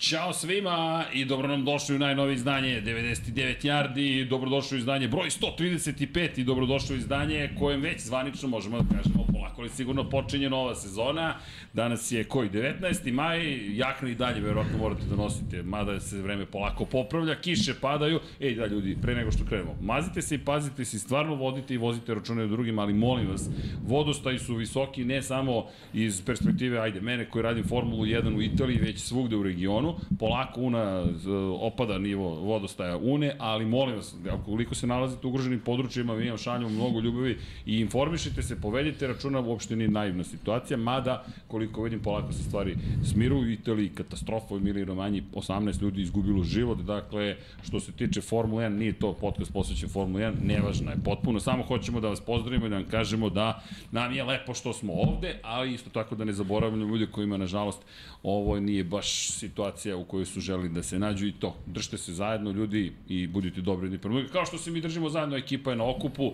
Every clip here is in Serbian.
Ćao svima i dobro nam došli u najnovije izdanje 99 Jardi, dobrodošli u izdanje broj 135 i dobrodošli u izdanje kojem već zvanično možemo da kažemo polako li sigurno počinje nova sezona. Danas je koji 19. maj, jakne i dalje verovatno morate da nosite, mada se vreme polako popravlja, kiše padaju. Ej da ljudi, pre nego što krenemo, mazite se i pazite se i stvarno vodite i vozite račune o drugima, ali molim vas, vodostaji su visoki ne samo iz perspektive, ajde, mene koji radim Formulu 1 u Italiji, već svugde u regionu, polako una z- opada nivo vodostaja une, ali molim vas, ukoliko se nalazite u ugroženim područjima, mi vam šaljamo mnogo ljubavi i informišite se, povedite računa, uopšte nije naivna situacija, mada, koliko vidim, polako se stvari smiruju u Italiji, katastrofa u Emiliji Romanji, 18 ljudi izgubilo život, dakle, što se tiče Formule 1, nije to podcast posvećen Formule 1, nevažna je potpuno, samo hoćemo da vas pozdravimo i da vam kažemo da nam je lepo što smo ovde, ali isto tako da ne zaboravljamo ljude kojima, nažalost, ovo nije baš situacija u kojoj su želeli da se nađu i to. Držite se zajedno, ljudi, i budite dobri jedni prema drugima. Kao što se mi držimo zajedno, ekipa je na okupu,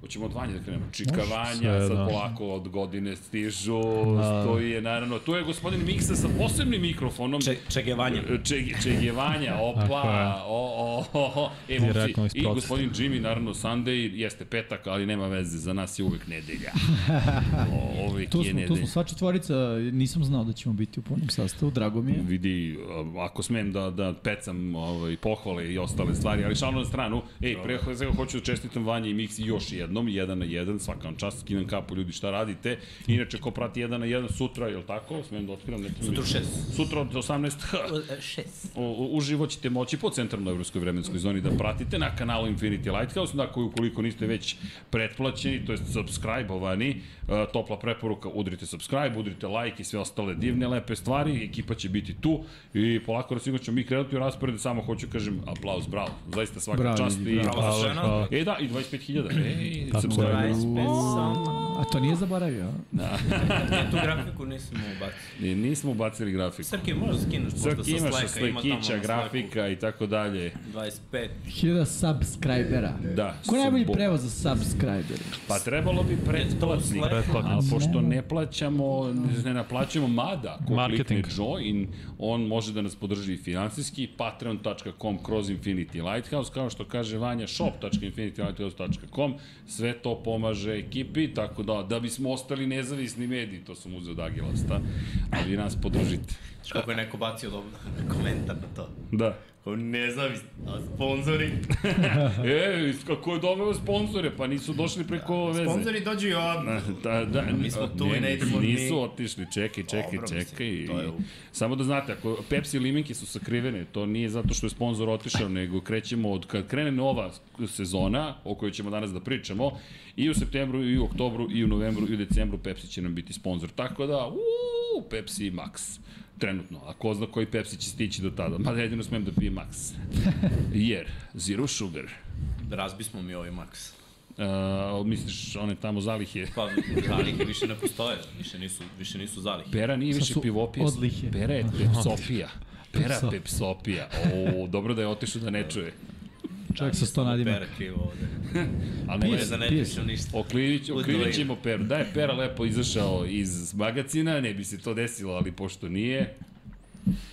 Hoćemo od Vanje da krenemo. Čika Može, Vanja, sve, sad da. polako od godine stižu, stoji je naravno. Tu je gospodin Miksa sa posebnim mikrofonom. Če, čegevanje. Čeg, Čegevanja, Tako je. opa, o, o, o, o. E, momci, Direktno iz I procesa. gospodin Jimmy, naravno, Sunday, jeste petak, ali nema veze, za nas je uvek nedelja. O, uvek Tu je smo, nedelja. tu smo sva četvorica, nisam znao da ćemo biti u punom sastavu, drago mi je. vidi, a, ako smem da, da pecam ovaj, pohvale i ostale stvari, ali šalno na stranu, ej, pre svega hoću da čestitam Vanje i Miksi još jednom, jedan na jedan, svaka vam čast, skidam kapu, ljudi, šta radite, inače, ko prati jedan na jedan sutra, je li tako, smem da otkrivam nekim... Sutra u šest. Sutra od 18, e, Šest. U- u- uživo ćete moći po centralnoj evropskoj vremenskoj zoni da pratite na kanalu Infinity Lighthouse, na koju ukoliko niste već pretplaćeni, to jest subscribe-ovani, e, topla preporuka, udrite subscribe, udrite like i sve ostale divne, lepe stvari, ekipa će biti tu i polako da sigurno ćemo mi krenuti u raspored, samo hoću kažem aplauz, bravo, zaista svaka Bravo, čast ljudi, i... bravo. Hvala, žena. E da, i 25.000, ej, Tako subscribe. je. A to nije zaboravio. Ja tu grafiku nisam ubacio. E, Nismo ubacili grafiku. Srke, možda skinuš možda Srk imaš sa slajka, ima tamo na slikića, slajku. grafika i tako dalje. 25. 1000 subscribera. Da, Ko je najbolji subbo- prevoz za subscribera? Pa trebalo bi pretplatnik, Ne, to je pretplatnik. ali pošto ne plaćamo, ne naplaćujemo, mada, ko Marketing. klikne join, on može da nas podrži i finansijski, patreon.com kroz Infinity Lighthouse, kao što kaže Vanja, shop.infinitylighthouse.com, sve to pomaže ekipi, tako da, da bismo ostali nezavisni mediji, to sam uzeo od Agilasta, a vi nas podržite. Znaš Kako je neko bacio dobro komentar na to. Da. Kao nezavisno, a sponzori. E, kako je doveo sponzore, pa nisu došli preko veze. Sponzori dođu i ovdje. Da, da, Mi smo tu ne, i ne idemo ni- Nisu otišli, čekaj, čekaj, Dobro, mislim, čekaj. i- to je- Samo da znate, ako Pepsi liminke su sakrivene, to nije zato što je sponsor otišao, nego krećemo od kad krene nova sezona, o kojoj ćemo danas da pričamo, i u septembru, i u oktobru, i u novembru, i u decembru Pepsi će nam biti sponsor. Tako da, uuu, Pepsi Max trenutno, a ko zna koji Pepsi će stići do tada, mada jedino smem da pije Max. Jer, zero sugar. Razbismo mi ovaj Max. Uh, misliš, one tamo zalihe? Pa, zalihe više ne postoje, više nisu, više nisu zalihe. Pera nije Sad više su pivopija. odlihe. Pera je pepsopija. Pera Pepso. pepsopija. O, dobro da je otišao da ne čuje. Čovjek sa sto nadima. Pera krivo ovde. Ali ne Ne da ne pije pišu ništa. Oklivić, Udvojen. oklivićemo Peru. Da je Pera lepo izašao iz magacina, ne bi se to desilo, ali pošto nije,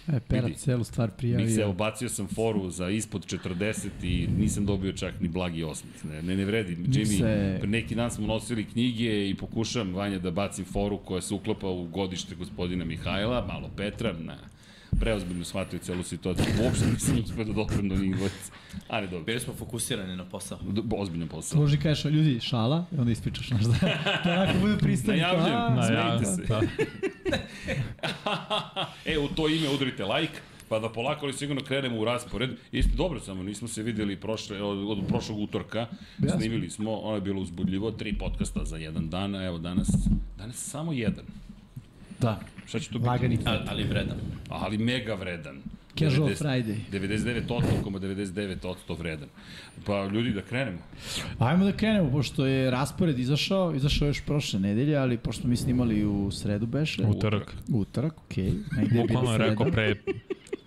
E, pera Vidi. celu stvar mi se prijavio. obacio sam foru za ispod 40 i nisam dobio čak ni blagi osmeh. Ne, ne, ne vredi. Jimmy, se- pre neki dan smo nosili knjige i pokušam, Vanja, da bacim foru koja se uklapa u godište gospodina Mihajla, malo Petra, na preozbiljno shvatio celu situaciju. Uopšte nisam uspio da doprem do njih dvojice. Ali dobro, Bili smo fokusirani na posao. do- ozbiljno posao. Služi kažeš, ljudi, šala, i onda ispričaš naš da, da onako bude pristani. Najavljujem, smejte Najavljeno, se. Da. da. E, u to ime udrite like, pa da polako ali sigurno krenemo u raspored. Isto dobro samo, nismo se videli prošle, od, od prošlog utorka, Jasno. snimili smo, ono je bilo uzbudljivo, tri podcasta za jedan dan, a evo danas, danas samo jedan. Da, Šta će to biti? lagani kvot. Ali, ali vredan. Ali mega vredan. Casual 90 Friday. 99,99% vredan. Pa ljudi, da krenemo. Ajmo da krenemo, pošto je raspored izašao, izašao je još prošle nedelje, ali pošto smo mi snimali u sredu beše, Utorak. u utorak, okej, okay. negde je bilo Bukvalno je sreda. rekao pre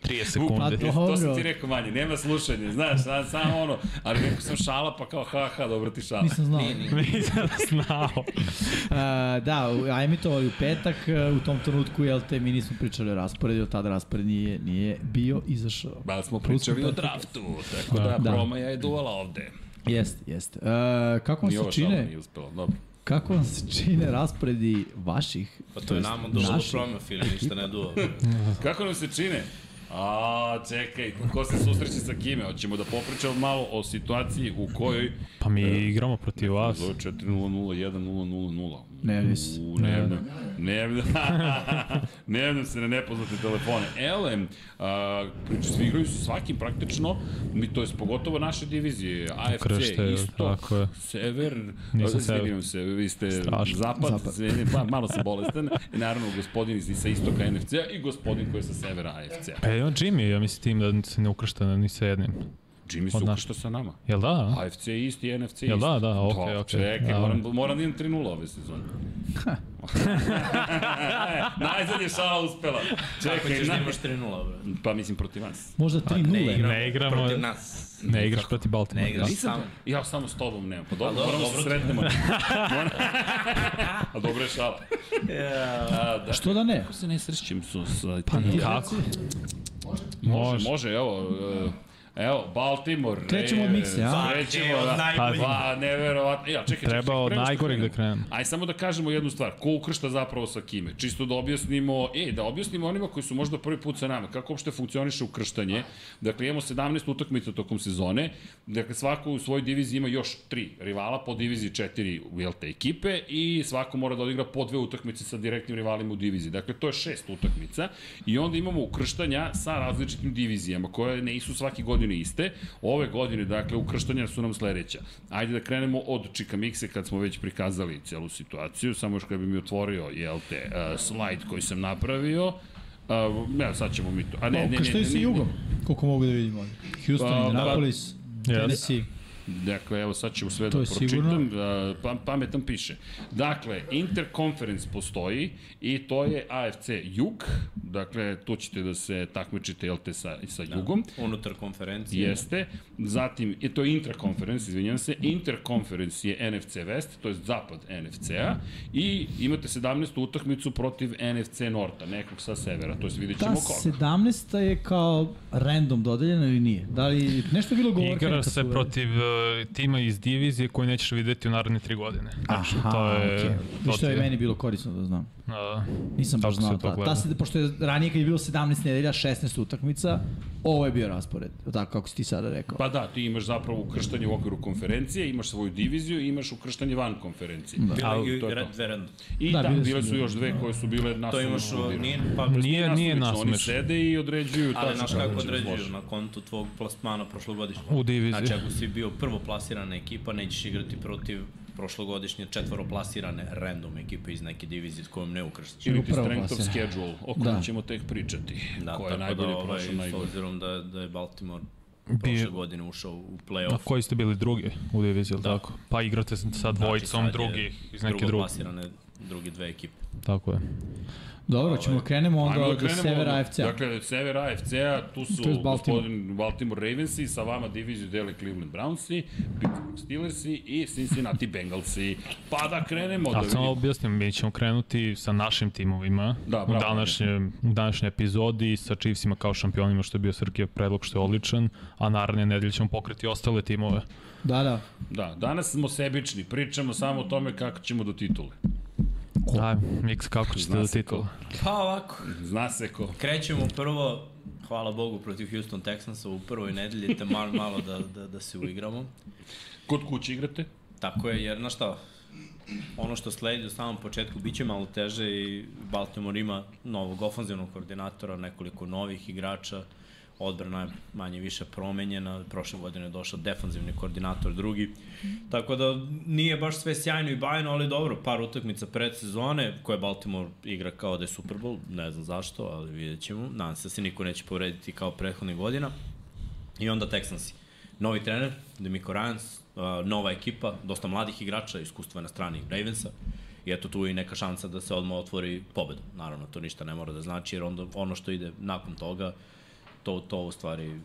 30 sekunde. Pa to- To sam ti Dobro. rekao manje, nema slušanja, znaš, sa- samo ono, ali rekao sam šala pa kao ha ha, dobro ti šala. Nisam znao. Nisam znao. A, da, u- ajme to ovaj u petak, a, u tom trenutku, jel te, mi nismo pričali o rasporedu, od tada raspored nije, nije bio, izašao. Ba, smo Plus smo pričali o petak. draftu, tako da, Da. promaja je duvala ovde. Jeste, jeste. A, E, kako vam Ni Pa se ova šala čine, nije uspela, dobro. kako vam se čine rasporedi vaših? Pa to je jest nama došlo do naših? promena, Fili, ništa ne duo. Kako nam se čine? A, čekaj, ko se susreće sa kime? Hoćemo da popričamo malo o situaciji u kojoj Pa mi igramo protiv vas. Zove 4-0-0-1-0-0-0. Nervni si. U, Nervno. Nervno. Nervno se na nepoznate telefone. LM, a, priče, svi igraju su svakim praktično, mi, to je pogotovo naše divizije. AFC, Kršteju, isto, tako je. sever, Nisam a, izvinjavam se, vi ste Strašno. zapad, Zapad. zapad. Pa, malo sam bolestan, i naravno gospodin iz, sa istoka NFC-a i gospodin koji je sa severa AFC-a. Pa je on Jimmy, ja mislim tim da se ne ukršta ni sa jednim. Jimmy se Od pa naš- ukršta sa nama. Jel da? AFC Pa je isti, NFC je Jel isti. da, da, To, okej, okej. Čekaj, Da. moram, moram da imam 3-0 ove sezone. Najzad je šala uspela. Kako Čekaj, ćeš da na... imaš 3-0, bre? Pa mislim protiv vas. Možda Ne 3-0. igramo Ne igramo- protiv nas. Ne igraš protiv Baltimore. Ne igraš da. sam. Ja samo s tobom nemam. Pa dobro, A, dobro, moramo se dobro. sretnemo. A dobro je šala. A, da. Što da ne? Kako se ne srećem su sa... Pa kako? Može, može, evo. e, Evo, Baltimore. Krećemo od Mikse, a? Ravens, Krećemo, Od da. najboljih. Pa, neverovatno. Ja, čekaj, čekaj, Treba čekaj, od pre nego što najgoreg krenemo. da krenemo. Aj samo da kažemo jednu stvar, ko ukršta zapravo sa kime? Čisto da objasnimo, e, da objasnimo onima koji su možda prvi put sa nama, kako uopšte funkcioniše ukrštanje. Dakle, imamo 17 utakmica tokom sezone, dakle, svako u svojoj diviziji ima još tri rivala, po diviziji četiri, jel te, ekipe i svako mora da odigra po dve utakmice sa direktnim rivalima u diviziji. Dakle, to je šest utakmica i onda imamo ukrštanja sa različitim divizijama, koje ne su svake godine iste. Ove godine, dakle, ukrštanja su nam sledeća. Ajde da krenemo od Čikamikse, kad smo već prikazali celu situaciju, samo još kada bi mi otvorio, jel te, uh, slajd koji sam napravio, Uh, evo, sad ćemo mi to. A ne, ne, ne, ne, Pa, Ukrštaju se ne, ne, jugom, koliko mogu da vidim ovdje. Houston, Pa, da. Indianapolis, Tennessee. Dakle, evo sad ćemo sve da To je pročitam, da, pa, pametan piše. Dakle, Interconference postoji i to je AFC Jug, dakle, tu ćete da se takmičite, jel te, sa, sa Jugom. Unutar konferencije. Jeste. Zatim, je to je Intraconference, izvinjam se, Interconference je NFC West, to je zapad NFC-a, i imate 17. utakmicu protiv NFC Norta, nekog sa severa, to je vidjet Ta ćemo koga. 17. je kao random dodeljena ili nije? Da li nešto je bilo govorka? Igra se protiv uh, tima iz divizije koji nećeš videti u naredne tri godine. Znači, Aha, to je... okej. to I što je ti- meni bilo korisno da znam. Da. Nisam baš Tako se znao. to Ta, gleda. ta se, pošto je ranije kad je bilo 17 nedelja, 16 utakmica, ovo je bio raspored. Tako kako si ti sada rekao. Pa da, ti imaš zapravo ukrštanje u okviru konferencije, imaš svoju diviziju i imaš ukrštanje van konferencije. Da. Bilo Al- je to je red, to. dve random. I da, Da, da bile su bile su bile. još dve koje su bile na To imaš, u- nije, pa, Nije, nije Oni nasmešno. sede i određuju ali tačno znaš kako će određuju složiti. na kontu tvog plasmana prošlogodišnjeg. U diviziji. Znači, ako si bio prvo plasirana ekipa, nećeš igrati protiv prošlogodišnje četvoroplasirane random ekipe iz neke divizije s kojom ne ukrštaš. Ili ti Upravo strength of vas je. schedule, o kojem da. Da. ćemo tek pričati. Da, Da, ko je tako najbolje da, ovaj, prošao, s najgore. obzirom da, da je Baltimore Bio- prošle godine ušao u A play-off. Da, koji ste bili drugi u diviziji, ili tako? Pa igrate sa Znači, dvojicom sad je drugih iz neke druge. Drugoplasirane druge dve ekipe. Tako je. ovaj, Dobro, ćemo da krenemo onda da Ajmo od severa onda. AFC-a. Dakle, od severa AFC-a, tu su To je Baltimore. gospodin Baltimore Ravensi, sa vama diviziju dele Cleveland Brownsi, Pittsburgh Steelersi i Cincinnati Bengalsi. Pa da krenemo da A samo vidimo. objasnim, mi ćemo krenuti sa našim timovima Da, u, bravo. današnjem, u današnjoj epizodi sa Chiefsima kao šampionima što je bio Srkijev predlog što je odličan, a naravne nedelje ćemo pokriti ostale timove. Da, da. Da, danas smo sebični, pričamo samo o tome kako ćemo do titule. Ko? Aj, Miks, kako ćete da Zna do se titula? Pa ovako, Zna se ko. krećemo prvo, hvala Bogu, protiv Houston Texansa u prvoj nedelji, te malo, malo da, da, da se uigramo. Kod kuće igrate? Tako je, jer, znaš šta, ono što sledi u samom početku biće malo teže i Baltimore ima novog ofanzivnog koordinatora, nekoliko novih igrača, odbrana je manje više promenjena, prošle godine je došao defanzivni koordinator drugi, tako da nije baš sve sjajno i bajno, ali dobro, par utakmica predsezone koje Baltimore igra kao da je Super Bowl, ne znam zašto, ali vidjet ćemo, nadam se da se niko neće povrediti kao prethodnih godina, I onda Texansi. Novi trener, Demico Ryans, uh, nova ekipa, dosta mladih igrača, iskustva na strani Ravensa. I eto tu je i neka šansa da se odmah otvori pobeda. Naravno, to ništa ne mora da znači, jer onda ono što ide nakon toga to, to u stvari e,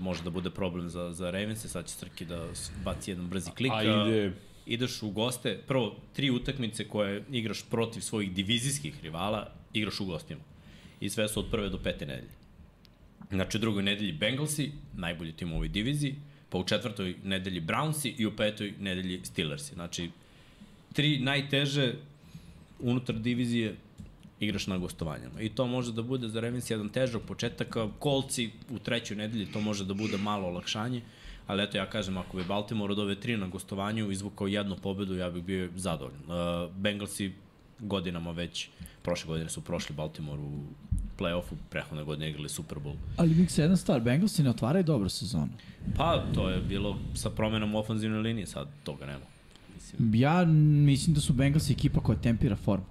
može da bude problem za, za Ravens, sad će Srki da s- baci jedan brzi klik. A ide- Ideš u goste, prvo, tri utakmice koje igraš protiv svojih divizijskih rivala, igraš u gostima. I sve su od prve do pete nedelje. Znači u drugoj nedelji Bengalsi, najbolji tim u ovoj diviziji, pa u četvrtoj nedelji Brownsi i u petoj nedelji Steelersi. Znači, tri najteže unutar divizije igraš na gostovanjama. I to može da bude za Ravens jedan težak početak, a kolci u trećoj nedelji to može da bude malo olakšanje, ali eto ja kažem, ako bi Baltimore od ove tri na gostovanju izvukao jednu pobedu, ja bih bio zadovoljan. Uh, Bengalsi godinama već, prošle godine su prošli Baltimore u play-offu, prehodne godine igrali Super Bowl. Ali Miksa, jedna stvar, Bengalsi ne otvaraju dobro sezonu. Pa, to je bilo sa promenom ofenzivne linije, sad toga nema. Mislim, Ja mislim da su Bengalsi ekipa koja tempira formu.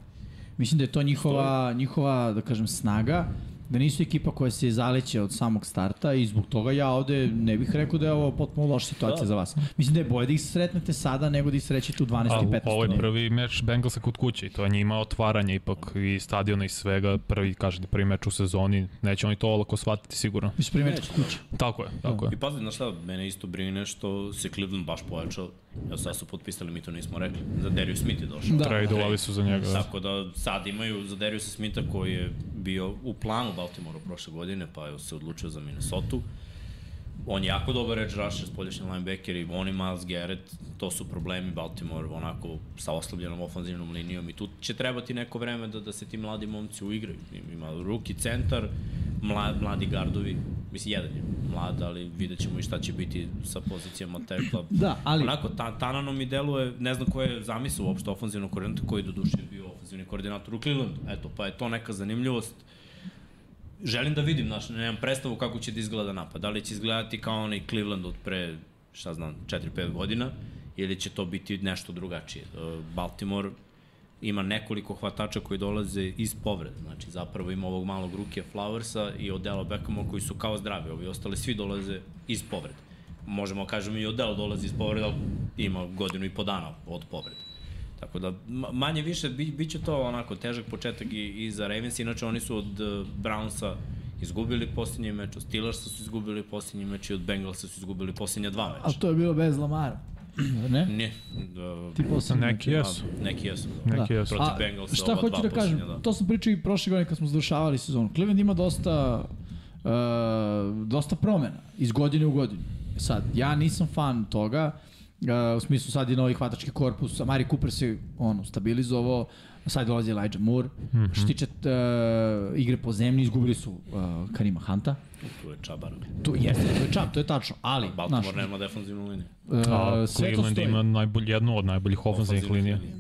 Mislim da je to njihova, njihova da kažem, snaga, da nisu ekipa koja se zaleće od samog starta i zbog toga ja ovde ne bih rekao da je ovo potpuno loša situacija Da. da. za vas. Mislim da je bolje da ih sretnete sada nego da ih srećete u 12. i 15. A, ovo je minutu. prvi meč Bengalsa kod kuće i to je njima otvaranje ipak i stadiona i svega, prvi, kažete, prvi meč u sezoni, neće oni to olako shvatiti sigurno. Mislim, primjer, kod kuće. Tako je, tako je. I pazi, znaš šta, mene isto brine što se Cleveland baš pojačao. Evo sad su potpisali, mi to nismo rekli. Za Darius Smith je došao. Da. Tradeovali su za njega. da. Tako da sad imaju za Dariusa Smitha koji je bio u planu Baltimora prošle godine, pa je se odlučio za Minnesota. On je jako dobar edge rusher, spolješnji linebacker i on i Miles Garrett, to su problemi Baltimore onako sa oslabljenom ofanzivnom linijom i tu će trebati neko vreme da, da se ti mladi momci uigraju. Ima ruki centar, mla, mladi gardovi, mislim jedan je mlad, ali vidjet ćemo i šta će biti sa pozicijama tekla. Da, ali- Onako, ta, Tanano mi deluje, ne znam ko je zamislio uopšte ofenzivnog koordinatora, koji je doduše bio ofenzivni koordinator u Clevelandu. Eto, pa je to neka zanimljivost želim da vidim, znaš, nemam predstavu kako će da izgleda napad. Da li će izgledati kao onaj Cleveland od pre, šta znam, 4-5 godina, ili će to biti nešto drugačije. E, Baltimore ima nekoliko hvatača koji dolaze iz povrede. Znači, zapravo ima ovog malog Rukija Flowersa i Odela Beckama koji su kao zdravi. Ovi ostali svi dolaze iz povrede. Možemo da kažemo i Odel dolazi iz povrede, ali ima godinu i po dana od povrede. Tako da, ma- manje više, bi, bit će to onako težak početak i, i za Ravens, inače oni su od uh, Brownsa izgubili posljednji meč, od Steelersa su izgubili posljednji meč i od Bengalsa su izgubili posljednja dva Ali meča. Pa to je bilo bez Lamara. ne? Ne, uh, Ti posebno. Neki jesu. neki jesu. Da. Neki Da. jesu. Protiv Bengalsa šta ova hoću dva da kažem, poslednja, da. to sam pričao i prošle godine kad smo završavali sezonu. Cleveland ima dosta, e, dosta promena iz godine u godinu. E Sad, ja nisam fan toga, e, u smislu sad je novi hvatački korpus, Amari Cooper se ono, stabilizovao, sad dolazi Elijah Moore. Mm Mhm. -hmm. Što se tiče e, igre po zemlji, izgubili su e, Karima Hanta. Tu je Čabar. To jeste, to je čap, to je tačno, ali, znaš, Baltimore nema defanzivnu liniju. A e, sve to Cleveland stoji. ima najbolj, jednu od najboljih ofenzivnih Ofanzivne linija. linije.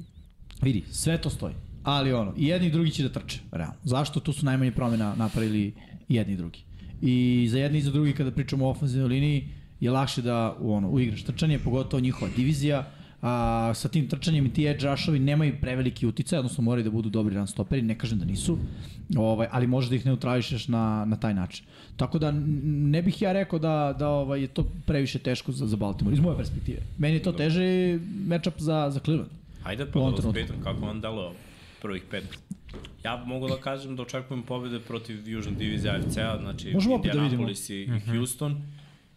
Vidi, sve to stoji. Ali ono, i jedni i drugi će da trče, realno. Zašto? Tu su najmanje promjena napravili i jedni i drugi. I za jedni i za drugi, kada pričamo o ofenzivnoj liniji, je lakše da ono, uigraš trčanje, pogotovo njihova divizija. A, sa tim trčanjem i ti edge rushovi nemaju preveliki uticaj, odnosno moraju da budu dobri run stoperi, ne kažem da nisu, ovaj, ali možeš da ih neutrališeš na, na taj način. Tako da n- ne bih ja rekao da, da ovaj, je to previše teško za, za Baltimore, iz moje perspektive. Meni je to teže matchup za, za Cleveland. Hajde pa da ovom vas trenutku. pitam kako vam dalo prvih pet. Ja mogu da kažem da očekujem pobjede protiv Južne divizije AFC-a, znači Možemo opet da Indianapolis i mm -hmm. Houston.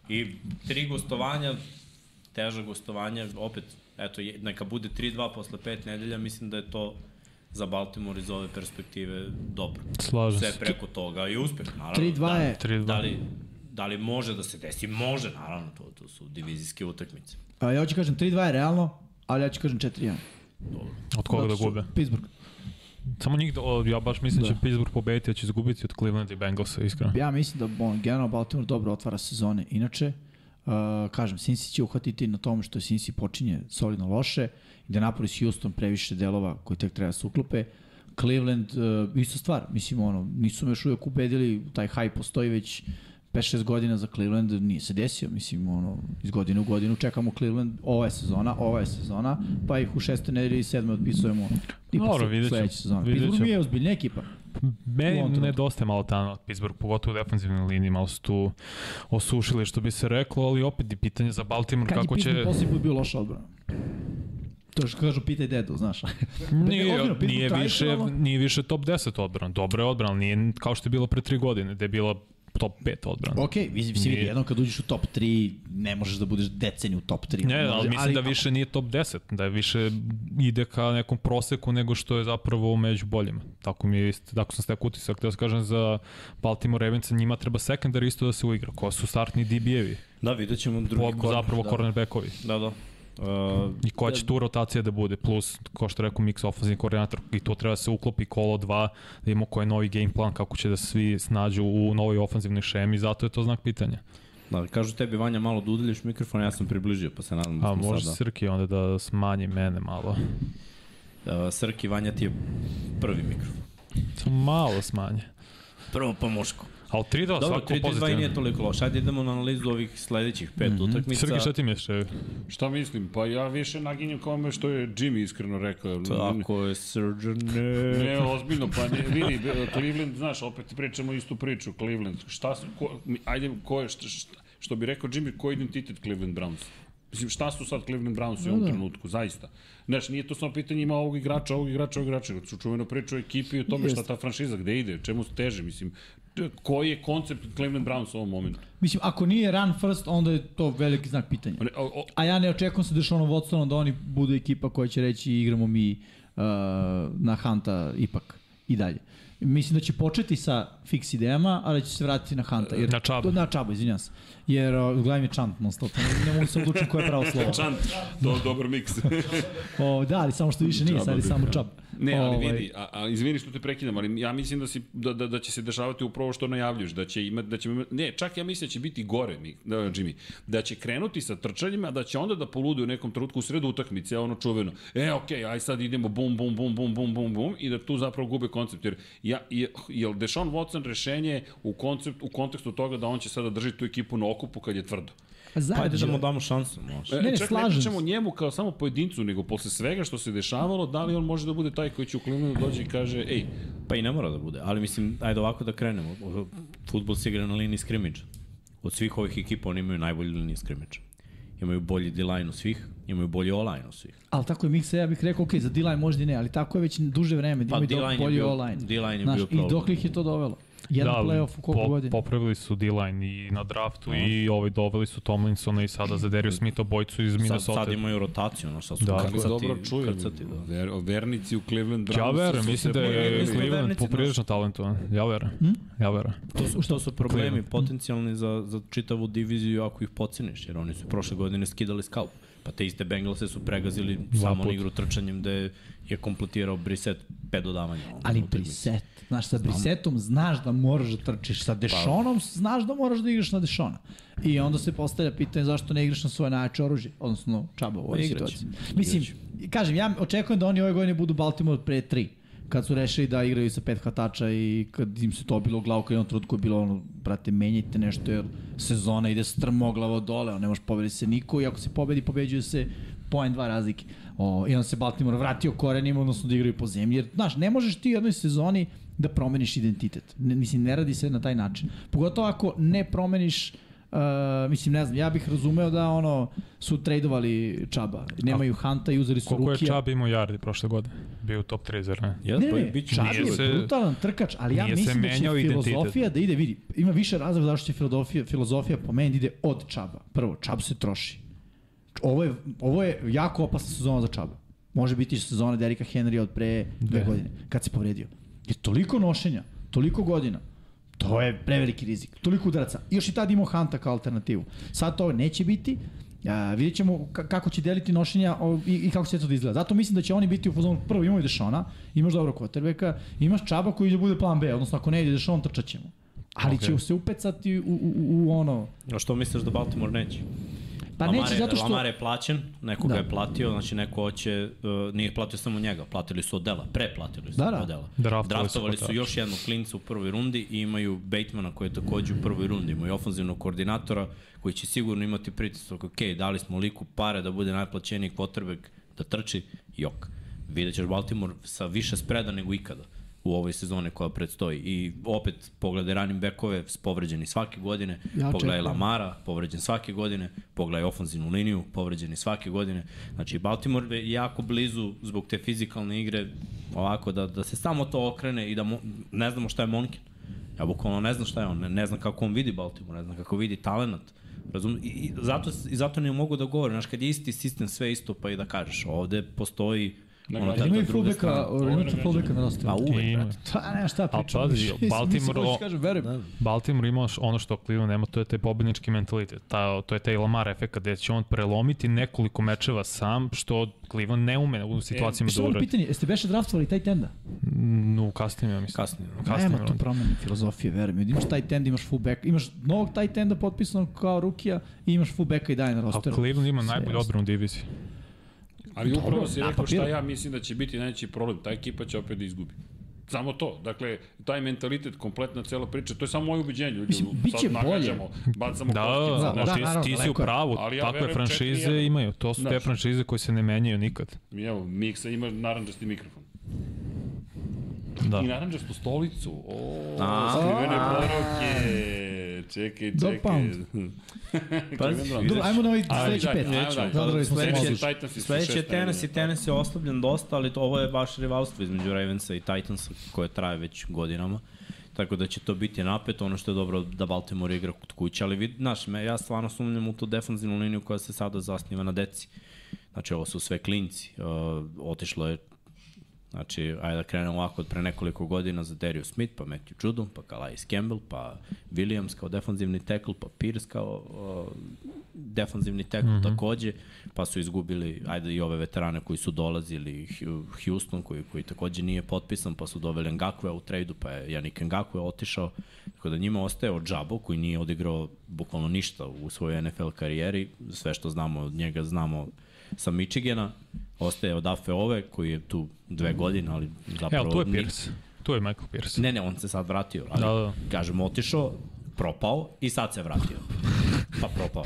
I tri gostovanja, teža gostovanja, opet, eto, je- neka bude 3-2 posle pet nedelja, mislim da je to za Baltimore iz ove perspektive dobro. Slažem Sve se. preko toga i uspeh, naravno. 3-2 Da, je- 3-2. Da li, da li može da se desi? Može, naravno, to, to su divizijske utakmice. A Pa ja hoću kažem 3-2 je realno, ali ja ću kažem 4-1. Od koga da Zato što gube? Pittsburgh. Samo njih, da- o, ja baš mislim da će Da. Pittsburgh pobediti, da će izgubiti od Clevelanda i Bengalsa, iskreno. Ja mislim da on, generalno Baltimore dobro otvara sezone. Inače, uh, kažem, Cincy će uhvatiti na tom što Cincy počinje solidno loše, Indianapolis i Houston previše delova koji tek treba da se uklope. Cleveland, uh, ista stvar, mislim, ono, nisu me još uvijek ubedili, taj hype postoji već 5-6 godina za Cleveland, nije se desio, mislim, ono, iz godine u godinu čekamo Cleveland, ova je sezona, ova je sezona, pa ih u šestoj nedelji i sedmoj otpisujemo tipa Dobro, Dobro, vidjet ćemo, sledeće sezone. vidjet Pittsburgh mi ćemo. je ozbiljna ekipa. U Meni ovom trenutku. nedostaje malo tamo od Pittsburgh, pogotovo u defensivnoj liniji, malo su tu osušili što bi se reklo, ali opet i pitanje za Baltimore Kad kako je će... Pittsburgh posljednji put bio loša odbrana? To što kažu, pitaj dedu, znaš. Nije, Ozbiljno, Pittsburgh nije, tradicionalno- više, nije više top 10 odbrana, dobra je odbrana, nije kao što je bilo pre 3 godine, gde je bila top 5 odbrana. Ok, vidi, vidi, Nije- jednom kad uđeš u top 3, ne možeš da budeš deceniju u top 3. Ne, ali mislim da više nije top 10, da je više ide ka nekom proseku nego što je zapravo među boljima. Tako mi je, ist- tako sam stekao utisak, htio sam kažem za Baltimore Ravens, njima treba sekundar isto da se uigra, ko su startni DB-evi, Da, vidjet ćemo drugi po- korner. zapravo da. cornerbackovi. Da, da. Uh, I koja će tu rotacija da bude, plus, ko što rekao, mix ofenzivni koordinator, i to treba da se uklopi kolo 2, da imamo koji je novi game plan, kako će da se svi snađu u novoj ofenzivnoj šemi, zato je to znak pitanja. da, kažu tebi Vanja malo da udaljiš mikrofon, ja sam približio, pa se nadam da A smo može sada. Srki onda da smanji mene malo. Uh, Srki, Vanja ti je prvi mikrofon. Samo malo smanje. Prvo pa muško. Ali 3 do Dobro, 3-2 svako i nije pozitivno. Mhm. toliko loše. Ajde idemo na analizu ovih sledećih pet mm -hmm. utakmica. Srki, šta ti misliš? evo? Šta mislim? Pa ja više naginjem ka ovome što je Jimmy iskreno rekao. Tako je, Surgeon... Ne, ozbiljno, pa ne, vidi, Cleveland, znaš, opet pričamo istu priču, Cleveland, šta su, ko, mi- ajde, ko je, šta, šta, što bi rekao Jimmy, koji je identitet Cleveland Browns? Mislim, šta su sad Cleveland Browns u ovom trenutku, zaista? Znaš, nije to samo pitanje ima ovog igrača, ovog igrača, ovog igrača, su čuveno priču o ekipi i o tome šta ta franšiza, gde ide, čemu se teže, mislim, t- koji je koncept Cleveland Browns u ovom momentu? Mislim, ako nije run first, onda je to veliki znak pitanja. Ne, o- o- A ja ne očekujem sa Dešonom Watsonom da oni budu ekipa koja će reći igramo mi uh, na Hanta ipak i dalje. Mislim da će početi sa fix idejama, a da će se vratiti na Hanta. Jer, Na Chubb. Na Čabu, izvinjam se. Jer uh, gledam je Chant non stop. Ne, ne mogu se odlučiti koje je pravo slovo. Čant, to je dobar miks. O, da, ali samo što više nije, sad je samo Ovaj, Čab. da. Ne, ali vidi, a, a, izvini što te prekidam, ali ja mislim da, si, da, da, da će se dešavati upravo što najavljuš, da će imati, da će, imat- ne, čak ja mislim da će biti gore, mi, da, Jimmy, da će krenuti sa trčanjima, a da će onda da polude u nekom trenutku u sredu utakmice, ono čuveno, e, okej, okay, aj sad idemo bum, bum, bum, bum, bum, bum, bum, i da tu zapravo gube koncept, jer ja, je, jel Deshaun Watson rešenje u, koncept, u kontekstu toga da on će sada držati tu ekipu na okupu kad je tvrdo. Pa ajde da mu da damo šansu, može. E, Ne, ne, čak ne slažem pričamo se. o njemu kao samo pojedincu, nego posle svega što se dešavalo, da li on može da bude taj koji će u Clevelandu dođe i kaže, ej, Pa i ne mora da bude, ali mislim, ajde ovako da krenemo. Ovo, Futbol se igra na liniji skrimidža. Od svih ovih ekipa oni imaju najbolju liniju skrimidža. Imaju bolji D-line u svih, imaju bolji O-line u svih. Ali tako je Miksa, ja bih rekao, ok, za D-line možda i ne, ali tako je već duže vreme, da Pa imaju D-line pa, je bolji bio- O-line. D-line je Znaš, bio I problem. dok ih je to dovelo? Jedan da, ali playoff u koliko godina? Da. Popravili su D-line i na draftu i ovaj, doveli su Tomlinsona i sada za Darius Smitha bojcu iz Sad, Minnesota. sad imaju rotaciju, ono sad su Da. da, Kako Kako krcati, dobro čujem. krcati, da. Ver, o vernici u Cleveland Browns. Ja verujem, mislim da je Mi smo Cleveland vernici, poprilično talentovan. Ja verujem. Hm? Ja verujem. To su, što su problemi potencijalni za, za čitavu diviziju ako ih poceniš, jer oni su prošle godine skidali skalp. Pa te iste Bengalse su pregazili samo na put. igru trčanjem da je, je kompletirao Brissett pet dodavanja. ono, Ali u toj Briset, znaš, sa Brisetom znaš da moraš da trčiš, Pa. sa Dešonom znaš da moraš da igraš na Dešona. I onda se postavlja pitanje zašto ne igraš na svoje najjače oružje, odnosno čaba u ovoj Igraće. situaciji. Mislim, kažem, ja očekujem da oni ove godine budu Baltimore pre 3 kad su rešili da igraju sa pet hatača i kad im se to bilo u glavu, kad je on trutko je bilo ono, brate, menjajte nešto jer sezona ide strmoglavo dole, ne može pobedi se niko i ako se pobedi, pobeđuje se poen dva razlike. O, I onda se Baltimore vratio korenima, odnosno da igraju po zemlji, jer, znaš, ne možeš ti u jednoj sezoni da promeniš identitet. Ne, mislim, ne radi se na taj način. Pogotovo ako ne promeniš Uh, mislim, ne znam, ja bih razumeo da ono su tradovali Čaba. Nemaju Hanta i uzeli su Koliko je Rukija. Chubb imao yardi prošle godine? Bio u top 3, zar ne? Jes, Ne, pa i ne, bit će- Čabi nije je se- brutalan trkač, ali ja nije se mislim da menjao će identitet. filozofija da ide, vidi, ima više razloga zašto će filozofija, filozofija po meni da ide od Čaba. Prvo, Čab se troši. Ovo je, ovo je jako opasna sezona za Čaba. Može biti sezona Derika Henrya od pre dve Da. godine, kad se povredio. Je toliko nošenja, toliko godina, to je preveliki rizik. Toliko udaraca. Još i tad imao Hanta kao alternativu. Sad to neće biti, A, vidjet ćemo ka- kako će deliti nošenja o, i, i kako će to da izgleda. Zato mislim da će oni biti u fazonu, prvo imaju Dešona, imaš dobro quarterbacka, imaš Čaba koji će da bude plan B, odnosno ako ne ide Dešon, trčat ćemo. Ali Ok. okay. će se upecati u, u, u, u ono... A što misliš da Baltimore neće? Pa Lamar neće je- zato što... Lamar je plaćen, neko da. Da. ga je platio, znači neko hoće, uh, nije platio samo njega, platili su odela, preplatili su Da, da. odela. Draftovali su Draftovali su hvatača. još jednog klinca u prvoj rundi i imaju Batemana koji je takođe u prvoj rundi, imaju ofenzivnog koordinatora koji će sigurno imati pritisak, ok, dali smo liku pare da bude najplaćeniji quarterback da trči, jok. Vidjet ćeš Baltimore sa više spreda nego ikada u ovoj sezoni koja predstoji. I opet pogledaj running backove, povređeni svake godine, Ja pogledaj očekujem. Lamar Mara, povređen svake godine, pogledaj ofenzivnu liniju, povređeni svake godine. Znači, Baltimore je jako blizu zbog te fizikalne igre, ovako, da, da se samo to okrene i da mo, ne znamo šta je Monken. Ja bukvalno ne znam šta je on, ne, ne znam kako on vidi Baltimore, ne znam kako vidi talent. Razum, i, i, zato, s- I zato ne mogu da govorim, znaš, kad je isti sistem sve isto pa i da kažeš, ovde postoji Na ono, da- kraju. ta, da Imaju ta druga fullbacka, strana. Ovo imaju je fullbacka na rosteru. Pa uvek, Ima. brate. Pa nema šta A pričam. pazi, Mislim, Baltimore- hoćeš da kažem, verujem. Baltimore ima š- ono što Cleveland nema, to je taj pobednički mentalitet. Ta, to je taj Lamar efekt gde će on prelomiti nekoliko mečeva sam, što Cleveland ne ume u situacijama e, da Što je uradi. pitanje, jeste beše draftovali taj tenda? No, kasnije, ja mislim. da- Kasnije. U kasnijem Nema tu rundu. promene filozofije, verujem. Imaš taj tend, imaš fullback, imaš novog taj tenda potpisanog kao rukija i imaš fullbacka i daje na A rosteru. Cleveland ima Sve najbolju jasno. odbranu u diviziji. Ali upravo si na rekao šta papiru. ja mislim da će biti najveći problem. Ta ekipa će opet da izgubi. Samo to. Dakle, taj mentalitet, kompletna cela priča, to je samo moje ubeđenje. Ljudi, Mislim, bit će sad nagađamo, bacamo Da, kockice, da, da, da, ti, naravno, ti si u daleko je. pravu, Ali ja takve verujem franšize 4-1. imaju, to su te Znaš. franšize koje se ne menjaju nikad. Evo, Miksa ima naranđasti mikrofon. Da. I naranđastu stolicu. O, A. skrivene poruke. Čekaj, Da Do čekaj. pound. Pazi, Dobro, ajmo na ovaj sledeći pet. Zadrali smo Da, Sledeći je sledeći. Titans i Sledeći je Tennessee, Tennessee je oslabljen dosta, ali to- ovo je baš rivalstvo između Ravensa i Titansa koje traje već godinama. Tako da će to biti napet, ono što je dobro da Baltimore igra kod kuće, ali vid, znaš, me, ja stvarno sumnjam u tu defanzivnu liniju koja se sada zasniva na deci. Znači, ovo su sve klinci. Uh, otišlo je Znači, ajde da krenemo ovako od pre nekoliko godina za Darius Smith, pa Matthew Judon, pa Calais Campbell, pa Williams kao defanzivni tackle, pa Pierce kao uh, defanzivni tackle Mhm. mm -hmm. takođe, pa su izgubili, ajde i ove veterane koji su dolazili, Hu- Houston koji, koji takođe nije potpisan, pa su doveli Ngakwe u tradu, pa je Janik Ngakwe otišao, tako da njima ostaje od Džabo koji nije odigrao bukvalno ništa u svojoj NFL karijeri, sve što znamo od njega znamo sa Michigana, ostaje od Afe Ove, koji je tu dve godine, ali zapravo... Evo, tu je ni- Pierce. Tu je Michael Pierce. Pa Ne, ne, on se sad vratio, ali, Da, da. kažem, otišao, propao i sad se vratio. pa propao.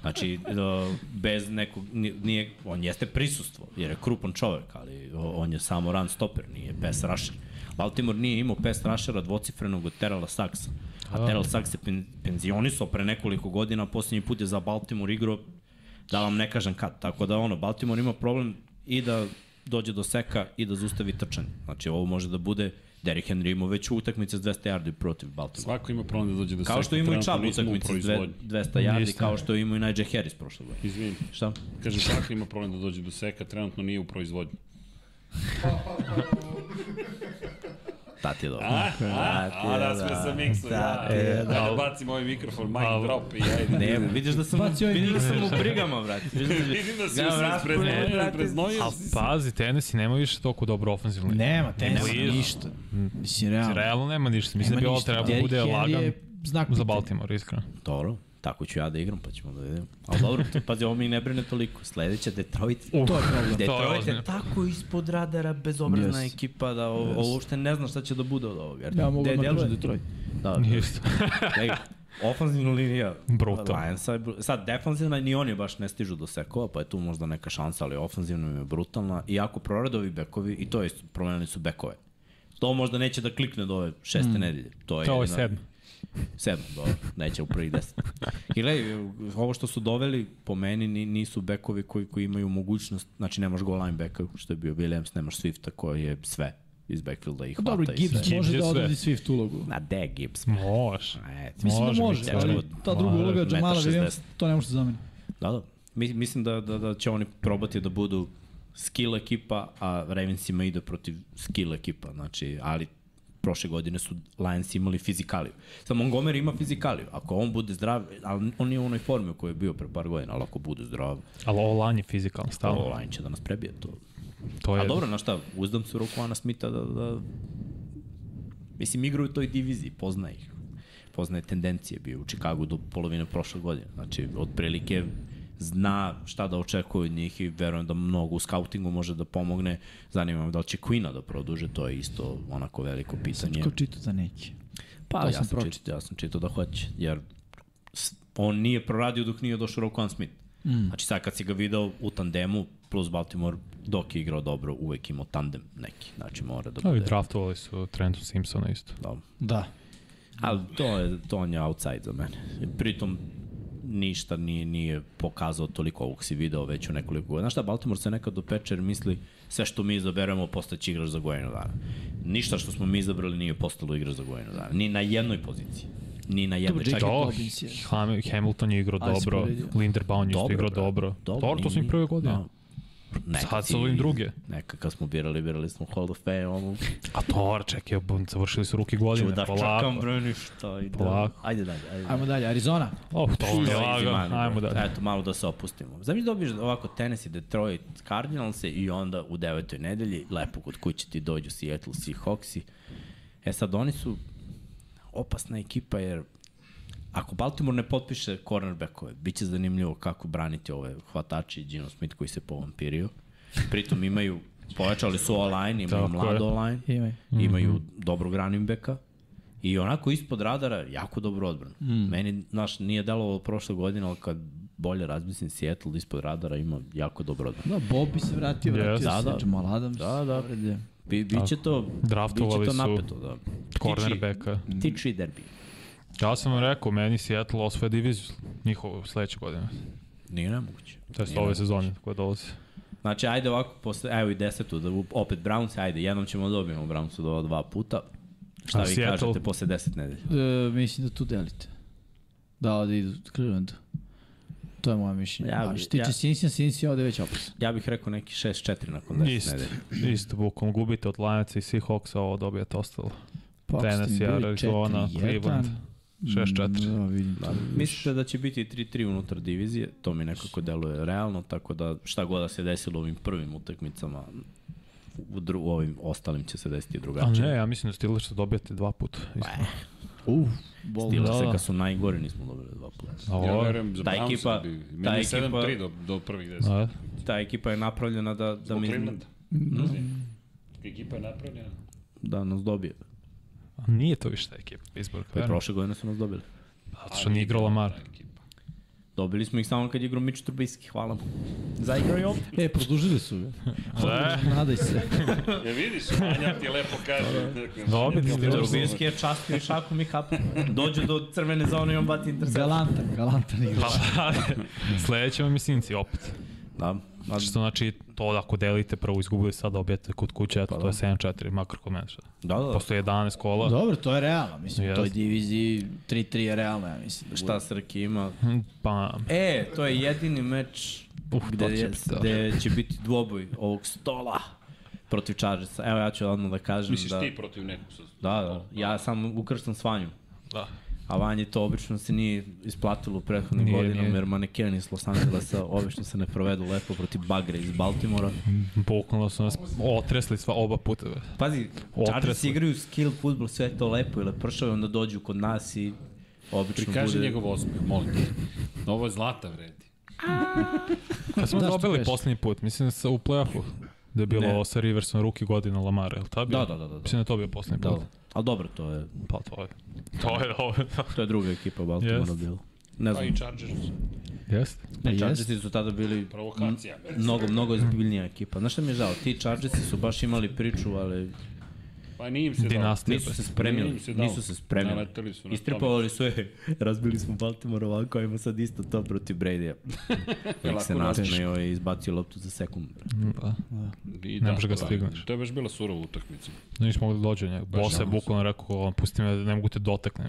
Znači, e, bez nekog, ni- nije, on jeste prisustvo, jer je krupan čovek, ali o- on je samo run stopper, nije pass rusher. Baltimore nije imao pass rushera dvocifrenog od Terrella Saxa. A Terrell Sax se pen, penzionisao pre nekoliko godina, a posljednji put je za Baltimore igrao, da vam ne kažem kad. Tako da, ono, Baltimore ima problem i da dođe do seka i da zustavi trčanje. Znači, ovo može da bude Derrick Henry imao već utakmice s 200 yardi protiv Baltimore. Svako ima problem da dođe do Kao što ima i trenutno Chubb nismo u utakmice s dve- proizvodnji. 200 yardi, Jeste. kao što je imao i Najee Harris prošle godine. Izvini, Šta? kažem svako ima problem da dođe do seka, trenutno nije u proizvodnji. Ta ti je dobro. A, a, a, da, rasme sa miksu, ja. E, da, bacim ovaj mikrofon, mic drop i ajde. Ne, vidiš da sam, Baci ovaj vidiš da sam u brigama, brate. Vidiš da- Vidim da si Ja, se brate, preznojio, brate. preznojio A si se. pazi, Tennessee nema više toliko dobro ofenzivno. Nema, tenda, Blizu. ništa. Mislim, realno. Realno nema ništa. Mislim da bi Nema ovo ništa. trebalo da Derrick bude Henry lagan je znak za pitanja. Baltimore, iskreno. Dobro, tako ću ja da igram, pa ćemo da vidimo. Ali dobro, to, pazi, ovo mi ne brine toliko. Sledeća Detroit. Uf, To je problem. to je Detroit ozbiljno. je tako ispod radara, bezobrazna Yes. yes. ekipa da ovo, yes. ovo uopšte ne zna šta će da bude od ovoga. Ja mogu De- da deluje- nađem Detroit. Da, da. Isto. Ej, ofanzivna linija Brutalno. Lionsa je bru- sad defanzivna ni oni baš ne stižu do sekova, pa je tu možda neka šansa, ali ofanzivna im je brutalna. Iako proradovi bekovi, i to je isto, promenili su bekove. To možda neće da klikne do ove šeste mm. nedelje. To je, To je jedina- sedmo. Sedmo, dobro, neće u prvih deset. I gledaj, ovo što su doveli, po meni ni- nisu bekovi koji, koji imaju mogućnost, znači nemaš goal linebacka, što je bio Williams, nemaš Swifta koji je sve iz backfielda i hvata Dobro, i sve. Gibbs može je da sve. odradi Swift ulogu. Na de Gibbs. Može. E, Mislim Može da biti može, teško. ali ta druga Može, uloga metar Jamala 60. Williams, to ne može da zameni. Da, da. Mi- Mislim da, da, da će oni probati da budu skill ekipa, a Ravensima ide da protiv skill ekipa, znači, ali prošle godine su Lions imali fizikaliju. Sad Montgomery ima fizikaliju. Ako on bude zdrav, ali on je u onoj formi u kojoj je bio pre par godina, ali ako bude zdrav, Ali ovo lanje fizikalno ovo stalno. Lion će da nas prebije to. To je... A dobro, na šta, uzdam se u Rokuana Smitha da, da... Mislim, igra u toj diviziji, pozna ih. Poznaje tendencije, bio je u Čikagu do polovine prošle godine. Znači, otprilike zna šta da očekuje od njih i verujem da mnogo u skautingu može da pomogne. Zanima me da li će Quina da produže, to je isto onako veliko pitanje. Kao čitu za neki. Pa, to ja sam sam, pročitao. čitao, ja sam čitao da hoće, jer s- on nije proradio dok nije došao Rokuan Smith. Mm. Znači sad kad si ga video u tandemu, plus Baltimore, dok je igrao dobro, uvek imao tandem neki. Znači mora da Ovi bude... draftovali su Trenton Simpsona isto. Da. Da. Ali to je, to on je outside za mene. Pritom, ništa nije, nije pokazao toliko ovog si video već u nekoliko godina. Znaš šta, Baltimore se nekad dopeče jer misli sve što mi izaberemo postaće igrač za godinu dana. Ništa što smo mi izabrali nije postalo igrač za godinu dana. Ni na jednoj poziciji. Ni na jednoj. Dobro, Čak i J.K. Da, Dobbins je. Ham, Hamilton je igrao Ali si dobro, povredio. Linderbaum je isto Dobro, igrao brate. dobro. Dobro, Dobro, to su im nije- prve godine. da. Nekad Sad si- sa ovim druge. Nekad kad smo birali, birali smo Hall of Fame, ono, A to, čekaj, bom, završili su ruke godine, čuda, Pa polako. čekam broj ništa. Ide. Polako. Ajde dalje, ajde. Ajmo dalje, Arizona. Oh, to Pa Easy je lagan, money, ajmo brate. dalje. Eto, malo da se opustimo. Zamisli dobiješ ovako Tennessee, Detroit, Cardinals i onda u devetoj nedelji, lepo kod kuće ti dođu Seattle Seahawksi. E sad, oni su opasna ekipa jer ako Baltimore ne potpiše cornerbackove, bit će zanimljivo kako braniti ove hvatače i Gino Smith koji se povampirio. Pritom imaju, pojačali su online, imaju Tako je. mlado online Imaj. Mhm. imaju mm -hmm. dobrog running backa i onako ispod radara jako dobro odbranu. Mhm. Mm. Meni, znaš, nije delovalo prošle godine, ali kad bolje razmislim Seattle ispod radara ima jako dobro odbranu. Da, Bobby se vratio, Yes. vratio Da, se, da. Jamal Adams. Da, da. povrede. Bi, biće to, Draftovali biće to su napeto, da. Cornerbacka. Tiči derbi. Ja sam vam rekao, meni Seattle osvaja diviziju njihovo sledeće godine. Nije nemoguće. To je Nije ove nemoguće. sezone koja dolazi. Znači, ajde ovako, posle, evo i desetu, da bu- opet Browns, ajde, jednom ćemo da dobijemo Brownsu do dva puta. Šta A vi Seattle? kažete posle deset nedelja? E, mislim da tu delite. Da, ovde idu Clevelandu. To je moje mišljenje. Ja Ja, bi- A što tiče ja- ja. Cincy, Cincy ovde je već opasno. Ja bih rekao neki 6-4 nakon deset Isto, nedelja. isto, bukom gubite od Lanaca i Seahawksa, ovo dobijete ostalo. Pa, ako ste mi Tennessee, bili Arizona, 4-1, Cleveland. 6-4. Da, vidim. Da, mislite da će biti 3-3 unutar divizije, to mi nekako deluje realno, tako da šta god da se desilo u ovim prvim utakmicama, u, dru, u ovim ostalim će se desiti A drugačije. ne, ja mislim da Steelers dobijete dva puta. Isto. Uf, Stila Da, se da. kad su najgori nismo dobili dva puta. A Ja ovo, verujem za ta Brownsa ekipa- bi- ta Meni je ekipa- 7-3 do, do prvih 10. a, Ta ekipa je napravljena da, da, Zbog mi, Clevelanda. Ekipa je napravljena. da nas dobije. a nije to više ta ekipa izborka. Pa i verujem. prošle godine su nas dobili. Zato što nije igrao Lamar. Dobili smo ih samo kad je igrao Miču Trubisky, hvala mu. Zaigrao je opet. E, produžili su ga. Da, Nadaj se. Ja vidiš, Anja ti lepo kaže. da- Dobit Steelers. Trubisky Da, je častio i šakom i kapom. Dođu do crvene zone i on bati intercept. Galantan, galantan igrač. Sledeće vam je Sinci opet. Da, a, Što znači, to da ako delite, prvo izgubili sad dobijete kod kuće, eto, to je 7-4, makar kod mene. šta. da, Pa da, da. Postoje 11 kola. Dobro, to je realno, mislim. Pa- Jeste. Yes. Toj diviziji 3-3 je realno, ja mislim. Da Šta Srki ima? Pa, E, to je jedini meč Uf, gde, to će je, biti, da. gde će biti dvoboj ovog stola protiv Chargersa. Evo ja ću odmah da kažem Misliš da... ti protiv nekog sa... Da, da, ja sam ukrstam s Vanjom. da. A Vanji to obično se nije isplatilo u prethodnim Nije, godinama, nije. jer manekeni iz Los Angelesa obično se ne provedu lepo protiv bagre iz Baltimora. Bukvalno su nas otresli sva oba puta. bre. Pazi, Chargers Otresli. igraju skill futbol, sve je to lepo i lepršavo, i onda dođu kod nas i obično Prikaži bude... njegov osmeh, molim te. Ovo je zlata vredi. Kad smo Da, što dobili kažeš? poslednji put, mislim da sa- u play-offu, da je bilo Ne. ovo sa Riversom ruki godina Lamara, je li ta bio? Da, da, da, da, da. Mislim da je to bio poslednji Da, put. ali dobro, to je, Pa to je. To je ovo. to je druga ekipa Baltimora Jest. bila. Ne Pa znam, i Chargers. Jeste? jest. Pa Chargersi su tada bili Provokacija. mnogo, mnogo izbiljnija ekipa. Znaš šta mi je žao? Ti Chargersi su baš imali priču, ali Pa nije im se dao. Dinastija. nisu bre. se spremili. Nije im se dalo. Nisu se spremili. Naleteli su na Istripovali su je. Razbili smo Baltimore ovako, ajmo sad isto to protiv Brady-a. Lik Lako se nasmeo i izbacio loptu za sekund. bre. Da. I Ne da, možeš ga to je- stigneš. To je baš bila surova utakmica. Nismo mogli da dođe njega. Bosa je bukvalno rekao, on, pusti me, ne mogu te dotaknem.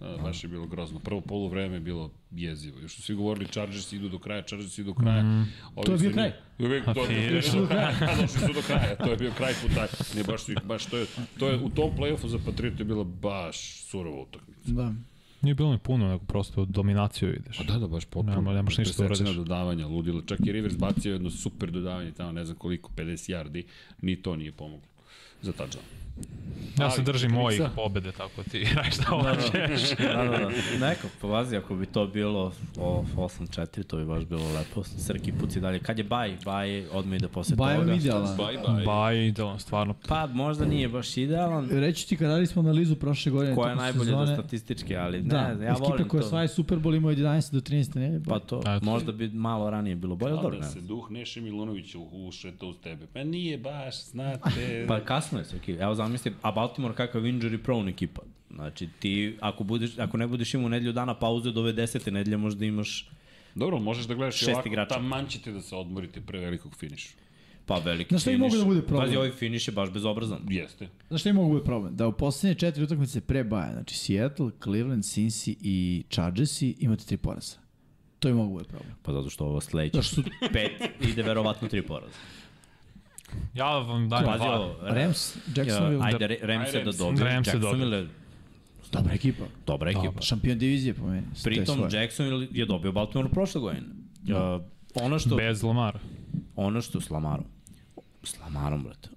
Da, baš je bilo grozno. Prvo polovreme je bilo jezivo. Još su svi govorili Chargers idu do kraja, Chargers idu do kraja. Mm. To je bio kraj. Uvijek, to, je finiš. došli do kraja. Da, došli su do kraja. To je bio kraj puta. Ne, baš, su ih- baš to je, to je u tom play-offu za Patriotu je bila baš surova utakmica. Da. Nije bilo ni puno, nego prosto dominaciju vidiš. Pa da, da, baš potpuno. Nema- nemaš ništa da Presečena uradiš. dodavanja, ludilo. Čak i Rivers bacio jedno super dodavanje tamo, ne znam koliko, 50 yardi. Ni to nije pomoglo za touchdown. Ja se Ali, držim Miksa? mojih pobede, tako ti radiš šta Da, hoćeš. da, da, da. Neko, pa vazi, ako bi to bilo o, 8-4, to bi baš bilo lepo. Srki puci dalje. Kad je baj? Baj je odmah ide posle Bajem toga. je idealan. Bye, bye. Baj, idealan, stvarno. Pa možda nije baš idealan. Reći ti, kad radili smo analizu prošle godine, Koja je tokom najbolja sezone, do statističke, ali ne, Da, znam, ja ekipa volim koja to. osvaja Super Bowl ima od 11 do 13. Ne, Pa to, Eto. možda bi malo ranije bilo bolje, ali dobro, da ne. se duh Neše Milunovića ušeta uz tebe. Pa nije baš, znate... Pa kasno je sve ekipa. Evo zamisli, a Baltimore kakav injury prone ekipa. Znači ti, ako, budeš, ako ne budeš imao nedelju dana pauze od ove desete nedelje, možda imaš Dobro, ali možeš da gledaš i Šest ovako, igrača. taman ćete da se odmorite pre velikog finiša. pa veliki Znaš šta i finiš. mogu da bude problem? Pazi, ovaj finiš je baš bezobrazan. Jeste. Znaš šta im mogu bude problem? Da u poslednje četiri utakmice pre Baja, znači Seattle, Cleveland, Cincy i Chargersi imate tri poraza. To im mogu da bude problem. Pa zato što ovo sledeće Zato što su pet ide verovatno tri poraza. Ja vam dajem Pazi dva. ovo. Rams, Jacksonville, Ja, ajde, Re- Rams Ajde, je da Rams. dobije. pa. Rams je Jacksonville je dobra ekipa. dobra ekipa. Šampion divizije po meni. To je Pa- Pritom svoje. Da. Jacksonville je dobio Baltimore prošle godine. Ja, ono što Bez Lamara. ono što s Lamarom. S Lamarom, brate.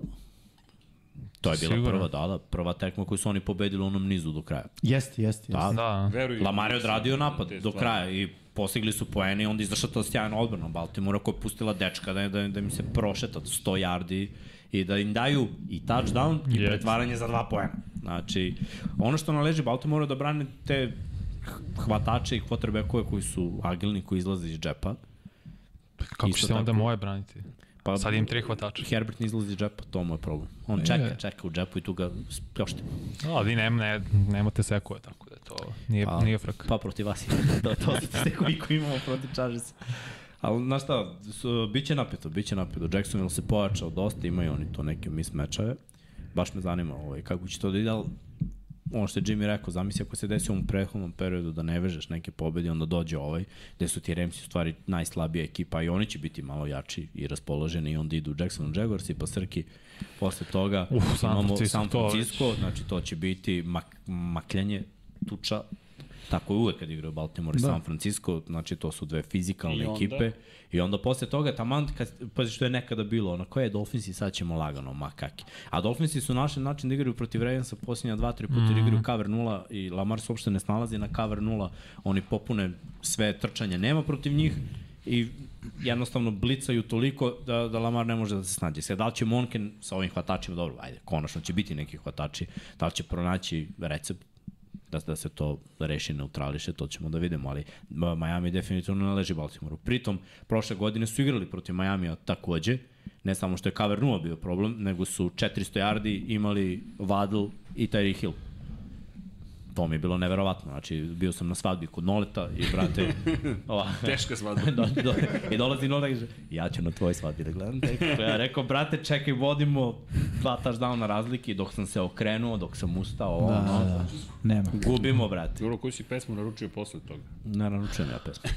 To je bila Sigurno. prva, da, da, prva tekma koju su oni pobedili u onom nizu do kraja. Jeste, jeste. jeste. Da, Da. Veruj. Lamar je odradio napad Te do stvari. kraja i postigli su poene i onda izašla ta sjajna odbrana Baltimora koja je pustila dečka da, da, da im se prošeta 100 yardi i da im daju i touchdown i Jeste. pretvaranje za dva poena. Znači, ono što naleži Baltimore je da brane te h- hvatače i kvotrbekove koji su agilni, koji izlaze iz džepa. Kako Isto ćete onda tako. moje braniti? Pa, Sad im tri hvatača. Herbert ne izlazi iz džepa, to mu je problem. On čeka, čeka u džepu i tu ga spljošte. A Da, vi nema, ne, nemate sekove, tako da to nije, Pa, nije frak. Pa protiv vas je. to, to su sve koliko imamo protiv Chargersa. Ali znaš šta, su, bit će napeto, bit će napeto. Jacksonville se pojačao dosta, imaju oni to neke mis mečeve. Baš me zanima ovaj, kako će to da ide, ali ono što je Jimmy rekao, zamisli ako se desi u ovom prethodnom periodu da ne vežeš neke pobede, onda dođe ovaj, gde su ti Remsi u stvari najslabija ekipa i oni će biti malo jači i raspoloženi i onda idu Jackson Jaguars i pa Srki. Posle toga Uf, San imamo Francisco, San to već. Francisco, znači to će biti mak, makljanje tuča, tako je uvek kad igraju Baltimore i Da. San Francisco, znači to su dve fizikalne I onda? ekipe. I onda posle toga, taman, kad, pazi što je nekada bilo, ono, koje je Dolphins i sad ćemo lagano, ma kaki. A Dolphinsi su našli način da igraju protiv Ravensa posljednja dva, tri puta, mm. igraju cover 0 i Lamar se uopšte ne snalazi na cover 0, oni popune sve trčanje, nema protiv njih i jednostavno blicaju toliko da, da Lamar ne može da se snađe. Sve, da li će Monken sa ovim hvatačima, dobro, ajde, konačno će biti neki hvatači, da li će pronaći recept, da, da se to reši neutrališe, to ćemo da vidimo, ali Ma- Miami definitivno ne leži Baltimoru. Pritom, prošle godine su igrali protiv Miamija takođe, ne samo što je cover 0 bio problem, nego su 400 yardi imali Waddle i Tyreek Hill. To mi je bilo neverovatno, znači bio sam na svadbi kod Noleta i brate, ova, Teška svadba. do, do, I dolazi Nole i kaže, ja ću na tvoj svadbi da gledam. tekmu." Ja rekao, brate, čekaj, vodimo dva touchdowna razlike i dok sam se okrenuo, dok sam ustao, ono, Da, da, da. Nema. Mm. gubimo, brate. Dobro, koju si pesmu naručio posle toga? Ne naručujem ja pesmu.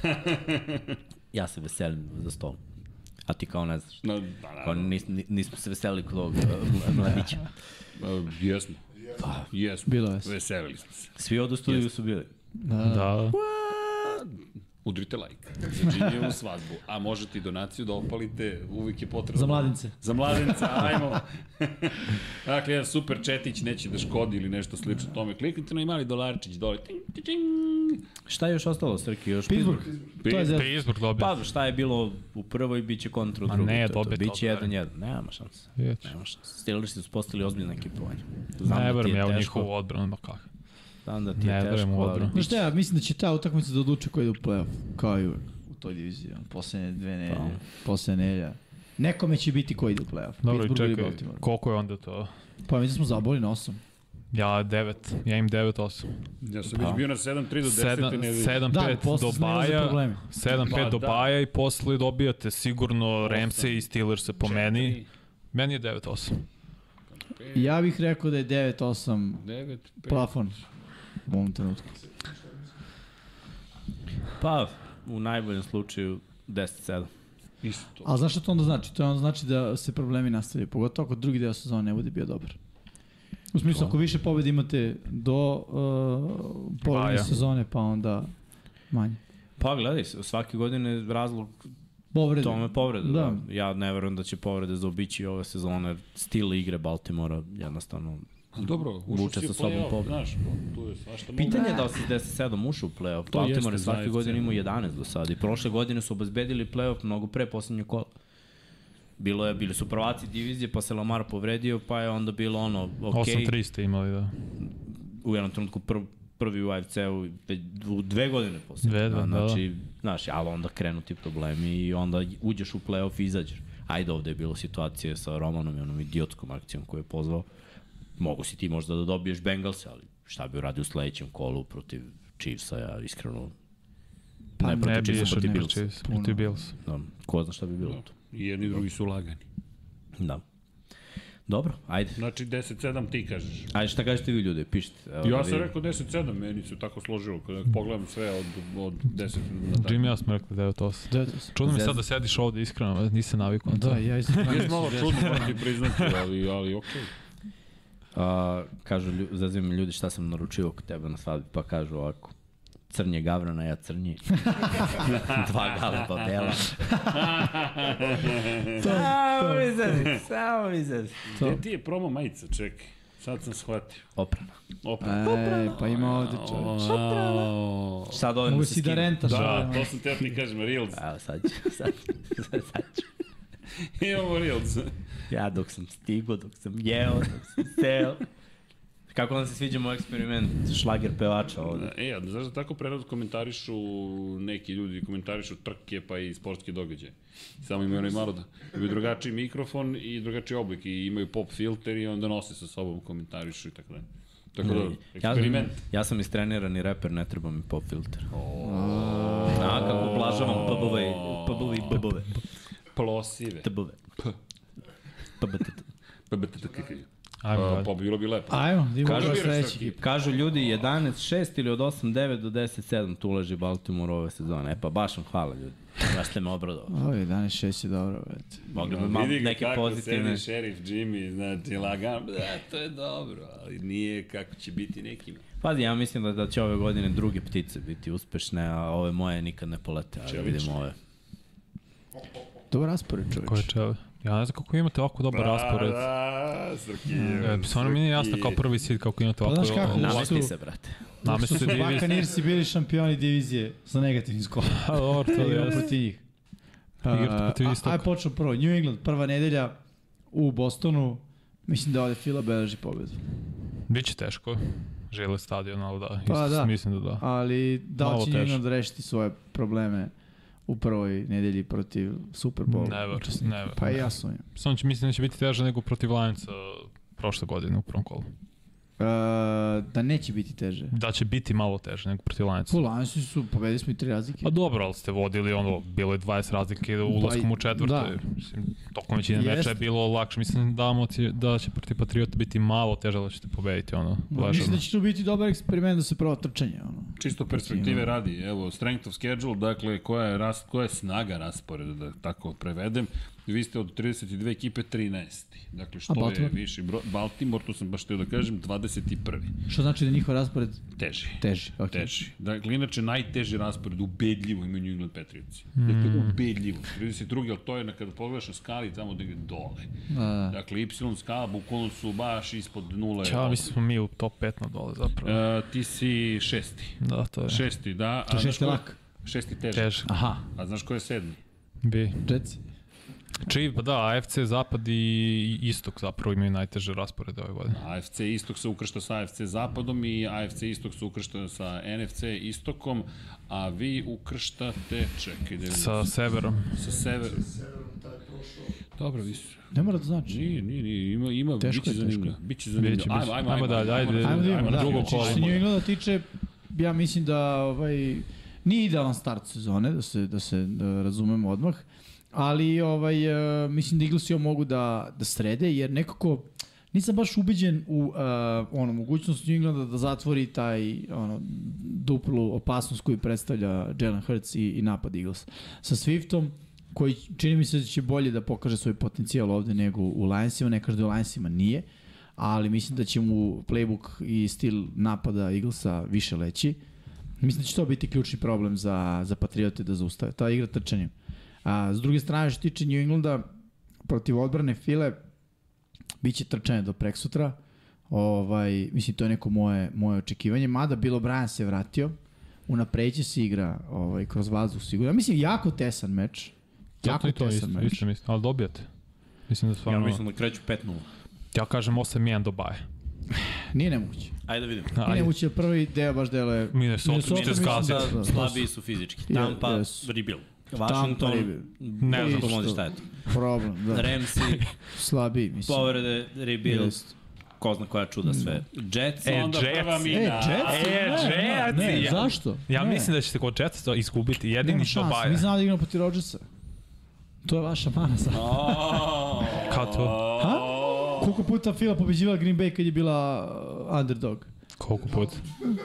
ja se veselim za stolom. A ti kao ne znaš. Na, da, Kao naravno. nis, nis- nismo se veselili kod ovog uh, mla- mladića. E, Jesmo. Pa, jesmo. Bilo je. Veselili smo se. Svi ovde u studiju su bili. Da. Udrite like. Znači, u svadbu. A možete i donaciju da opalite, uvijek je potrebno. Za mladince. Za mladince, ajmo. dakle, jedan super četić neće da škodi ili nešto slično tome. Kliknite na i mali dolarčić dole. Ting, ting, ting. Šta je još ostalo, Srki? Još Pittsburgh. To je zezno. Pittsburgh dobio. Pa šta je bilo u prvoj, bit će kontra u Ma drugoj. ne, to je to. dobit Biće odmah. jedan jedan. Nema šanse. Vidjet ću. Nema šanse. Steelersi su postali ozbiljna ekipovanja. Ne da ti verujem je ja u teško. njihovu odbranu, ma kako. Znam da ti Ne je verujem teško, u ali odbranu. Znaš šta, ja mislim da će ta utakmica da odluče ko ide u play-off, kao i uvek, u toj diviziji, on, poslednje dve nelje, Pa. poslednje nelja. Nekome će biti ko ide u play-off, Dobro, i Pittsburgh ili čekaj, Baltimore. koliko je onda to? Pa mi smo zaboli na osam. Ja 9, ja im 9 8. Ja sam već bio na 7-3 do 10 i ne vidim. 7 Da, 5 posle do smo imali za Baja. probleme. 7 Pa 5 do da. Baja i posle dobijate sigurno Ramsey i Steelers se po meni. Meni je 9 8. Ja bih rekao da je 9-8 9, 5. plafon u ovom trenutku. Pa, u najboljem slučaju 10-7. Isto. Ali znaš šta to onda znači? To onda znači da se problemi nastavljaju, pogotovo ako drugi deo sezona ne bude bio dobar. U smislu, ako više pobjede imate do uh, polovine Baja. sezone, pa onda manje. Pa gledaj, svake godine razlog Povrede. tome povreda. Da. Da. Ja ne verujem da će povrede zaobići ove sezone. Stil igre Baltimora jednostavno. Dobro, Vuče ušao si sa u sobom play-off, pobedu. znaš, pa, tu je svašta moguće. Pitanje je da li se 10-7 ušao u playoff. To Baltimore je jeste svake zaista. da. godine imao 11 do sada. I prošle godine su obezbedili playoff mnogo pre posljednje kola. Bilo je, bili su prvaci divizije, pa se Lamar povredio, pa je onda bilo ono, ok, 8-3 ste imali, da. u jednom trenutku prv, prvi u AFC-u već u dve godine posle. Dve, da, znači, znaš, ali onda krenu ti problemi i onda uđeš u play-off i izađeš. Ajde, ovde je bilo situacije sa Romanom i onom idiotskom akcijom koju je pozvao. mogu si ti možda da dobiješ Bengals, ali šta bi uradio u sledećem kolu protiv Chiefsa, ja iskreno Pa ne, Ne protiv bi Chiefsa, išao protiv ni Bills. Chiefs, protiv Bills. Da, ko zna šta bi bilo tu. I jedni i drugi su lagani. Da. Dobro, ajde. Znači 10-7 ti kažeš. Ajde, šta kažete vi ljudi, pišite. Evo, da Ja sam vidim. rekao 10-7, meni se tako složilo. Kada pogledam sve od, od 10 na tako. Jimmy, ja smo rekli 9-8. Čudno mi je sad da sediš ovde, iskreno, nisam navikao. na to. Da, ja isto. Jesi malo čudno, moram ti priznati, ali, ali okej. A, kažu, lju- zazivaju me ljudi šta sam naručio kod tebe na svadbi, pa kažu ovako, crnje gavrana, ja crnji. Dva galeba bela. samo mi zezis, samo mi zezis. Okay. Gde ti je promo majica, čekaj. Sad sam shvatio. Oprana. Opet. E, pa ima ovde čovječ. Wow. Sad ovim Mogu da se si da skinem. rentaš. Da, to sam teo ti kažem, Reels. Evo sad ću, sad, sad, sad ću. Imamo Reels. Ja dok sam stigo, dok sam jeo, dok sam seo. Kako vam se sviđa moj eksperiment, šlager pevača ovde. E, a znaš da tako prerad komentarišu neki ljudi, komentarišu trke pa i sportske događaje. Samo imaju onaj malo da imaju drugačiji mikrofon i drugačiji oblik i imaju pop filter i onda nose sa sobom komentarišu i tako dalje. Tako da, eksperiment. Ja, ja sam istrenirani reper, ne treba mi pop filter. A, kako plažavam pbove, pbove i pbove. Plosive. Tbove. Pb, t, t. pa, Ajmo Pa, dalje. pa bilo bi lepo. Ajmo, da imamo Kažu ovo biraš sledeći. Srki. ekip. Kažu ljudi 11-6 ili od 8-9 do 10-7 tu leži Baltimore ove sezone. E pa baš vam hvala ljudi. Baš ste me obradovali. Ovo je 11-6 je dobro, već. Mogli bi malo Vidi ga neke kako pozitivne. sedi šerif Jimmy, znači lagan, da, to je dobro, ali nije kako će biti nekima. Pazi, ja mislim da, da će ove godine druge ptice biti uspešne, a ove moje nikad ne polete. Ali Čelične. vidimo ove. Dobar raspored, čovječ. Ko je čeve? Ja ne znam kako imate ovako dobar raspored. pa, Da, Srki. E, stvarno mi nije jasno kao prvi sid kako imate ovako. ovaj, znaš kako, loš- da. Namesti su- se, brate. Su Namesti se Bakanirsi bili šampioni divizije sa negativnim skorom. Pa dobro, to Igramo je. protiv njih. Igrate protiv A, Istoka. Ajde počnemo prvo. New England, prva nedelja u Bostonu. Mislim da ovde Fila beleži pobedu. Biće teško. Žele stadion, ali da. Pa isto da. Mislim da da. Ali da li Malo će New teže. England rešiti svoje probleme u prvoj nedelji protiv Super Bowl? Never, never. Pa i ja sumnjam. Samo će, mislim da će biti teže nego protiv Lionsa uh, prošle godine u prvom kolu. Uh, da neće biti teže. Da će biti malo teže nego protiv Lionsa. Po Lansu su, pobedili smo i tri razlike. Pa dobro, ali ste vodili ono, bilo je 20 razlike do ulaskom u četvrtoj. Pa da. Da. Mislim, tokom većine Jest. meča je bilo lakše. Mislim da, moci, da će protiv Patriota biti malo teže, da ćete pobediti ono. Da, ležerno. mislim da će to biti dobar eksperiment da se prvo trčanje. Ono. Čisto perspektive radi, evo, strength of schedule, dakle, koja je, ras, koja je snaga rasporeda, da tako prevedem, vi ste od 32 ekipe 13. Dakle, što je Baltimore? viši broj, Baltimore, to sam baš teo da kažem, 21. Što znači da je njihov raspored Teži. teži. Okay. Teži. Dakle, inače, najteži raspored, ubedljivo imaju New England Patriots. Mm. Dakle, ubedljivo. 32. ali to je, na- kada pogledaš na skali, tamo negde dole. Da. Dakle, Y skala, bukvalno su baš ispod nula. Čao, mislim da smo mi u top 5 na dole zapravo. E, ti si šesti. Da, to je. Šesti, da. a je šesti znaš ko- lak. Šesti teži. Teže. Aha, A znaš ko je sedmi? Bi. Jetsi. Čiji, pa da, AFC Zapad i Istok zapravo imaju najteže rasporede ove godine. AFC Istok se ukršta sa AFC Zapadom i AFC Istok se ukršta sa NFC Istokom, a vi ukrštate, čekaj, da Sa severom. sa sever... Dobro, vi su. Ne mora da znači. Nije, nije, nije, ima, ima, Teško biće je, teško zanimljivo. Biće zanimljivo. Biće, Ajmo, biće. ajmo, Ajmo dalje, ajde, Ajmo da ajmo imamo, na da. drugo Znači, kolo. Što se New Englanda tiče, ja mislim da ovaj, nije idealan start sezone, da se, da se da razumemo odmah, ali ovaj, e, mislim da Eaglesi ovo mogu da, da srede, jer nekako nisam baš ubeđen u uh, ono, mogućnost New Englanda da zatvori taj ono, duplu opasnost koju predstavlja Jalen Hurts i, i napad Eagles. Sa Swiftom, koji čini mi se da će bolje da pokaže svoj potencijal ovde nego u Lionsima, ne každa u Lionsima nije, ali mislim da će mu playbook i stil napada Eaglesa više leći. Mislim da će to biti ključni problem za, za Patriote da zaustave. Ta igra trčanjem. A, s druge strane, što se tiče New Englanda, protiv odbrane File, bit će trčanje do preksutra. Ovaj, mislim, to je neko moje, moje očekivanje. Mada Bill O'Brien se vratio, unapreće se igra ovaj, kroz vazduh sigurno. Ja mislim, jako tesan meč. Jako Zato i to tesan isto, meč. isto mislim. Ali dobijate. Mislim da Ja stvarno... mislim da kreću 5-0. Ja kažem 8-1 do baje. Nije nemoguće. Ajde da vidimo. Nije Ajde. nemoguće, prvi deo baš deluje... Minnesota ćete mislim skazati. da- da- Slabiji su fizički. Je- Tampa, jesu. rebuild. Washington, rebuild. ne znam. znam pomozi šta je to. Problem, da. Ramsey, Slabiji, mislim. povrede, rebuild. Jest. Da. ko zna koja čuda sve. Jets, E, Onda prva Jets. mina. E, Jetsi, E, ne, ne, ne, Jetsi, ja- zašto? Ja ne. mislim da ćete kod Jetsa izgubiti jedini što Mi Bayern. znamo da igramo protiv Rodgersa. To je vaša mana sad. Kao to? Ha? Koliko puta Fila pobeđivala Green Bay kad je bila uh, underdog? Koliko put?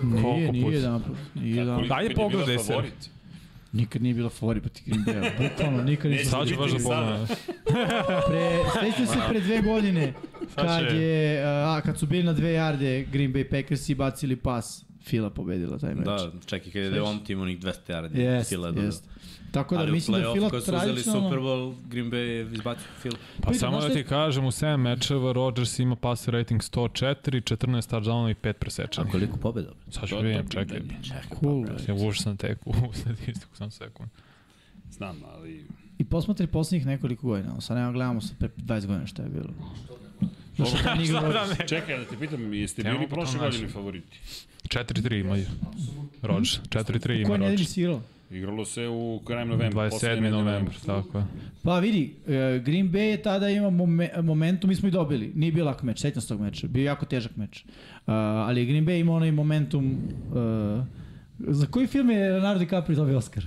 Nije, Koliko nije put? jedan put. Nije jedan Koliko- Ajde, Da, pogledaj se. Nikad nije bila favori protiv Green Bay. Bukvalno, nikad nije Neće bila Sad ću baš da Vidite sada. pogledam. Pre, svećam se pre dve godine kad, će- je, uh, a, kad su bili na dve jarde Green Bay Packers i bacili pas. Fila pobedila taj meč. Da, čekaj, kada je on tim onih 200 yardi. Jest, Fila je dodao. jest. Tako da Ali u mislim da play-off Fila kad su uzeli tradicionalno... Super Bowl, Green Bay je izbacio Fila. Pa Vidi, samo znaš da šta ti kažem, u 7 mečeva Rodgers ima pass rating 104, 14 touchdowna i 5 presečanih. Koliko pobjeda? Sad ću vidim, čekaj. da Čekaj. E, Cool. Ja ušao sam tek u statistiku, sam sekund. Znam, ali... I posmatri poslednjih nekoliko godina. Sad nema gledamo sa pre 20 godina šta je bilo. Znaš šta nije govorio? Čekaj, da te pitam, jeste Nemamo bili po prošle tom godine našem. favoriti? 4-3 ima Rodgers. 4-3 ima Koji nedelji Rodgers. si igrao? Igralo se u krajem novembra. 27. novembar, tako je. Pa vidi, e, Green Bay je tada imao momen, momentum, mi smo i dobili. Nije bio lak meč, sećam se tog meča, bio je jako težak meč. Uh, ali je Green Bay imao onaj momentum... Uh, za koji film je Leonardo DiCaprio dobio Oscar?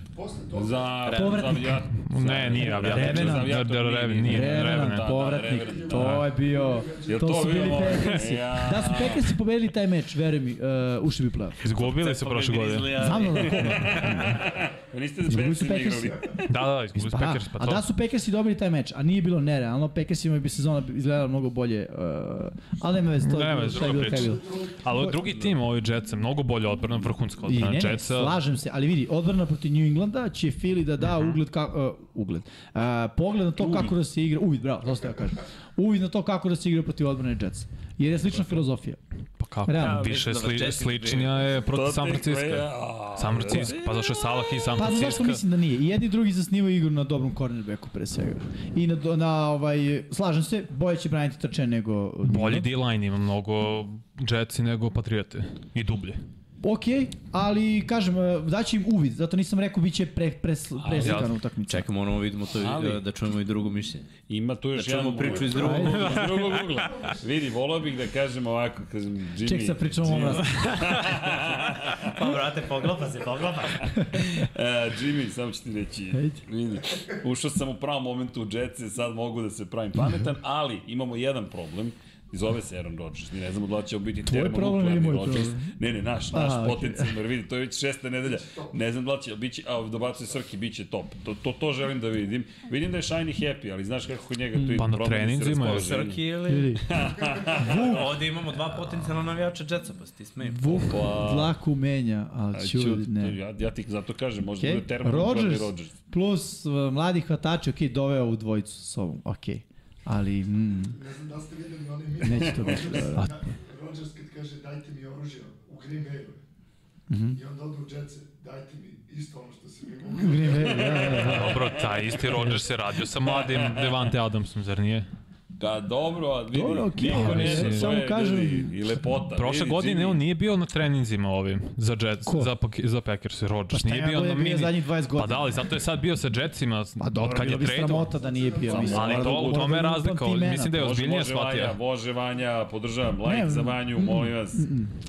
Za, Povratnik. za, Ne, nije Da, Avijator. Revenant. Revenant. Revenant, nije. Revenant, Revenant. povratnik. da, Revenant, to je bio... Jel to, to su bili bilo? Packersi. Ja. Da su Packersi pobedili taj meč, veruj mi, uh, ušli bi u play-off. Izgubili su prošle godine. Znam da na koga. Pa Niste Izgubili su za Packersi. igrali. Da, da, da, izgubili su Pa, Packers, pa a to. da su Packersi dobili taj meč, a nije bilo nerealno, Packersima bi sezona izgledala mnogo bolje, uh, ali nema veze, to je Nema bilo, veze, šta je druga bilo, šta je priča. bilo. Ali drugi tim, ovi Jetsa, mnogo bolje odbrana, vrhunska I odbrana ne, ne, Da, Jetsa. slažem se, ali vidi, odbrana protiv New Englanda će Philly da da Mhm. ugled, ka, uh, ugled. Uh, pogled na to kako da se igra, uvid, bravo, to ste ja kažem, uvid na to kako da se igra protiv odbrane Jetsa. Jer je slična filozofija. Pa kako? Realno. Više Mislim da sli, Jets sličnija je protiv San Francisco. San da, Francisco, pa zašto je Salah i San Pa znaš zašto Francisco? mislim da nije? I jedni i drugi zasnivaju igru na dobrom cornerbacku pre svega. I na, do- na ovaj, slažem se, bolje će braniti trče nego... Bolji D-line ima mnogo Jetsi nego Patriote i dublje. Ok, ali kažem, e, daće im uvid, zato nisam rekao bit će pre, pre, preslikana jasno. utakmica. Čekaj, moramo vidimo to i, Ali- da, da čujemo i drugo mišljenje. Ima tu još Da čujemo jedan priču iz ugla. drugog Ajde. iz drugog ugla. Vidi, volao bih da kažem ovako, kažem Jimmy. Ček sa pričom o Jimmy- mrazu. Pa, brate, poglapa se, poglapa. E, Jimmy, samo ću ti reći. Ajde. Vidi, ušao sam u pravom momentu u Jetsi, sad mogu da se pravim pametan, Mhm. ali imamo jedan problem. Zove se Aaron Rodgers. Mi ne znamo da li će ovo biti Tvoj problem ili termonuklearni moj Rodgers. problem? Pa, Ne, ne, naš, naš Aha, Aha, okej. potencijalno, jer vidi, to je već šesta nedelja. Ne znam da li će, biće, a dobacuje Srki, bit će top. To, to, to želim da vidim. Vidim da je Shiny happy, ali znaš kako kod njega tu ide Pa na problem da se treninzima je. raspoloži. Srki ili... Vidi, Ovde imamo dva potencijalna navijača Jetsa, pa se ti smijem. Vuk Opa. dlaku menja, ali čud, ne. Ja, ja ti zato kažem, možda da okay. bude Okay. termo Rodgers, Rodgers. Rodgers. plus uh, mladi hvatači, ok, doveo u dvojicu sa sobom, ok. Ali, mm, Ne znam da li ste videli onaj mit. neće to biti dobro. Rodgers kad kaže dajte mi oružje u Green Bayu. Mhm. I onda odu u Jetsu, dajte mi isto ono što se mi mogu. Green Bay, da, da, da. Dobro, taj isti Rodgers se radio sa mladim Devante Adamsom, zar nije? Da, dobro, a vidi, Dobro, dobro, okej, okay. niko ali ne sad zna, samo samo kažem- kažem, ljudi, i lepota. Prošle vidi, godine Jimmy. on nije bio na treninzima ovim za Jets, Ko? za, pak- za Packers, Rodgers. šta nije ja bio bude na bio mini. zadnjih 20 godina? Pa da, ali zato je sad bio sa Jetsima, Pa dobro, od kad bilo je bi trade sramota da nije bio. Mislim, Ali mora to, da u mora tome je da lupam razlika, ti imena. mislim da je Može, ozbiljnije može Vanja, shvatio. može Vanja, podržavam, like Ne, za Vanju, molim vas.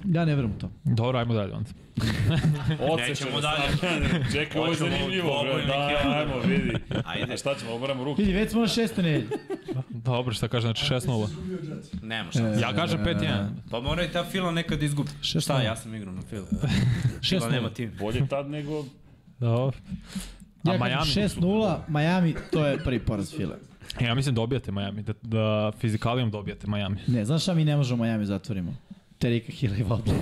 Ja ne verujem u to. Dobro, ajmo dalje onda. Odsečemo Nećemo dalje. Čekaj, ovo je Hoćemo zanimljivo, bre, dvoboj neki da, odgovor. ajmo, vidi. Ajde. A šta ćemo, obramo ruke. Vidi, već smo na šestoj nedelji. Dobro, šta kaže, znači 6-0. Izgubio Jetsu. Nema E. šta. Ja kažem 5-1. Pa mora i ta Fila nekad izgubi. Šest Šta, nula. ja sam igrao na Fila. Fila Šest nema tim. Bolje tad nego... Dobro. A Ja Miami? E, kažem 6-0, Miami, to je prvi poraz Fila. Ja mislim dobijate Miami, da, da fizikalijom dobijate Miami. Ne, znaš šta mi ne možemo Miami zatvorimo? Terika Hill i Vodla.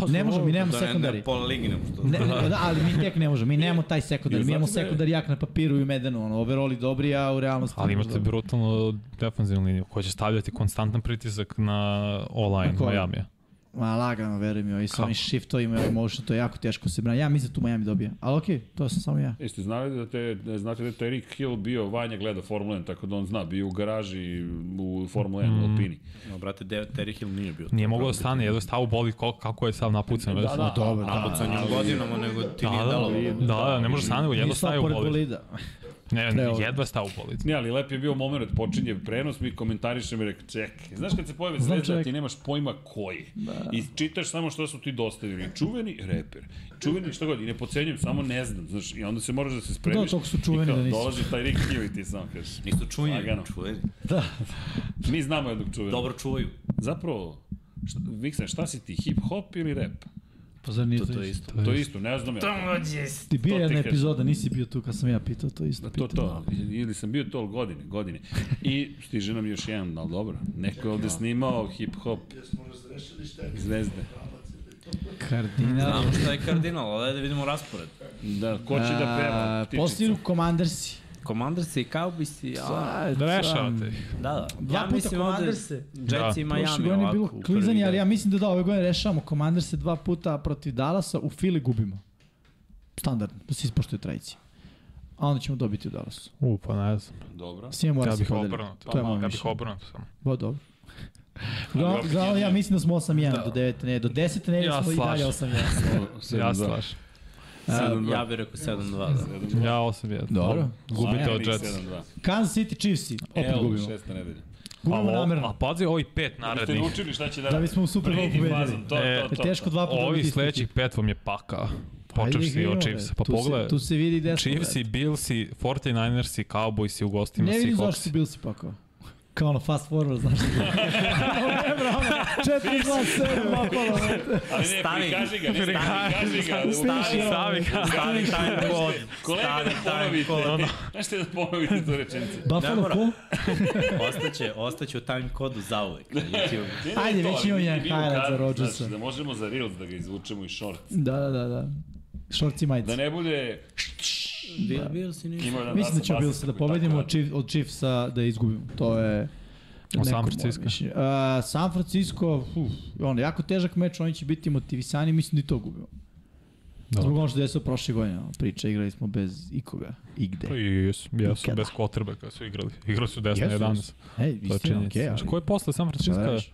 Pa Ne možemo, mi nemamo Da ne, ne, sekundari. pola ligi nam što. Ne, ne, da, ali mi tek ne možemo, mi nemamo taj sekundar, mi imamo sekundar jak na papiru i u medenu, ono, overoli dobri, a u realnosti... Ali imate brutalno defanzivnu liniju koja će stavljati konstantan pritisak na Na online koga? Miami. Ma lagano, veruj mi, ovi sa ovim shiftovima i motion, to je jako teško se brani. Ja mislim da tu Miami dobija, ali okej, to sam samo ja. Jeste znali da te, znate da je taj Rick Hill bio, Vanja gleda Formula 1, tako da on zna, bio u garaži u Formula 1 mm. Alpini. No, brate, De- Terry Hill nije bio. Nije mogao da stane, jedva je stao u boli kol- kako je sav napucan. Da, da, Dobro, da. Sa njim godinama, nego ti da, nije da, dalo. da, da, ne može stane, jedva Nisam staje u pored boli. bolida. Ne, Preozbiljan. jedva je stao u bolid. Ne, ali lep je bio moment, počinje prenos, mi komentarišemo i rekao, čekaj, znaš kad se pojave Znam zvezda, čovjek. ti nemaš pojma koji. Da. I čitaš samo što su ti dostavili. Čuveni reper, čuveni šta god, i ne pocenjujem, samo ne znam, znaš, i onda se moraš da se spremiš. Da, toliko su čuveni I kao, da nisu. Dolazi taj Rick Hill i ti samo kažeš. Nisu čuveni, Lagano. čuveni. Mi znamo jednog čuvenog. Dobro čuvaju. Zapravo, šta, Viksen, šta si ti, hip hop ili rap? Pa zar nije To, to je isto. To je isto, ne znam ja. Ti bio To ti jedna kažem. epizoda, nisi bio tu kad sam ja pitao, to isto To, pitao. to, ili sam bio to ali godine, godine. I stiže nam još jedan, ali dobro. Neko je ovde snimao hip-hop Jesmo razrešili šta je zvezde. pravac ili to? Kardinal. Znamo šta je kardinal, ali ajde da vidimo raspored. Da, ko će da peva? Ptičica. Postiru komandersi. Komandarsi i Cowboysi, a... Da rešavate ih. Da, da. Dva ja puta mislim ovde Commanderse. Jetsi i Miami. Prošle godine je ovako, bilo u prvi klizanje, ali dan. ja mislim da da, ove godine rešavamo. Komandar se dva puta protiv Dallasa, u Fili gubimo. Standardno, da se ispoštuje tradicija. A onda ćemo dobiti u Dallasu. U, pa ne znam. Dobro. S njima mora Ja se bih podeli. obrnuto. To je moje Pa ja bih mišljenje. obrnuto samo. Bo, dobro. Uglavnom, uglavnom, ja mislim da smo 8-1 do 9 ne, do 10 ne, Ja ja smo i dalje slažem. 8-1. Ja slažem. Sedam, ja bih rekao 7-2. Da. Ja 8-1. Dobro. Gubite od Jetsa. 7-2. Kansas City Chiefsi, opet Evo, gubimo. šesta nedelja. Gubimo A, o- namerno. a pazi, ovi pet Ste narednih. naučili šta će da Da radi? bismo u Super Bowl Brady pobedili. fazon, to, E, to, to, to. Teško dva puta Ovi dobiti isti sledećih pet vam je paka. Ajde Počeš si igramo, od bre. Chiefsa. Pa Tu se- pogledaj. Tu se vidi desno. Chiefs i brate. Bills i 49ers i Cowboys i u gostima Ne si vidim zašto su Hawks. bili si pakao. Kao ono fast forward, znaš. ne, bravo. 4-2-7, napalo. Ali ne, Stavi. prikaži ga, ne, prikaži ga. Stavi. Ustavi. Stavi ga. Stavi time kod. Kolega Stavi da time ponovite. kod. Znaš da ponovite tu rečenicu? Buffalo mora. ko? Ostaće, ostaće u time kodu zauvek na YouTube. Ne, ne, Ajde, to, već ali imam mi jedan bi bio highlight kadar, za Rodgersa. znaš, Da možemo za Reels da ga izvučemo i short. Da, da, da, da. Shorts i majice. Da ne bude... Da. Bil, bil si ništa. Imao jedan Mislim da Russell ćemo Bills Westbrook da i tako pobedimo od, dalje. Chief, od Chiefsa da izgubimo. To je Od neko San moje Francisco. mišljenje. A, San Francisco, uf, on, jako težak meč, oni će biti motivisani, mislim da i to gubimo. Dobro. Zbog ono što desilo prošle godine, ono, priča, igrali smo bez ikoga, igde. Pa i jesu, jesu, Nikada. bez kotrbe kada su igrali. Igrali su 10 na Jesu, 11. Ej, To je istina, činjenica. okej, okay, Znaš, ali ko je posle San šta da Francisco? radiš?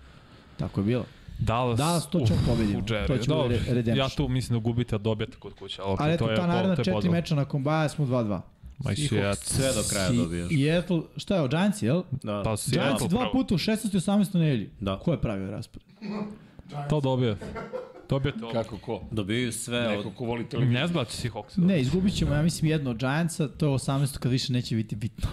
Tako je bilo. Dallas. Dallas, to ćemo uf, pobedimo. u dževi. To ćemo Dobro, re- redemption. Ja tu mislim da gubite, a dobijete kod kuće. Ali, Ali okay, eto, to je, ta naredna to, to je četiri podlo. meča nakon baja smo 2-2. Ma i Seattle. Sve do kraja dobijaš. Seattle, šta je, o Giants, jel? Da. Pa Seattle Giants dva pravo. puta u 16. i 18. nedelji. Da. Ko je pravio raspored? To dobijete. Dobijete ovo. Kako ko? Dobijaju sve od... Neko ko voli televiziju. Ne zbaci si Hawks. Ne, izgubit ćemo, ja mislim, jedno od Giantsa, to je 18. kad više neće biti bitno.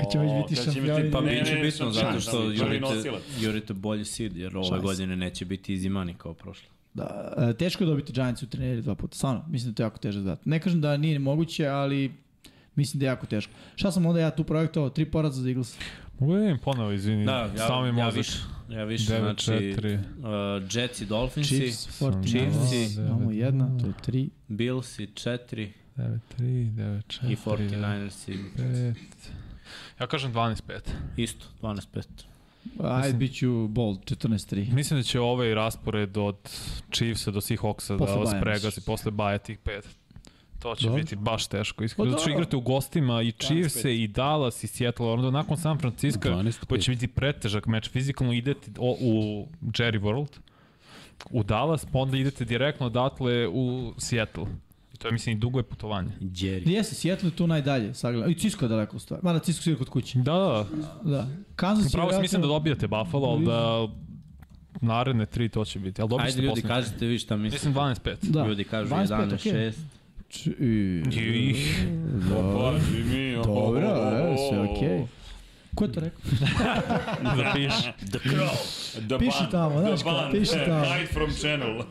kad ćemo već biti kad će biti šampioni. Pa Ne, ne, biće ne, bitno sam zato član, što sam prvi jurite, nosilac. jurite bolji seed, jer ove Šans. godine neće biti izimani kao prošle. Da, e, teško je dobiti Giants u treneri dva puta, stvarno, mislim da je to jako težak zadatak. Ne kažem da nije moguće, ali mislim da je jako teško. Šta sam onda ja tu projektovao? Tri poraza za Eagles. Mogu da im ponovo, izvini. Da, Samo mi ja, ja mozak. više. Ja više, 9-4. znači... Uh, Jets i Dolphins i Chiefs, 49ers, Chiefs. imamo jedna, to je tri. Bills i 4 9, 3, 9, 4, i 49ers i 5. Ja kažem 12-5. isto, 12-5. Ajde, bit ću bold, 14-3. Mislim da će ovaj raspored od Chiefsa do Seahawksa Posle da vas Baja, pregazi posle baja tih pet. To će Dobro. biti baš teško. Iskreno, Pa zato što dobro. igrate u gostima i Chiefse i Dallas i Seattle, onda nakon San Francisco 12-5. koji će biti pretežak meč. Fizikalno idete o, u Jerry World, u Dallas, pa onda idete direktno odatle u Seattle. I to je, mislim, i dugo je putovanje. Jerry. Jeste, Seattle je tu najdalje, sagledam. I Cisco je daleko u stvari. Mada Cisco svira kod kuće. Da, da, Da. Kansas je Pravo si vjerojatno- mislim da dobijate Buffalo, ali da naredne tri to će biti. Ali dobijete Ajde ljudi, posle. kažete vi šta mislite. Mislim 12-5. Da. Ljudi kažu 25, okej. 11-6. Č- i- Ih. Opa, Jimmy, opa, Dobro, opa, opa, e, sve opa, okej. opa. Ko je to rekao? Pa Zapiši. The Crow. The Piši Band, tamo, The znaš kao, Band, piši e, tamo. Hide from channel.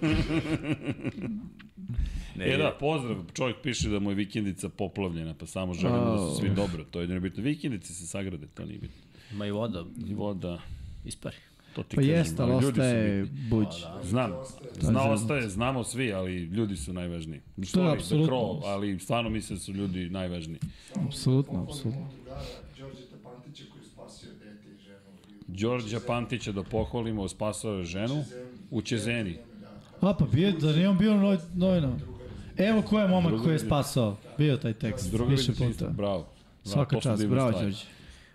Ne, E da, pozdrav, čovjek piše da mu je vikendica poplavljena, pa samo želimo da su svi Oh. dobro, to je jedino bitno. Vikendice se sagrade, to nije bitno. Ma i voda I voda, ispari. to ti Pa kažem, jeste, ali ali ljudi su Da, ostaje bitni. buć. Znam, zna život. ostaje, znamo svi, ali ljudi su najvažniji. To je Sorry, the apsolutno. crow, ali stvarno mislim da su ljudi najvažniji. Apsolutno, Pohvalim apsolutno. mog drugara, Đorđeta Pantića koji je spasio dete i ženu. i Đorđa Pantića da pohvalimo, spasao je ženu u Čezeni. A pa bio, da nije on bio u novi- novinama. Evo ko je momak koji je spasao. Bio je taj tekst, Druga više vidiš isto, puta. bravo. Da, Svaka to su čast, divne bravo stvari. Đorđe.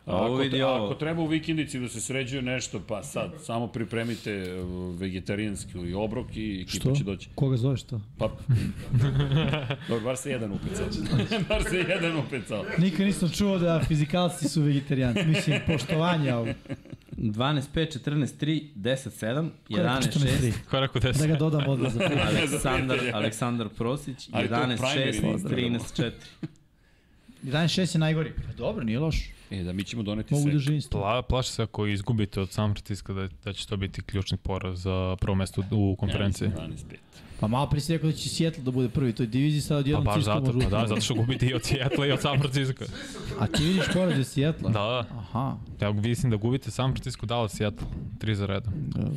A ovo Ako, vidi tre- ako ovo. treba u vikendici da se sređuje nešto, pa sad, samo pripremite e, vegetarijanski i obrok i ekipa će doći. Koga zoveš to? Pa, dobro, bar se jedan upecao. bar se jedan upecao. Nikad nisam čuo da fizikalci su vegetarijanci. Mislim, poštovanje ovo. 12, 5, 14, 3, 10, 7, 11, 6, Ko je rekao Da 10? ga dodam odmah za prvi. Aleksandar, Aleksandar Prosić, Ali to 11, primary 6, list. 13, 4. 11-6 je najgori. Pa dobro, nije loš. E, da mi ćemo doneti Mogu sve. da živim s tim. Pla, plaši se ako izgubite od San Francisco da, da će to biti ključni poraz za prvo mesto u konferenciji. 12-5. Pa malo pre si rekao da će Seattle da bude prvi u toj diviziji, sad Pa odjednom baš Cisco zato, može pa da, utaknuti. zato što gubite i od Seattle i od San Francisco. A ti vidiš porađe Seattle? Da, da. Aha. Ja mislim da gubite San Francisco, Dallas, Seattle. Tri za redom. Dobro.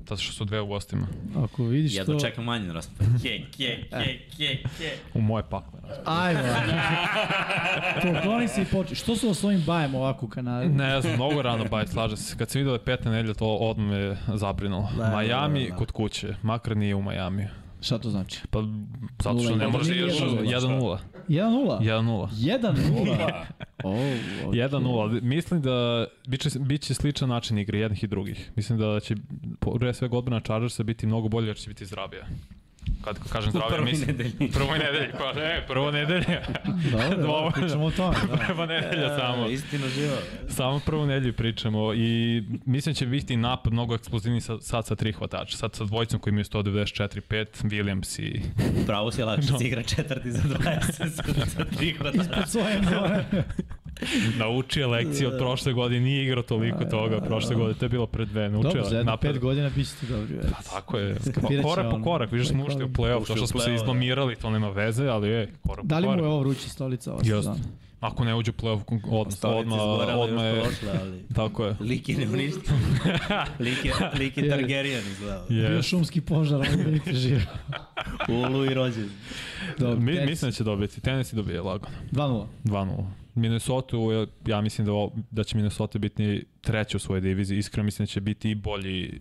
Zato što su dve u gostima. Ako vidiš Ja to... dočekam manje na raspored. Ke, ke, ke, ke, ke. U moje pakle. Ajmo. Pokloni se i počne. Što su svojim bajem ovako u kanali? Ne znam, mnogo rano baj, slažem se. Kad sam vidio da je peta nedelja, to odmah me zabrinulo. Da, da, Miami da, da. kod kuće, makar nije u Miami. Šta to znači? Pa, zato Nula, što ne da jedan, može nije 1-0. jedan, da. 1-0? 1-0. 1-0. 1-0? Oh, okay. 1-0. Mislim da biće, biće sličan način igre jednih i drugih. Mislim da će po- pre svega odbrana Chargersa biti mnogo bolja jer će biti zdravija. Kad kažem zdravija, prvoj mislim... nedelji. Prvoj nedelji, pa ne, prvo nedelje. Dobro, Dobro. dobro, pričamo o tome. Da. prva nedelja samo. E, Istina živa. Samo prvu nedelju pričamo i mislim će biti napad mnogo eksplozivniji sa, sad sa tri hvatača. Sad sa dvojicom koji imaju 194-5, Williams i... Pravo si je lakše no. igra četvrti za 20 za 3 hodana. Ispod svoje mora. Naučio je lekciju Da. od prošle godine, nije igrao toliko toga prošle godine, to je bilo pre dve, naučio Dobro, za je jedno pet napad. godina bit ćete dobri. već. Tako je, Skapirat će korak po on. korak, više smo ušli u play-off, Ušli to u što smo se play-off, da. izlamirali, to nema veze, ali je, korak po Da li mu je korak. ovo vruća stolica ova Jeste. sezona? Ako ne uđe u play-off, odmah, Stolica odmah, izgorela, odmah još je... došla, ali... Tako je. Lik je neuništen. Lik je, lik je Targaryen izgledao. Bio Yes. šumski požar, ali da vidite živo. U Olu i rođen. Dobro, Mi, Texas, mislim da će dobiti, Tennessee dobije lagano. 2-0. 2-0. Minnesota, ja, ja mislim da, ovo- da će Minnesota biti treća u svojoj diviziji. Iskreno mislim da će biti i bolji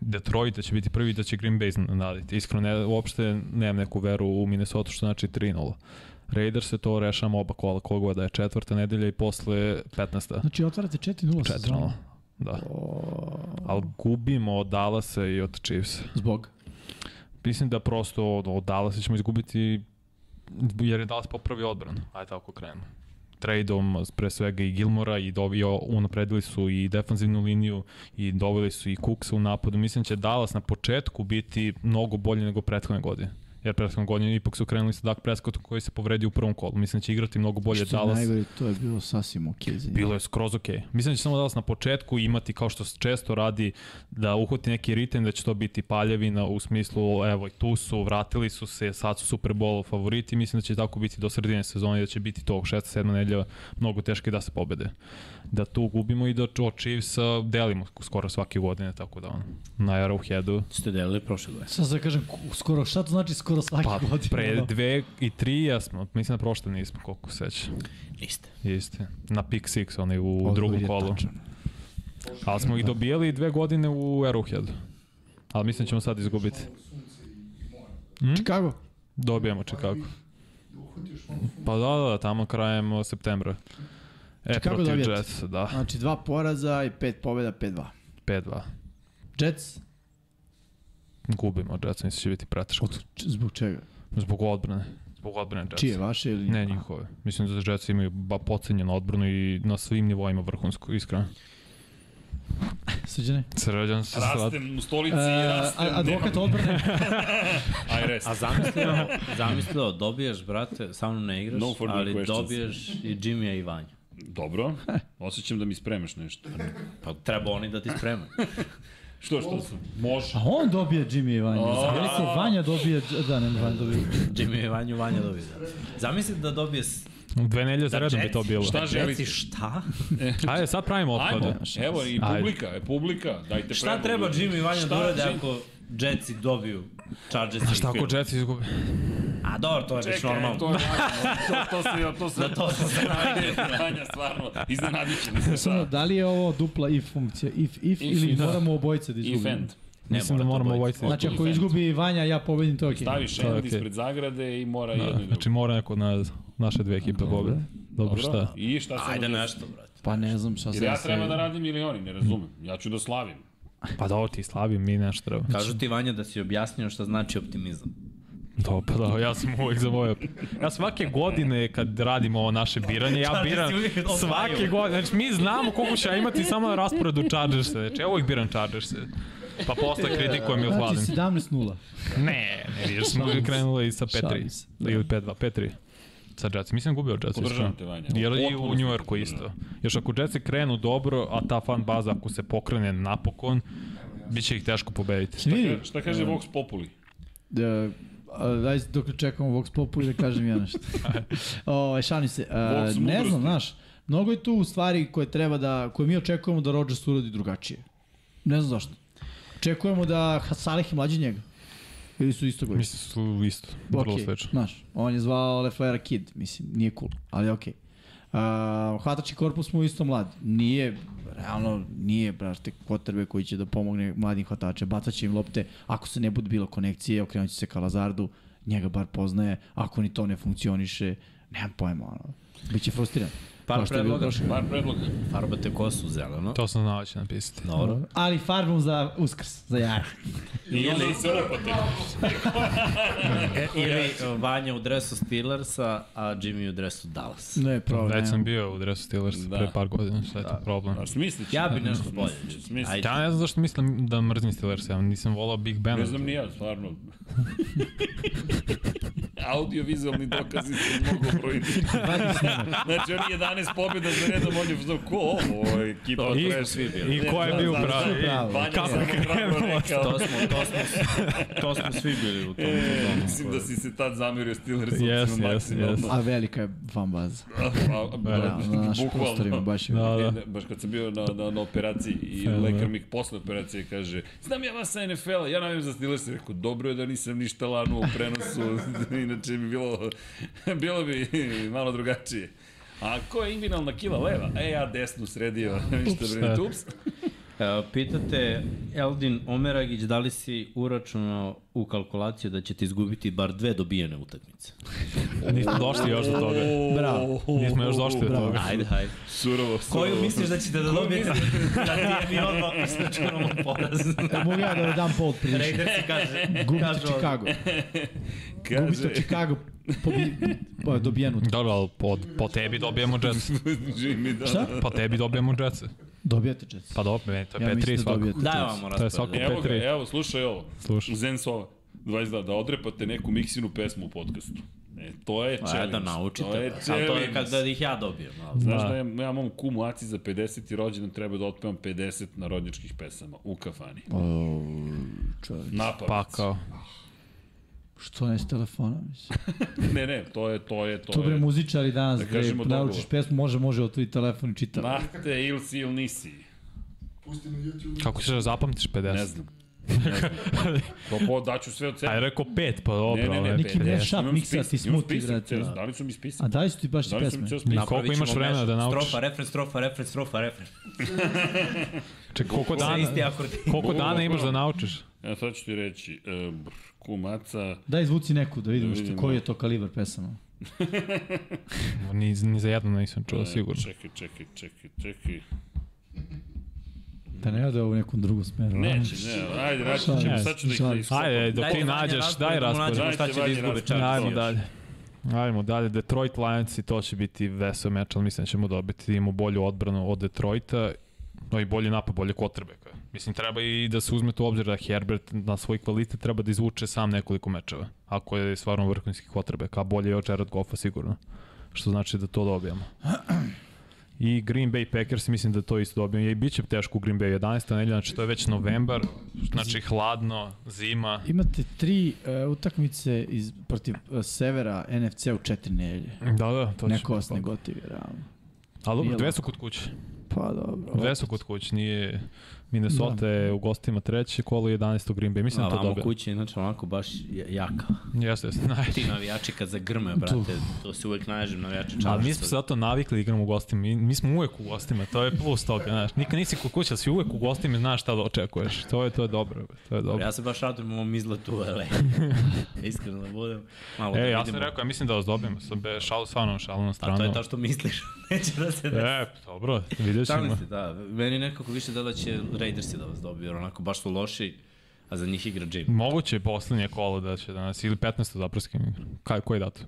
Detroit, da će biti prvi, da će Green Bay naditi. Iskreno, ne, uopšte nemam neku veru u Minnesota, što znači 3-0. Raiders se to rešamo oba kola, koga da je četvrta nedelja i posle 15. Znači, otvarate 4-0 4-0. sezonu. Da. Ali gubimo od Dallasa i od Chiefs. Zbog. Mislim da prosto od, od Dallasa ćemo izgubiti jer je Dallas popravio odbranu. Ajde tako krenemo. Tradeom pre svega i Gilmora i, dovi, i o- unapredili su i defanzivnu liniju i doveli su i Cooksa u napadu. Mislim će Dallas na početku biti mnogo bolji nego prethodne godine. Jer prethodne godine ipak su krenuli sa Dak Prescottom koji se povredio u prvom kolu. Mislim da će igrati mnogo bolje Što je Dallas. najgore, to je bilo sasvim okej za njih. Bilo je skroz okej. Okay. Mislim da će samo Dallas na početku imati, kao što često radi, da uhvati neki ritem, da će to biti paljevina u smislu, evo i tu su, vratili su se, sad su Super Bowl favoriti. Mislim da će tako biti do sredine sezone, i da će biti tog 6. 7. nedelja mnogo teške da se pobede. Da tu gubimo i da od Chiefsa delimo skoro svake godine, tako da on, na Arrowheadu. Ste delili prošle godine. Sad da kažem, ku- skoro, šta to znači skoro svaki Pa godin? da. pre dve i tri ja smo, mislim da prošle nismo, koliko se sećam. Niste. Jeste. Na pick six, onaj u Odgovor drugom je kolu. tačan. Ali smo ih Da. dobijali dve godine u Arrowheadu. Ali mislim da ćemo sad izgubiti. Hm? Chicago. Dobijamo Chicago. Pa da, da, da, tamo krajem o, septembra. E, Chicago protiv dobijate. Jetsa, da, Znači, dva poraza i pet pobjeda, 5-2. 5-2. Jets, Gubimo Jetsa, mislim da će biti preteško. č- zbog čega? Zbog odbrane. Zbog odbrane Jetsa. Čije, vaše ili... Ne njihove. Mislim da Jetsa imaju ba pocenjenu odbranu i na svim nivoima vrhunsku, iskreno. Srđane? Sređan se sad. Rastem u stolici, E, uh, a- rastem. advokat odbrane. Aj, rest. A zamislio, zamislio, dobiješ, brate, sa mnom ne igraš, No further ali questions. dobiješ i Jimmy-a i Vanja. Dobro, osjećam da mi spremaš nešto. Pa treba oni da ti spreme. Što, što sam? Može. A on dobija Jimmy i Vanja. Zavljeli se Vanja dobija... Da, ne, Vanja dobija. Jimmy i Vanju, Vanja dobije. Da. Zamisli da dobije s- Dve nedelje za redom bi Jets- to bilo. Šta Reci želiš? šta? Ajde, sad pravimo Ajmo, Pa otpade. da, evo i Ajde. publika, e, publika, dajte Šta predlog, treba ljudi. Jimmy i Vanja Šta da urade Jim- ako Jetsi dobiju Chargersi i Šta ako Philly? Jetsi izgubi? A dobro, to je već Čekaj, normalno. to, je to, to se, to se, Na to sam se Ajde, Vanja, stvarno, iznenadit će nisam Samo, šta. da li je ovo dupla if funkcija? If, if, ili da. moramo obojice da If izgubimo? end. Mislim da moramo obojiti. ovojiti. Znači, ako If and. izgubi Vanja, ja pobedim, to je okej. Staviš To je end okej. ispred zagrade i mora jedno i Da, drugo. znači mora neko od nas, naše dve ekipe pobjede. Dobro, šta? I šta se Ajde može- nešto, brate. Pa ne znam šta Jer se... ja treba da radim ili oni, ne razumem. Ja ću da slavim. Pa dobro, ti slavi, mi nešto treba. Kažu ti, Vanja, da si objasnio šta znači optimizam. Dobro, da, ja sam uvek za moje... Ja svake godine kad radim ovo naše biranje, Pa da ja biram si uvek on svake godine. Znači, mi znamo koliko će ja imati samo na rasporedu Chargersa. Znači, ja uvek biram Chargersa. Pa posle kritikujem da i Znači hvalim. 17-0. Ne, ne vidiš, smo krenuli i sa Šalim 5-3. se, da. Ili 5-2, 5-3. Sa Jets, mislim da gubio Jets. Podržavam te, Vanja. Jer i Potpuno u sam New te Yorku isto. podržavam. Još ako Jetsi krenu dobro, a ta fan baza ako se pokrene napokon, bit će ih teško pobediti. Vidi, Šta kaže Vox Populi? Da, a, daj dok čekamo Vox Popu i da kažem ja nešto. o, šalim se. A, Vox ne mudrosti. znam, znaš, mnogo je tu stvari koje treba da, koje mi očekujemo da Rodgers uradi drugačije. Ne znam zašto. Očekujemo da Saleh je mlađi njega. Ili su isto godište. Mislim da su isto, vrlo Ok, slično. Znaš, on je zvao Leflera Kid, mislim, nije cool, ali okej. Okay. Uh, hvatači korpus mu je isto mlad. Nije, realno, nije, brašte, kotrbe koji će da pomogne mladim hvatače. Bacat će im lopte, ako se ne bude bilo konekcije, okrenut će se ka Lazardu, njega bar poznaje, ako ni to ne funkcioniše, nemam pojma, ono, biće frustriran. Par Pa Kao što je bilo predloga. prošle godine. Par predloga. Farbate kosu zeleno. To sam znao da će napisati. Dobro. Ali farbom za uskrs, za jaja. Ili se urapate. Ili uh, Vanja u dresu Steelersa, a Jimmy u dresu Dallasa. Ne, problem. Već sam nemam. bio u dresu Steelersa Da. pre par godina, šta je to problem? Znaš, mislit ću. Ja bi nešto bolje. Smisli. Ajde. Ja ne znam zašto mislim da mrzim Steelersa, ja nisam volao Big Ben. Ne znam ni ja, stvarno. Audiovizualni dokazi su mnogo brojni. znači, oni 11 pobjeda za redom, on je znao ko ovo, ekipa I, koja je svi bili. I ko je bio Da, E, da, pravi? da. Vanja Kako krenuo? To smo, to smo, to smo svi bili u tom E, sezonu. mislim da si se tad zamirio Steelers yes, Yes, yes, maksimalno. yes. A velika je fan baza. Da, da, na naš prostorima, bukvalno. baš je. Da, Da, da. da. Baš kad sam bio na, na, na operaciji i lekar mi posle operacije kaže znam ja vas sa NFL-a, ja navijam za Steelers. Rekao, dobro je da nisam ništa lanuo u prenosu, inače bi bilo, bilo bi malo drugačije. A ko je inginalna kila leva? E, ja desnu sredio, ništa brinite, ups. E, Pitate Eldin Omeragić da li si uračunao u kalkulaciju da ćete izgubiti bar dve dobijene utakmice. Nismo došli još do toga. Bravo. Nismo još došli do toga. Ajde, ajde. Oh. Surovo, surovo. Koju misliš da ćete da dobijete? da ti je mi odmah isključujemo poraz. E, mogu ja da dam pol prilično. Raidersi kaže, Gubite kaže ovo. Chicago. Gubite Kaže, Chicago. Pobi, pa, dobijenu. Dobro, ali po, po tebi dobijemo Jetsa. Jimmy, da. Šta? Po Pa tebi dobijemo Jetsa. Dobijate Jets. Pa dobro, meni to je Ja mislim 5-3 da svako. dobijate Daj Jets. vam To je svako raspored. Pa, Evo ga, 5-3. evo, slušaj ovo. Slušaj. Zensova, 22, da odrepate neku miksinu pesmu u podcastu. E, to je Ajde challenge. da naučite. To je brate. Ali challenge. to je kad da ih ja dobijem. ali. Znaš Da. da, ja, ja mom kumu Aci za 50. rođendan treba da otpevam 50 narodnjačkih pesama u kafani. O, čovječ. Napavec. Pa kao. Što ne s telefona, mislim. Ne, ne, to je, to je, to, To bre je. muzičari danas, Da bre, kažemo naučiš dogovor. pesmu, može, može, otvori telefon i čita. Na te ili si ili nisi. Pusti na YouTube. Kako ćeš da zapamtiš 50? Ne znam. Ne znam. To po, daću sve od sebe. A je rekao 5, pa dobro. ne, ne, ne, ali- Neki 50. ne šap Imam miksa, spisak, ti imam smuti, spisak, brate, ceo, da. Da li su mi spisali? A dali su ti baš Da li su pesme? mi ceo I spisak? koliko imaš Napravit ćemo vremena da nešto. naučiš? Strofa, refren, strofa, refren, strofa, refren. Čekaj, koliko Sa dana, isti akordi. koliko dana imaš da naučiš? Ja sad ću ti reći, e, br, kumaca, Daj zvuci neku da vidimo Da što, vidimo. koji je to kalibar pesama. Ni, ni za jedno nisam čuo, sigurno. E, Čekaj, čekaj, čekaj, čekaj. Da ne ode ovo u nekom drugom smeru. a? Neće, ne, ajde, naći ćemo, Šalim sad ću da ih se, listu. Ajde, dok ti nađeš, daj raspored. nađemo. Šta će da Dajte izgube Vanji čak. raspored. Ajmo dalje. Ajmo dalje, Detroit Lions i to će biti vesel meč, ali mislim da ćemo dobiti imamo bolju odbranu od Detroita, no i bolji napad, bolje kotrbeka. Mislim, treba i da se uzme to u obzir da Herbert na svoj kvalitet treba da izvuče sam nekoliko mečeva, ako je stvarno vrhunski kotrbek, a bolje je od Jared Goffa sigurno, što znači da to dobijamo. I Green Bay Packers mislim da to isto dobijamo. I bit će teško u Green Bay 11. nedelja, znači to je već novembar, znači hladno, zima. Imate tri uh, utakmice iz, protiv uh, severa NFC u četiri nedelje. Da, da, to će Neko biti vas ne tako. gotivi, realno. Ali Nije dobro, dve lako. su kod kuće. Pa dobro. Dve su kod kuće, nije Minnesota da. je u gostima treće kolo 11. Green Bay. Mislim da to Vamo dobio. kući, znači onako baš ja- jaka. Jeste, jeste, najče. Ti navijači kad zagrme, brate, to se uvek naježim navijači čarša. Ali mi smo zato navikli da igramo u gostima. Mi, mi smo uvek u gostima, to je plus toga, znaš. Nikad nisi kod kuće, ali si uvek u gostima i znaš šta da očekuješ. To je, to je dobro, bre, to je dobro. Ja se baš radujem ovom izletu, ale. Iskreno da budem. Malo da E, ja sam vidimo. rekao, ja mislim da vas dobijemo. Sam be, šalu stvarno, šalu na stranu. A to je to što misliš, neće da se desi. E, dobro, vidjet Šta ćemo. ste, da. Meni nekako više da da će Raidersi da vas dobiju, jer onako baš su loši, a za njih igra Jimmy. Moguće je poslednje kolo da će danas, ili 15. zapraskim igra. Kaj, koji datum?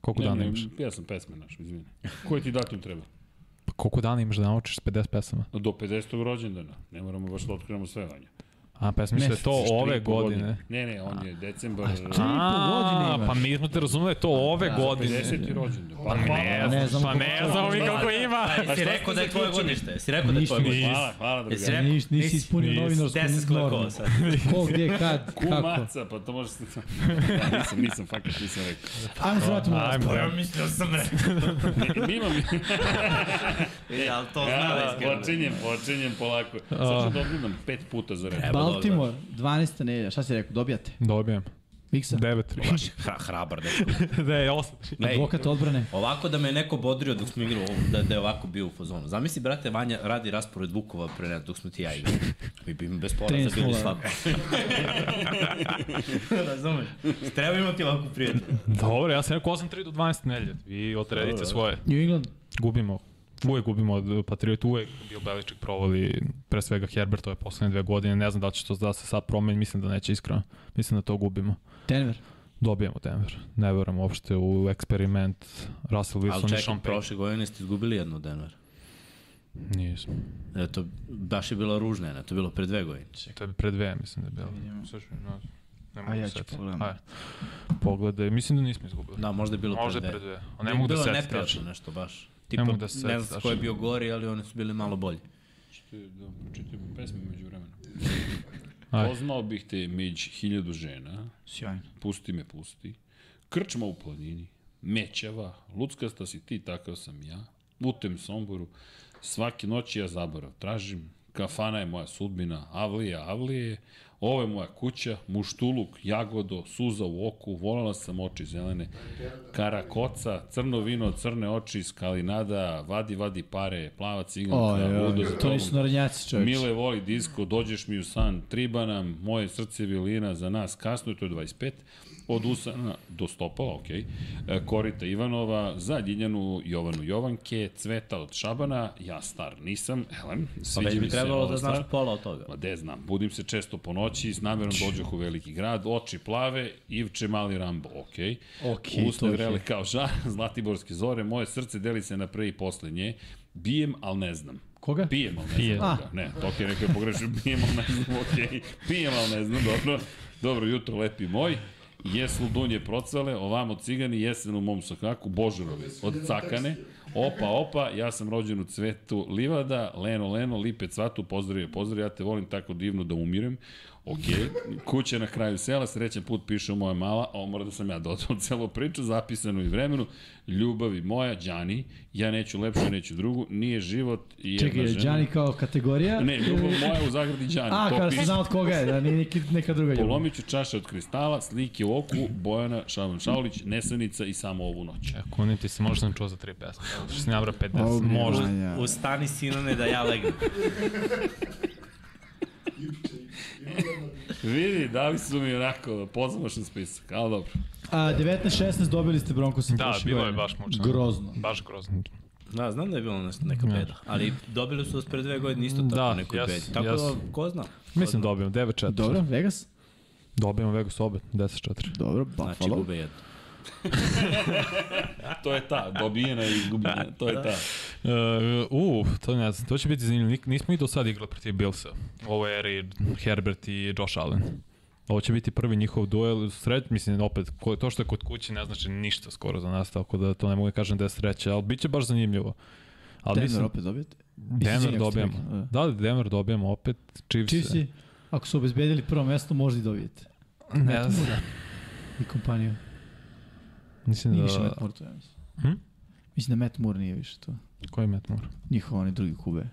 Koliko Ne, dana ne, imaš? ja sam pesmen naš, izvini. Koji ti datum treba? Pa koliko dana imaš da naučiš 50 pesama? Do 50. rođendana. Ne moramo baš da otkrivamo sve vanja. A, pa ja sam mislio da je to Tri i ove po godine. Ne, ne, on je decembar. e, A, pa mi smo te razumeli da je to ove godine. 50. rođendan. Pa ne Ne znam, znam pa ne znamo mi kako ima. Pa jesi rekao da je tvoje godište? Jesi rekao da je tvoje godište? Hvala, hvala Jesi drugari. rekao? Nisi, nisi ispunio novinarsku Deset sklakova normu. sad. Ko, gde, kad, kako. Kumaca, pa to možeš... da, nisam, nisam, fakat nisam rekao. Pa, Ajmo se vratimo na Ajmo, raspored. evo. mislio da sam rekao. Ne, mi imam... E, ali to Ja, da, zna znači- iskreno. počinjem, počinjem polako. Sad ću A. dobivam pet puta za red. Evo, Baltimore, 12. nedelja, šta si rekao, dobijate? Dobijem. Miksa, 9-3. Hra, hrabar, dečko. Da je 8-3. Ej, advokat odbrane. Ovako da me je neko bodrio dok smo igrali, ovo, da, da je ovako bio u fazonu. Zamisli, brate, Vanja radi raspored Vukova pre nas dok smo ti i ja igrali. Mi bi im bez poraza 13 bili nula. slabo. Razumeš? Treba imati ovakvu prijatelju. Dobro, ja sam rekao 8-3 do 12 nelje. Vi odredite svoje. New England, Gubimo. Uvek gubimo od Patriota, uvek Bill Belichick provali, pre svega Herbertove poslednje dve godine, ne znam da li će to da se sad promeni, mislim da neće iskreno, mislim da to gubimo. Denver. Dobijemo Denver, ne verujem uopšte u eksperiment Russell Ali Wilson i čekaj, Sean Payton. prošle godine ste izgubili jednu od Denver. Nismo. E, to baš je bila ružna jedna, to je bilo pre dve godine. To je pre dve, mislim da je bilo. Ne mogu A ja ću setiti. pogledam. Ajde. Pogledaj, mislim da nismo izgubili. Da, možda je bilo Možda pre je pre dve. dve. A ne mogu da Bilo se je sjetim. neprijatno nešto baš. Tipa, mogu da ne se znam setim, ko je tačno. bio gori, ali oni su bili malo bolji. Što je, da, pročitaj pesme među vremena. Ajde. Poznao bih te među hiljadu žena, Sjajno. pusti me pusti, krčma u planini, mećava, luckasta si ti, takav sam ja, putem Somboru, svake noći ja zaborav tražim, kafana je moja sudbina, avlija, avlije, ovo je moja kuća, muštuluk, jagodo, suza u oku, volala sam oči zelene, kara koca, crno vino, crne oči, skalinada, vadi, vadi pare, plava Oj, ciganka, ludo za oj, to tobom. nisu narodnjaci, čovječ. Mile voli disko, dođeš mi u san, triba nam, moje srce violina za nas, kasno je to je 25, od usana do stopala, ok, Korita Ivanova, za Ljiljanu, Jovanu Jovanke, Cveta od Šabana, ja star nisam, elem, Pa sviđa već bi mi se trebalo ova da znaš stvar. pola od toga. Ma de znam, budim se često po noći, s namjerom dođoh u veliki grad, oči plave, Ivče mali Rambo, okej. Okej, to Usne ih je. vrele kao žar, zlatiborske zore, moje srce deli se na pre i posle nje, bijem, al ne znam. Koga? Pijem, al ne Pijem. znam. Da. Ne, to je rekao pogrešio, pijem, al ne znam, okej. Pijem, al ne znam, dobro. Dobro jutro, lepi moj. Jes ludunje procale, ovamo cigani, jesen u mom sokaku, božurovi, od cakane. Opa, opa, ja sam rođen u cvetu livada, leno, leno, lipe cvatu, pozdrav je pozdrav, ja te volim tako divno da umirem. Ok, kuća na kraju sela, srećan put piše moja mala, a ovo mora da sam ja dodao celu priču, zapisanu i vremenu, ljubavi moja, Đani, ja neću lepšu, neću drugu, nije život i jedna Čekaj, žena. Đani kao kategorija? E, Ne, ljubav moja u zagradi Đani, A, to kada piše. se zna od koga je, da nije neki, neka druga ljubav. Polomit ću čaše od kristala, slike u oku, Bojana Šaban Šaulić, Nesanica i samo ovu noć. E, kunim ti se, možda sam čuo za 3 pesme. Što sam nabrao 50, Ovo mi je možda. manja. Ustani sinone da ja legnem. Vidi, dali su mi onako pozamašan spisak, ali dobro. A, 19-16 dobili ste Broncos. Da, bilo je baš mučno. Grozno. Baš grozno. Da, znam da je bilo nešto, neka Ne. beda, ali dobili su vas pre dve godine isto tako Da, da, nekoj jas- bedi. Tako jas. da, ko zna? Mislim da dobijemo 9-4. Dobro, Vegas? Dobijemo Vegas obet 10-4. Dobro, Znači, Buffalo. gube jedno. To je ta, dobijena i izgubljena, to da. je ta. Uh, u, to ne znam, to će biti zanimljivo. Nik- Nismo i do sada igrali protiv Billsa. Ovo je eri Herbert i Josh Allen. Ovo će biti prvi njihov duel. Sreć, mislim, opet, ko- to što je kod kuće ne znači ništa skoro za nas, tako da to ne mogu da kažem da je sreća, ali bit će baš zanimljivo. Ali Denver mislim, opet dobijete. Izvini, ako Denver ste dobijamo. rekli, Da li Denver dobijamo opet? Chiefs? Chiefsi, ako su obezbedili prvo mesto, možda i dobijete. Ne znam. I kompaniju. Mislim Nije više da... Matt Moore to, ja mislim. Hm? Mislim da Matt Moore nije više to. Koji je Matt Moore? njihov oni drugi kube.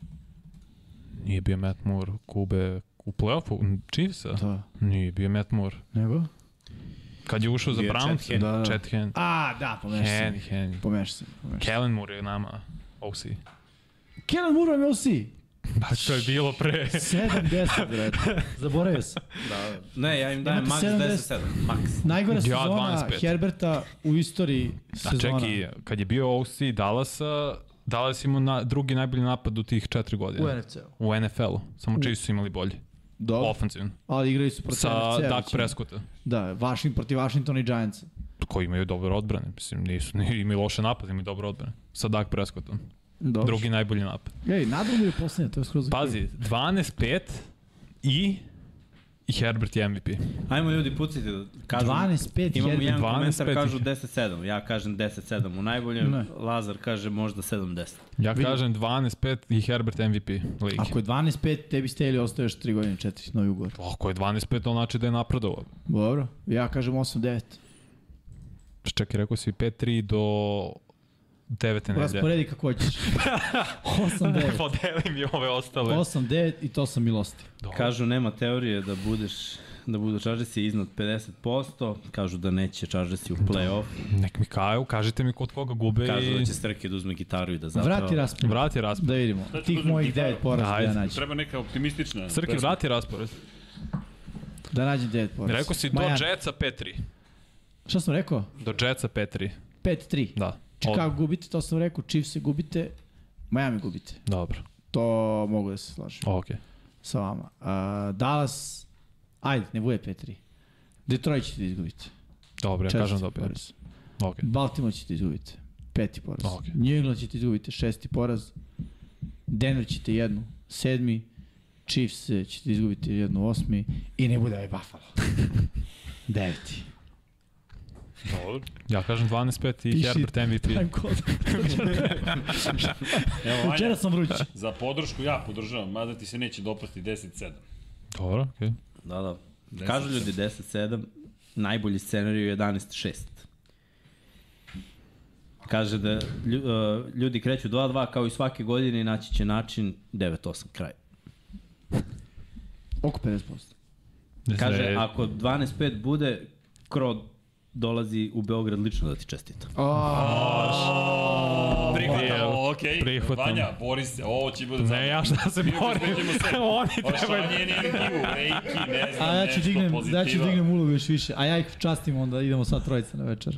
Nije bio Matt Moore. Kube u play-offu Chiefsa? Da. Da. Nije bio Matt Moore. Nego? Kad je ušao za Bio je Browns, Chet Hand. Da, da. Chet Hand. A, da, pomešao sam Hand, ih. Hand. Pomešao sam, ih, pomešao sam. Kellen Moore je nama OC. Kellen Moore vam je OC. Pa to je bilo pre. 70, brate. Zaboravio sam. Da, ne, ja im dajem max Imate 10-7. Max. Najgora Ja, sezona 25. Herberta u istoriji A sezona. čekaj, kad je bio OC Dallasa, Dallas imao na, drugi najbolji napad u tih četiri godine. U NFC-u. U NFL-u. Samo Chiefs su imali bolji. Dobro, Ofenzivno. ali igrali su protiv Sa NFC-a Dak većinom. Prescotta. Da, Washington, protiv Washington i Giants. koji imaju dobre odbrane, mislim, nisu, ni, imaju loše napade, imaju dobre odbrane. Sa Dak Prescottom. Dobro. Drugi najbolji napad. Ej, nadrugo е je posljednje, to je skroz okej. Pazi, 12-5 i, i Herbert je MVP. Ajmo ljudi, pucite. Kažu, 12-5, Imamo jedan- jedan 12-5 komentar, ih kažu je. 10-7. Ja kažem 10-7. U najboljem, Ne. Lazar kaže možda 7-10. Ja kažem 12-5 i Herbert MVP ligi. Ako je 12-5, tebi Staley ostaje još 3 godine, 4, novi ugovor. Ako je 12-5, on znači da je napredovao. Dobro, ja kažem 8-9. Čekaj, rekao si 5-3 do 9 nedelje. Rasporedi kako hoćeš. 8-9. Podeli mi ove ostale. 8-9 i to sam milosti. Dobro. Kažu nema teorije da budeš da budu Chargersi iznad 50%, kažu da neće Chargersi u play-off, Nek mi kaju, kažite mi kod koga gube kažu i... da će Strke da uzme gitaru i da zapravo... Vrati raspored. Vrati raspored. Da vidimo. Sad ću Tih uzeti mojih gitaru. 9 poraza da Ajde. ja Znači. nađem. Treba neka Da. optimistična. Srki, pesma. vrati raspored. Da nađem 9 poraza. Rekao si do Miami. Jetsa 5-3. Šta sam rekao? Do Jetsa 5-3. 5-3. Da. Od- Chicago gubite, to sam rekao, Chiefs se gubite, Miami gubite. Dobro, To mogu da se slažem okej. sa vama. A, Dallas, ajde, ne bude 5-3. Detroit ćete izgubiti. Dobro, ja Četvrti kažem da dobro. poraz. Okej. Baltimore ćete izgubiti. Peti poraz. Ok. New England ćete izgubiti. Šesti poraz. Denver ćete jednu. Sedmi. Chiefs eh, ćete izgubiti jednu osmi. I ne bude ovaj Buffalo. Deveti. Pa, Ja kažem 12-5 i Piši Herbert MVP. kod. Evo, Vanja, Večera sam vrući. za podršku ja podržavam, mada ti se neće dopasti 10-7. Dobro, okej. Da, da. Kažu ljudi 10-7, najbolji scenarij je 11-6. Kaže da lju- uh, ljudi kreću 2-2 kao i svake godine i naći će način 9-8 kraj. Oko 50%. Okay. Kaže, ako 12-5 bude, Kro dolazi u Beograd lično da ti čestita. Prihvatamo, okej. prihvatam. Vanja, Boris, ovo će bude Ne, ja šta se moram. Oni trebaju... Ošanje energiju, reiki, ne znam, A ja ću nešto Znači dignem, pozitiva. ja ću dignem ulogu još više. A ja ih častim onda, idemo sad trojica na večer.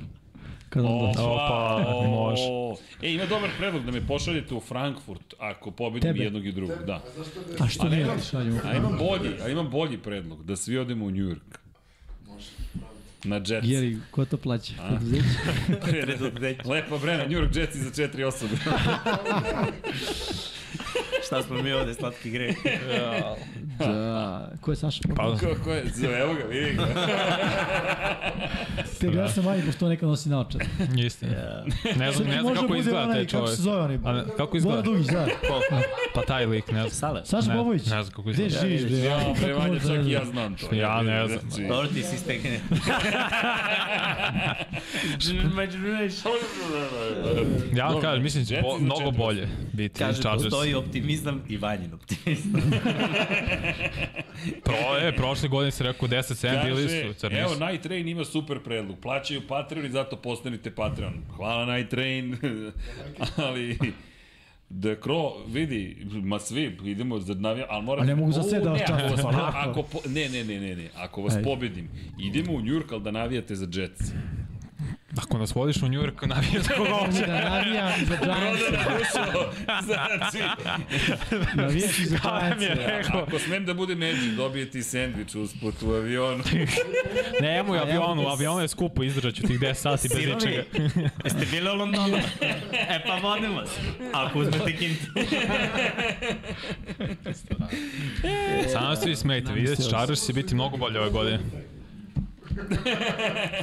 Kad on dođe. Opa, Opa, može. o. E, ima dobar predlog da me pošaljete u Frankfurt ako pobedim Tebe? jednog i drugog, da. Pa, A što mi ne šaljemo? A imam bolji, a imam bolji predlog, da svi odemo u New York. Na Jets. Jeri, ko to plaća? Poduzeće? Lepa brena, New York Jets i za četiri osobe. Šta smo mi ovde slatki grej? Da. Ko je Saša? Pa, Pa, Ko, ko je? Zove, evo ga, vidi ga. Te gleda sam manji, pošto on nekad nosi naočar. istina. Ne znam, ne znam Može kako bude izgleda onaj, taj Kako čovjek. se zove onaj? A ne, kako Bora izgleda? Dugić, da. Pa taj lik, ne znam. Sale. Saša Ne, Bobović. ne znam kako Gde izgleda. živiš, bre? Ja, Kako bre, Vanja, možda čak ne i ja znaš? znam to. Ja ne znam. Znači, Dobro ti si stekne. Ja vam Dobro, kažem, mislim, Jetsi bo, za mnogo četiri bolje biti Kaže, Chargers. postoji optimizam i vanjin optimizam. Pro, e, prošle godine se rekao 10-7, bili Kaže, su, crni evo, su. Night Train ima super predlog. Plaćaju Patreon i zato postanite Patreon. Hvala Night Train. Ali... The Crow, vidi, ma svi, idemo za navija, ali moram... A ne mogu za U, sve da vas ne, častim, ako vas- onako. Ako po, ne, ne, ne, ne, ne, ako vas Ajde. pobedim, idemo u Njurk, ali da navijate za Jets. Ako nas vodiš u New York, navijaš koga hoće. Da navijam i za Giants. Rodana Ruso, znači, Navijaš i za Giants. ako smem da bude među, dobije ti sandvič usput u avionu. Nemoj avionu, avionu je skupo, izdržat ću tih 10 sati bez ničega. Jeste bili u Londonu? E pa vodim vas. Ako uzmete kintu. da Samo se vi smejte, vidjet, Chargers će biti mnogo bolje ove godine.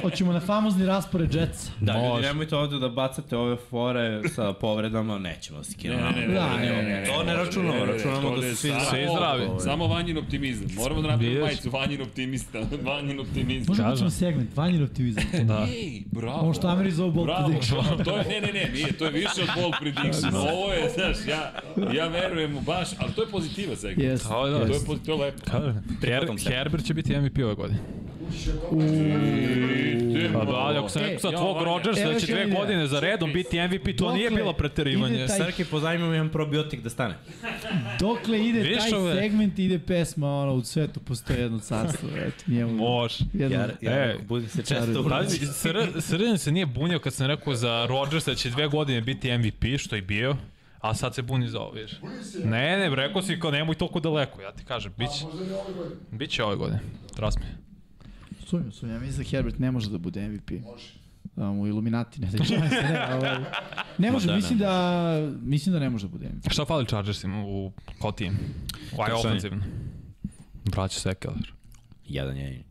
Hoćemo na famozni raspored Jetsa. Da, ljudi, Može. nemojte ovde da bacate ove fore sa povredama, nećemo se Ne, kirati. ne, ne, ne, Da, ne, ne, ne, to ne računamo, računamo to da je su svi samo- svi zdravi. Samo vanjin optimizam. Moramo da napravimo Vidiš? majicu vanjin optimista. Vanjin optimista. Možemo da Kažem. ćemo segment, vanjin optimizam. Da. Ej, bravo. Ovo što Ameri zove Bold Bravo, Prediction. to je, ne, ne, ne, nije, to je više od ball Da. prediction. Ovo je, znaš, ja, ja verujem u baš, ali to je pozitiva segment. Yes. Ovo je To da. je pozitiva, to je lepo. Kažem, Her, Prihvatam se. Herbert će biti MVP ove godine. Pa da, ali ako sam rekao sa Ja, tvog Vanja. Rodgersa E, Evo da još će dve jedna ideja. godine za redom biti MVP, to nije Dokle bilo preterivanje. ide taj- Srke, pozajmimo jedan probiotik da stane. Dokle ide Vidiš taj ove? segment, ide pesma, ono, u svetu postoje jedno carstvo, eto, njemu. Može. Jedno, Ja, ja, E, e, budim se često u Pazi, sr, srđan se nije bunio kad sam rekao za Rodgersa da će dve godine biti MVP, što je bio, a sad se buni za ovo, viš. Ne, ne, rekao si kao nemoj toliko daleko, ja ti kažem, bit će, Možda ne ove godine. bit će ove godine, trust me. Sumnjam, sumnjam, mislim da Herbert ne može da bude MVP. Može. Da mu Illuminati ne daje šanse, ne, ovaj. Ne može, Ma da, mislim da, mislim da ne može da bude MVP. Šta fali Chargersima u, kao tim? Ovaj Trčanje. ofenzivno. Vraća se Ekeler. Jedan jedini.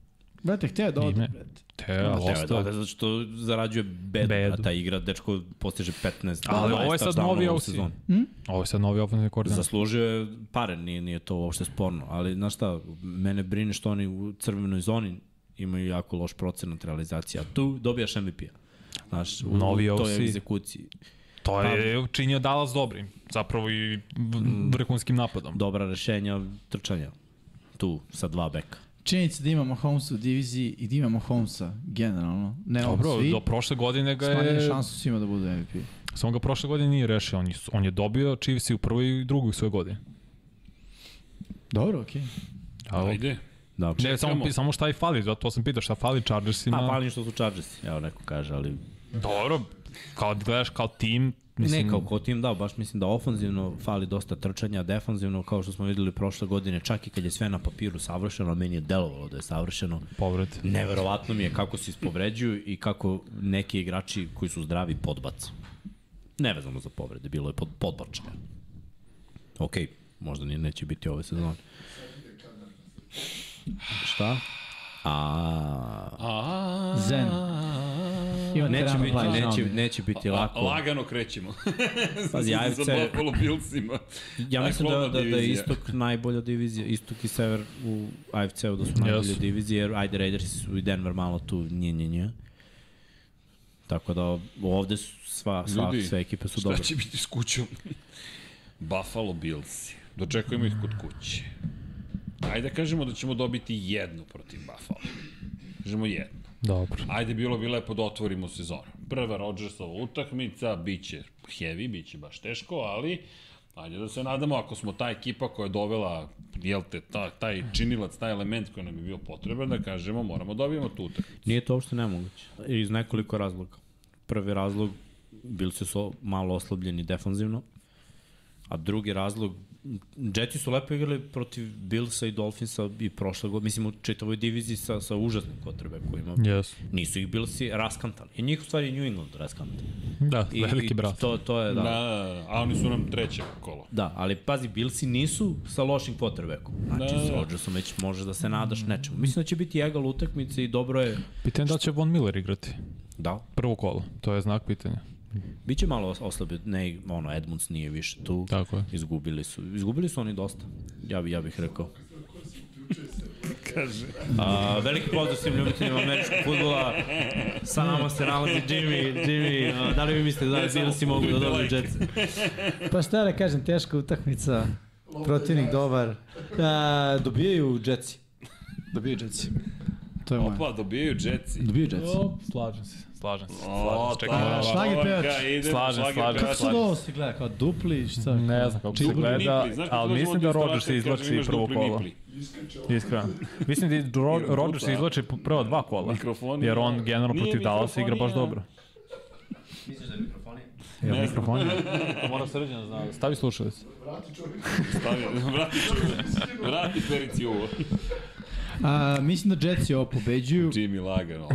Brate, hteo da ode, Ime. brate. Te, Ja, ali Treba da E, ostao. ode zato što zarađuje bedu, Bedu. a ta igra, dečko postiže 15. Ali 12 ovo je sad touchdowna novi ovu OC. sezonu. Hm? Ovo je sad novi ofenzivni koordinator. Zaslužio je pare, nije, nije to uopšte sporno, ali znaš šta, mene brine što oni u crvenoj zoni imaju jako loš procenat realizacije, a tu dobijaš MVP-a. Znaš, u Novi toj OC. egzekuciji. To je učinio Dallas dobrim, zapravo i v- vrhunskim napadom. Dobra rešenja, trčanja. Tu, sa dva beka. Činjenica da imamo Holmesa u diviziji i da imamo Holmesa generalno, ne on Dobro, svi, do prošle godine ga smanjili je šansu svima da bude MVP. Samo ga prošle godine nije rešio, on je, on je dobio Chiefs i u prvoj i drugoj svoje godine. Dobro, okej. A, Ajde. Da. ne, samo, pi- samo šta i fali, zato sam pitao šta fali Chargersima. Pa, palim što su Chargersi, evo neko kaže, ali... Dobro, kao gledaš kao tim, Mislim, mislim, ne, kao ko tim, da, baš mislim da ofanzivno fali dosta trčanja, defanzivno, kao što smo videli prošle godine, čak i kad je sve na papiru savršeno, a meni je delovalo da je savršeno, povred. Neverovatno mi je kako se ispovređuju i kako neki igrači koji su zdravi podbac. Nevezano za povrede, bilo je pod, podbačeno. Ok, možda nije, neće biti ove sezone. Šta? A, Zen. Ima neće terano biti, plaž, žao mi neće, je. neće biti Lako. lako. Lagano krećemo. Pazi, AFC, Sa Buffalo Billsima. ja mislim da, da, da je divizija. istok najbolja divizija, istok i sever u AFC-u da su najbolje Jesu. divizije, jer ajde Raiders i Denver malo tu nje, nje, nje. Tako da ovde su sva, sva, Ljudi, sve ekipe su Šta dobre. će biti s kućom? Buffalo Billsi. Dočekujemo ih kod kuće. Ajde da kažemo da ćemo dobiti jednu protiv Buffalo. Kažemo jednu. Dobro. Ajde, bilo bi lepo da otvorimo sezonu. Prva Rodgersova utakmica, bit će heavy, bit će baš teško, ali ajde da se nadamo, ako smo ta ekipa koja je dovela, jel te, ta, taj činilac, taj element koji nam je bio potreban, da kažemo, moramo dobijemo tu utakmicu. Nije to uopšte nemoguće. Iz nekoliko razloga. Prvi razlog, bili su so malo oslabljeni defanzivno, a drugi razlog, Jetsi su lepo igrali protiv Billsa i Dolphinsa i prošle godine, mislim u čitavoj diviziji sa, sa užasnim kotrebe koji ima. Yes. Nisu ih Billsi raskantali. I njih u stvari New England raskantali. Da, I, veliki brat. I to, to je, da. Da, a oni su nam treće kolo. Da, ali pazi, Billsi nisu sa lošim quarterbackom. Znači, Da. da. s Rodgersom već možeš da se nadaš nečemu. Mislim da će biti egal utakmice i dobro je... Pitanje da li će Von Miller igrati. Da, Prvo kolo, to je znak pitanja. Biće malo os- oslabio, ne, ono, Edmunds nije više tu. Tako je. Izgubili su, izgubili su oni dosta. Ja, bi, ja bih rekao. Kaže. A, veliki pozdrav svim ljubiteljima američkog futbola. Sa nama se nalazi Jimmy. Jimmy, a, da li vi mislite da Ne, samo Bills mogu udrite da dobiju like. Jetsa? Pa šta da kažem, teška utakmica, protivnik dobar. A, dobijaju Jetsi. Dobijaju Jetsi. To je moje. Opa, dobijaju Jetsi. Da. Dobio Jets. slažem se, slažem se. O, pa da, Čekaj, ta- šlager pevač. Ovoga, idemo, Slažem, šlager slažem, Pa pevač. Kako se ovo se gleda, kao dupli, šta? da- Ne znam kako se Dupli gleda, nipli, znaš kako ali dođemo mislim od da instruktora Rodgers kad izvlači imaš prvo dupli kolo. nipli? Iskače ovo. Iskreno. Mislim da i Dro- Rodgers izvlači prva dva kola, Mikrofoni. da. jer on generalno Nije protiv Dallasa igra baš mikrofonija. dobro. Misliš da je mikrofon? Ja, mikrofon je. Moram srđan da zna. Stavi slušalice. Pa, Vrati čovjek. Stavi, vrati, vrati perici u ovo. A, mislim da Jetsi ovo pobeđuju. Jimmy lagano.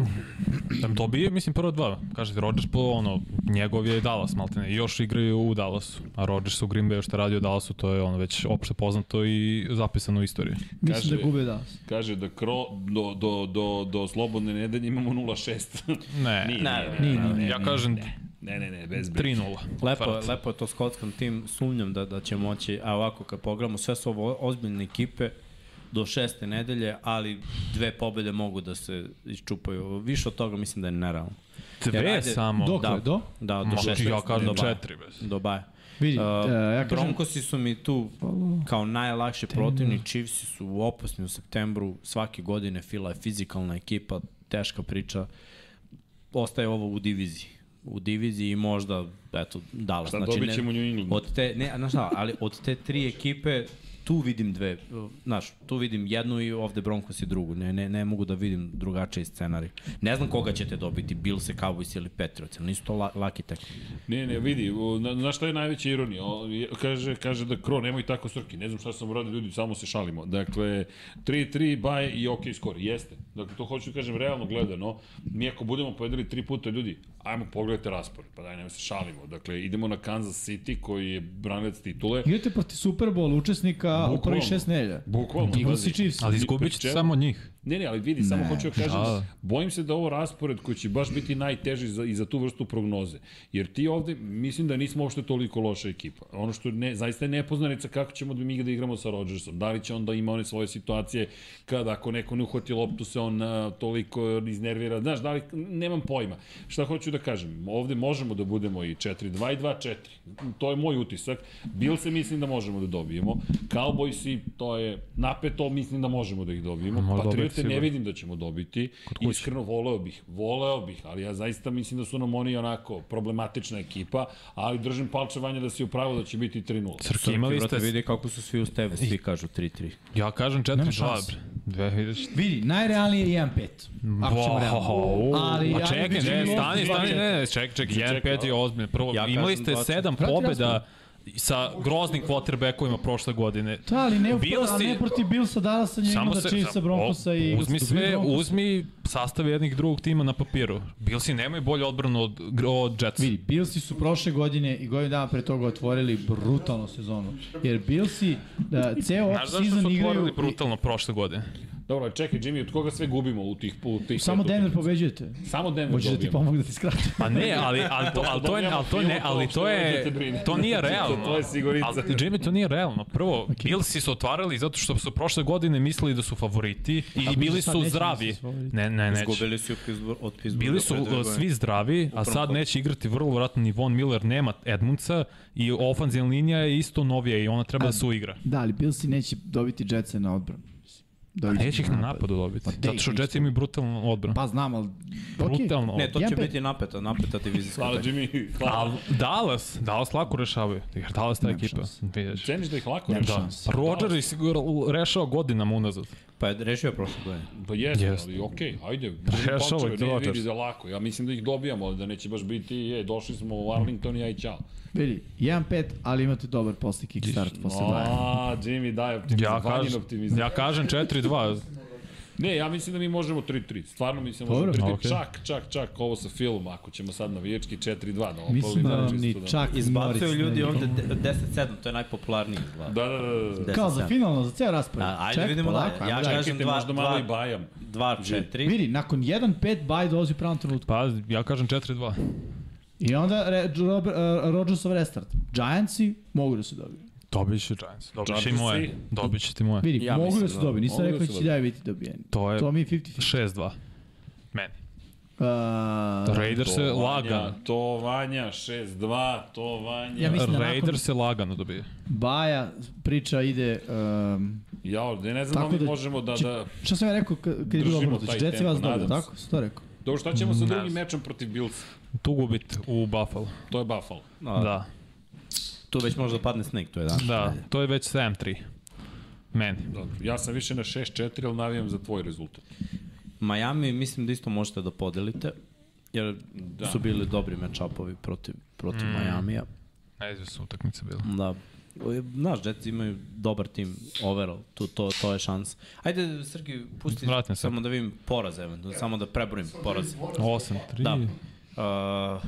Tam to bi, mislim, prvo dva. Kažete, Rodgers po ono, njegov je Dallas, maltene, i još igraju u Dallasu. A Rodgers u Green Bayu što radi u Dallasu, to je ono već opšte poznato i zapisano u istoriji. Mislim Kaže- da gube Dallas. Kaže da kro, do, do, do, do slobodne nedelje imamo 0-6. Ne. Nije, nije, Ne, ne, nije, nije, ne, ne, nije, Ja kažem Ne, ne, ne, bez brige. 3-0. Lepo, Farac. je- lepo je to skockan tim, sumnjam da, da će moći, a ovako kad pogledamo, sve su ovo ozbiljne ekipe do šeste nedelje, ali dve pobede mogu da se iščupaju. Više od toga mislim da je nerealno. Jer Dve ajde, samo. Dokle, da. do? Da, do Ma, šeste. ja kažem do baja. četiri, bez. Do baja. Vidi, Uh, uh, ja kažem, Pa, da. Broncosi su mi tu kao najlakši protivni, Chiefsi su opasni u septembru, svake godine Fila je fizikalna ekipa, teška priča, ostaje ovo u diviziji u diviziji i možda, eto, Dallas. Znači, Šta Znači, dobit ćemo New England? Od te, ne, a znaš šta, ali od te tri ekipe, tu vidim dve, uh, znaš, tu vidim jednu i ovde Broncos i drugu, ne, ne, ne mogu da vidim drugačiji scenarij. Ne znam koga ćete dobiti, Bills, Cowboys ili Patriots, ali nisu to la, laki tekmi. Ne, ne, vidi, o, na- znaš šta je najveća ironija? O, je- kaže, kaže da Kro, nemoj tako srki, ne znam šta sam uradio ljudi, samo se šalimo. Dakle, 3-3, baj i ok skor, jeste. Dakle, to hoću da kažem realno gledano, mi ako budemo pobedili tri puta ljudi, ajmo pogledajte raspored, pa daj, nemoj se šalimo. Dakle, idemo na Kansas City koji je branilac titule, igrate proti Super Bowl učesnika u Bukvalno. prvi šest nelja. bukvalno. Eagles pazi. i Chiefs. Ali Ni izgubit pri ćete čemu. samo njih. Ne, ne, ali vidi, samo hoću da kažem, žal. bojim se da ovo raspored koji će baš biti najteži za, i za tu vrstu prognoze. Jer ti ovde, mislim da nismo uopšte toliko loša ekipa. Ono što ne, zaista je nepoznanica kako ćemo da mi da igramo sa Rodgersom. Da li će onda ima one svoje situacije kada ako neko ne uhvati loptu se on a, toliko iznervira. Znaš, da li, nemam pojma. Šta hoću da kažem, ovde možemo da budemo i 4-2 i 2-4. To je moj utisak. Bil se mislim da možemo da dobijemo. Cowboys i to je napeto, mislim da možemo da ih dobijemo. Možda Patriote opet ne sigurno. vidim da ćemo dobiti. Iskreno voleo bih, voleo bih, ali ja zaista mislim da su nam oni onako problematična ekipa, ali držim palčevanje da si upravo da će biti 3-0. Crki, imali Brate, ste... vidi kako su svi uz tebe, svi kažu 3-3. Ja kažem 4-2, bre. Dve, vidiš. Vidi, najrealnije je 1-5. Ako ćemo realno. Ali, pa čekaj, ne, vidim- stani, stani, ne, ne, čekaj, čekaj, 1-5 je ozbiljno. Prvo, Ja ja kažem imali ste dva, četiri. 7 pobjeda sa groznim quarterbackovima prošle godine. Da, ali ne, Bills Bills, i- ne proti Billsa, Dallasa, New Englanda, Chiefsa, sam- Broncosa o, i... Uzmi sve, uzmi sastav jednih drugog tima na papiru. Bilsi nemaju bolju odbranu od, gr- od Jetsa. Vidi, Billsi su prošle godine i godinu dana pre toga otvorili brutalnu sezonu. Jer Billsi, da, ceo Znaš zašto off-season su igraju... otvorili brutalno prošle godine? Dobro, ali čekaj, Jimmy, od koga sve gubimo u tih, u tih Samo pet Denver utakmica? pobeđujete. Samo Denver Hoćeš da ti dobijemo. pomogu da ti skratim. Pa ne, ali, ali, to, ali, to, je, ali, to, ne, ali to je, to nije realno. To je sigurica. Ali, Jimmy, to nije realno. Prvo, okay. Billsi su otvarali zato što su prošle godine mislili da su favoriti i bili sad su neće zdravi. misliti favoriti. Ne, ne, neće. Izgubili su od Pittsburgh- od Pittsburgha. Bili su pre dve uh, godine. svi zdravi, a prvom sad kolu. neće igrati vrlo vratno ni Von Miller, nema Edmundsa i ofanzivna linija je isto novija i ona treba da se uigra. Da, ali Billsi neće dobiti Jetsa na odbranu. Dobit će Neće ih na napadu dobiti, zato što Jets imaju brutalnu odbranu. Pa znam, ali... Okay. Brutalno. Ne, to Ja će pe- biti napeta, napeta divizijska. Hvala, utakmica. Jimmy. A Hvala. Dallas, Dallas lako rešavaju, jer Dallas ta ekipa. Vidiš. Ceniš da ih lako rešava? Da. Rodgers je sigurno rešao godinama unazad. Pa je rešio je prošle godine. Pa jeste, Jest. ali okej, okay, ajde. Rešavajte Rešavajte Rodgers. Ne Rodgers. vidi da lako. Ja mislim da ih dobijamo, ali da neće baš biti, je, došli smo u Arlington i aj čao. Vidi, 1-5, ali imate dobar posle kickstart, posle Bayern. A, Jimmy daje optimizam, Ja vanjin kažem, optimizam. ja kažem 4-2. Ne, ja mislim da mi možemo 3-3. Stvarno mislim da možemo Dobro. 3-3. Okej. Čak, čak, čak ovo sa filmom, ako ćemo sad na vijački 4-2 da opalimo. Mislim da vam čisto ni čak ni Norris. Izbacuju ljudi ne ide. ovde de- 10-7, to je najpopularniji izgled. Da, da, da. da. Kao za finalno, za ceo raspored. Da, ajde Ček, vidimo polako, dalje. ajmo Ja dalje. kažem da- Čekajte, dva- možda malo dva- i bajam. 2-4. Vidi, nakon 1-5 baj dolazi u pravom trenutku. Pa ja kažem 4-2. I onda re, Robert, uh, Rodgersov restart. Giantsi mogu da se dobiju. Dobit će Giants. Dobit će i Chargersi. moje. Dobit ćete moje. Vidi, Ja ja mogu mislim da se da- dobiju. Nisam mogu da rekao da se će dalje biti dobijeni. To je To mi je 50-50. 6-2. Meni. Uh, da. Raiders se To Vanja, lagano. To Vanja, 6-2, to Vanja. Ja Ja, mislim- da nakon- Raiders se lagano dobije. Baja, priča ide... Um, ja ne znam Tako da mi da- možemo da, či- da... šta sam ja rekao kad, kad je bilo Držimo obrnuto? taj Jetsi tempo, vas dobio, nadam se. tako? Šta rekao? Dobro, Da, šta ćemo sa Ne drugim znam. mečem protiv Bills? Tu gubit u Buffalo. To je Buffalo. A, Da. Tu već može da padne sneg, to je da. Da, to je već 7-3. Meni. Dobro. Ja sam više na 6-4, ali navijam za tvoj rezultat. Miami mislim da isto možete da podelite, jer da. su bili dobri match-upovi protiv, protiv mm. Majamija. Najzve su utakmice bile. Da. Naš Jets imaju dobar tim overall, tu, to, to je šans. Ajde, Srki, pusti Vratim se. samo da vidim poraz, eventualno, samo da prebrojim poraz. 8, 3. Da. Uh,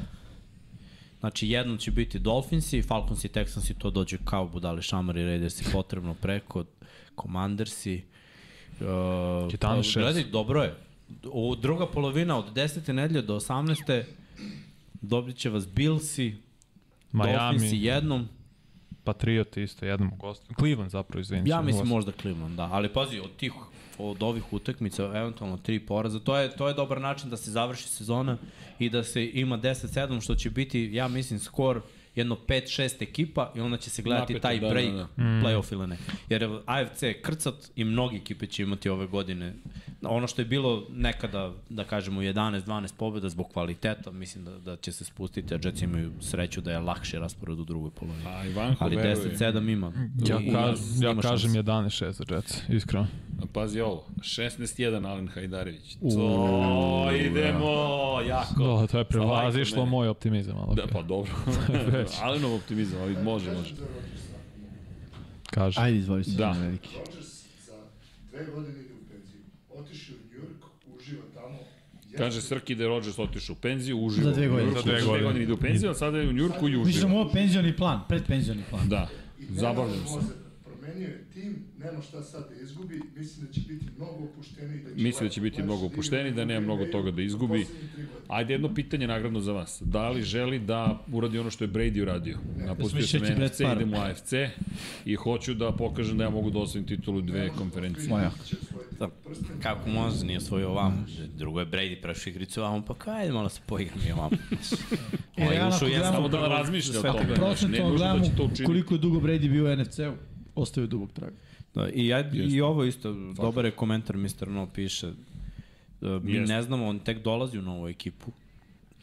znači, jedno će biti Dolphinsi, Falconsi i Texansi, to dođe kao budale šamari, Raidersi potrebno preko, Commandersi. Uh, 14 šest. gledaj, dobro je. U druga polovina od 10. nedelje do 18. dobit će vas Billsi, Dolphinsi Miami, jednom, Patriot isto, jednom u gostu. Cleveland zapravo, izvinim Ja mislim možda Cleveland, da. Ali pazi, od tih od ovih utakmica, eventualno tri poraza, to je, to je dobar način da se završi sezona i da se ima 10-7, što će biti, ja mislim, skor jedno 5-6 ekipa i onda će se gledati Napeto, taj da, break, da, da. Mm. playoff ili ne. Jer evo, AFC je krcat i mnogi ekipe će imati ove godine. Ono što je bilo nekada, da kažemo, 11-12 pobjeda zbog kvaliteta, mislim da, da će se spustiti, a Jets imaju sreću da je lakši raspored u drugoj polovini. A Ivanko Ali veruje. 10-7 ima. Ja, I- i- kaž, ja ima kažem šanse. 11-6 za Jets, iskreno. Pazi ovo, 16-1 Alen Hajdarević. To idemo, jako. Da, to Sa je prelazišlo lajkom moj optimizam, ali mene. da, Da, pa dobro. Alenov optimizam, ali može, može. kaže. Ajde, izvoli se. Da. Veliki. Rodgers za dve godine ide u penziju. Otišao u New York, uživa tamo. Jeste- Kaže Srki da je Rodgers otišao u penziju, uživo. Za dve godine. Za dve godine. godine ide u penziju, a sada je u Njurku i Više sam uživo. ovo penzioni plan, predpenzioni plan. Da, I nema zabavljam se. nervoze. Promenio je tim, nema šta sad da izgubi, mislim da će biti mnogo opušteniji. Da će Mislim da će lepo- biti mnogo lepše da opušteniji, igra da nema u mnogo Green toga Bayu da u izgubi. poslednje tri godine. Ajde jedno pitanje nagradno za vas. Da li želi da uradi ono što je Brady uradio? Napustio sam šeći Brett NFC, Favre. idem u AFC i hoću da pokažem da ja mogu da osvojim titulu u dve konferencije. Moja. Će osvojiti prsten. kako može, nije svoj ovamo. Drugo je Brady prešao igricu ovamo, pa kaj, ajde malo se poigram i ovamo. E, Ovo je realno, ušao ako jedan gledamo Samo da razmišlja o tome. znaš, Ne Procentno nužno da gledamo će to učiniti. koliko je dugo Brady bio u NFC-u, ostaje dubog traga. Da, i, ja, I ovo isto, dobar je komentar, Mr. No piše. E, Mi Jeste. ne znamo, on tek dolazi u novu ekipu.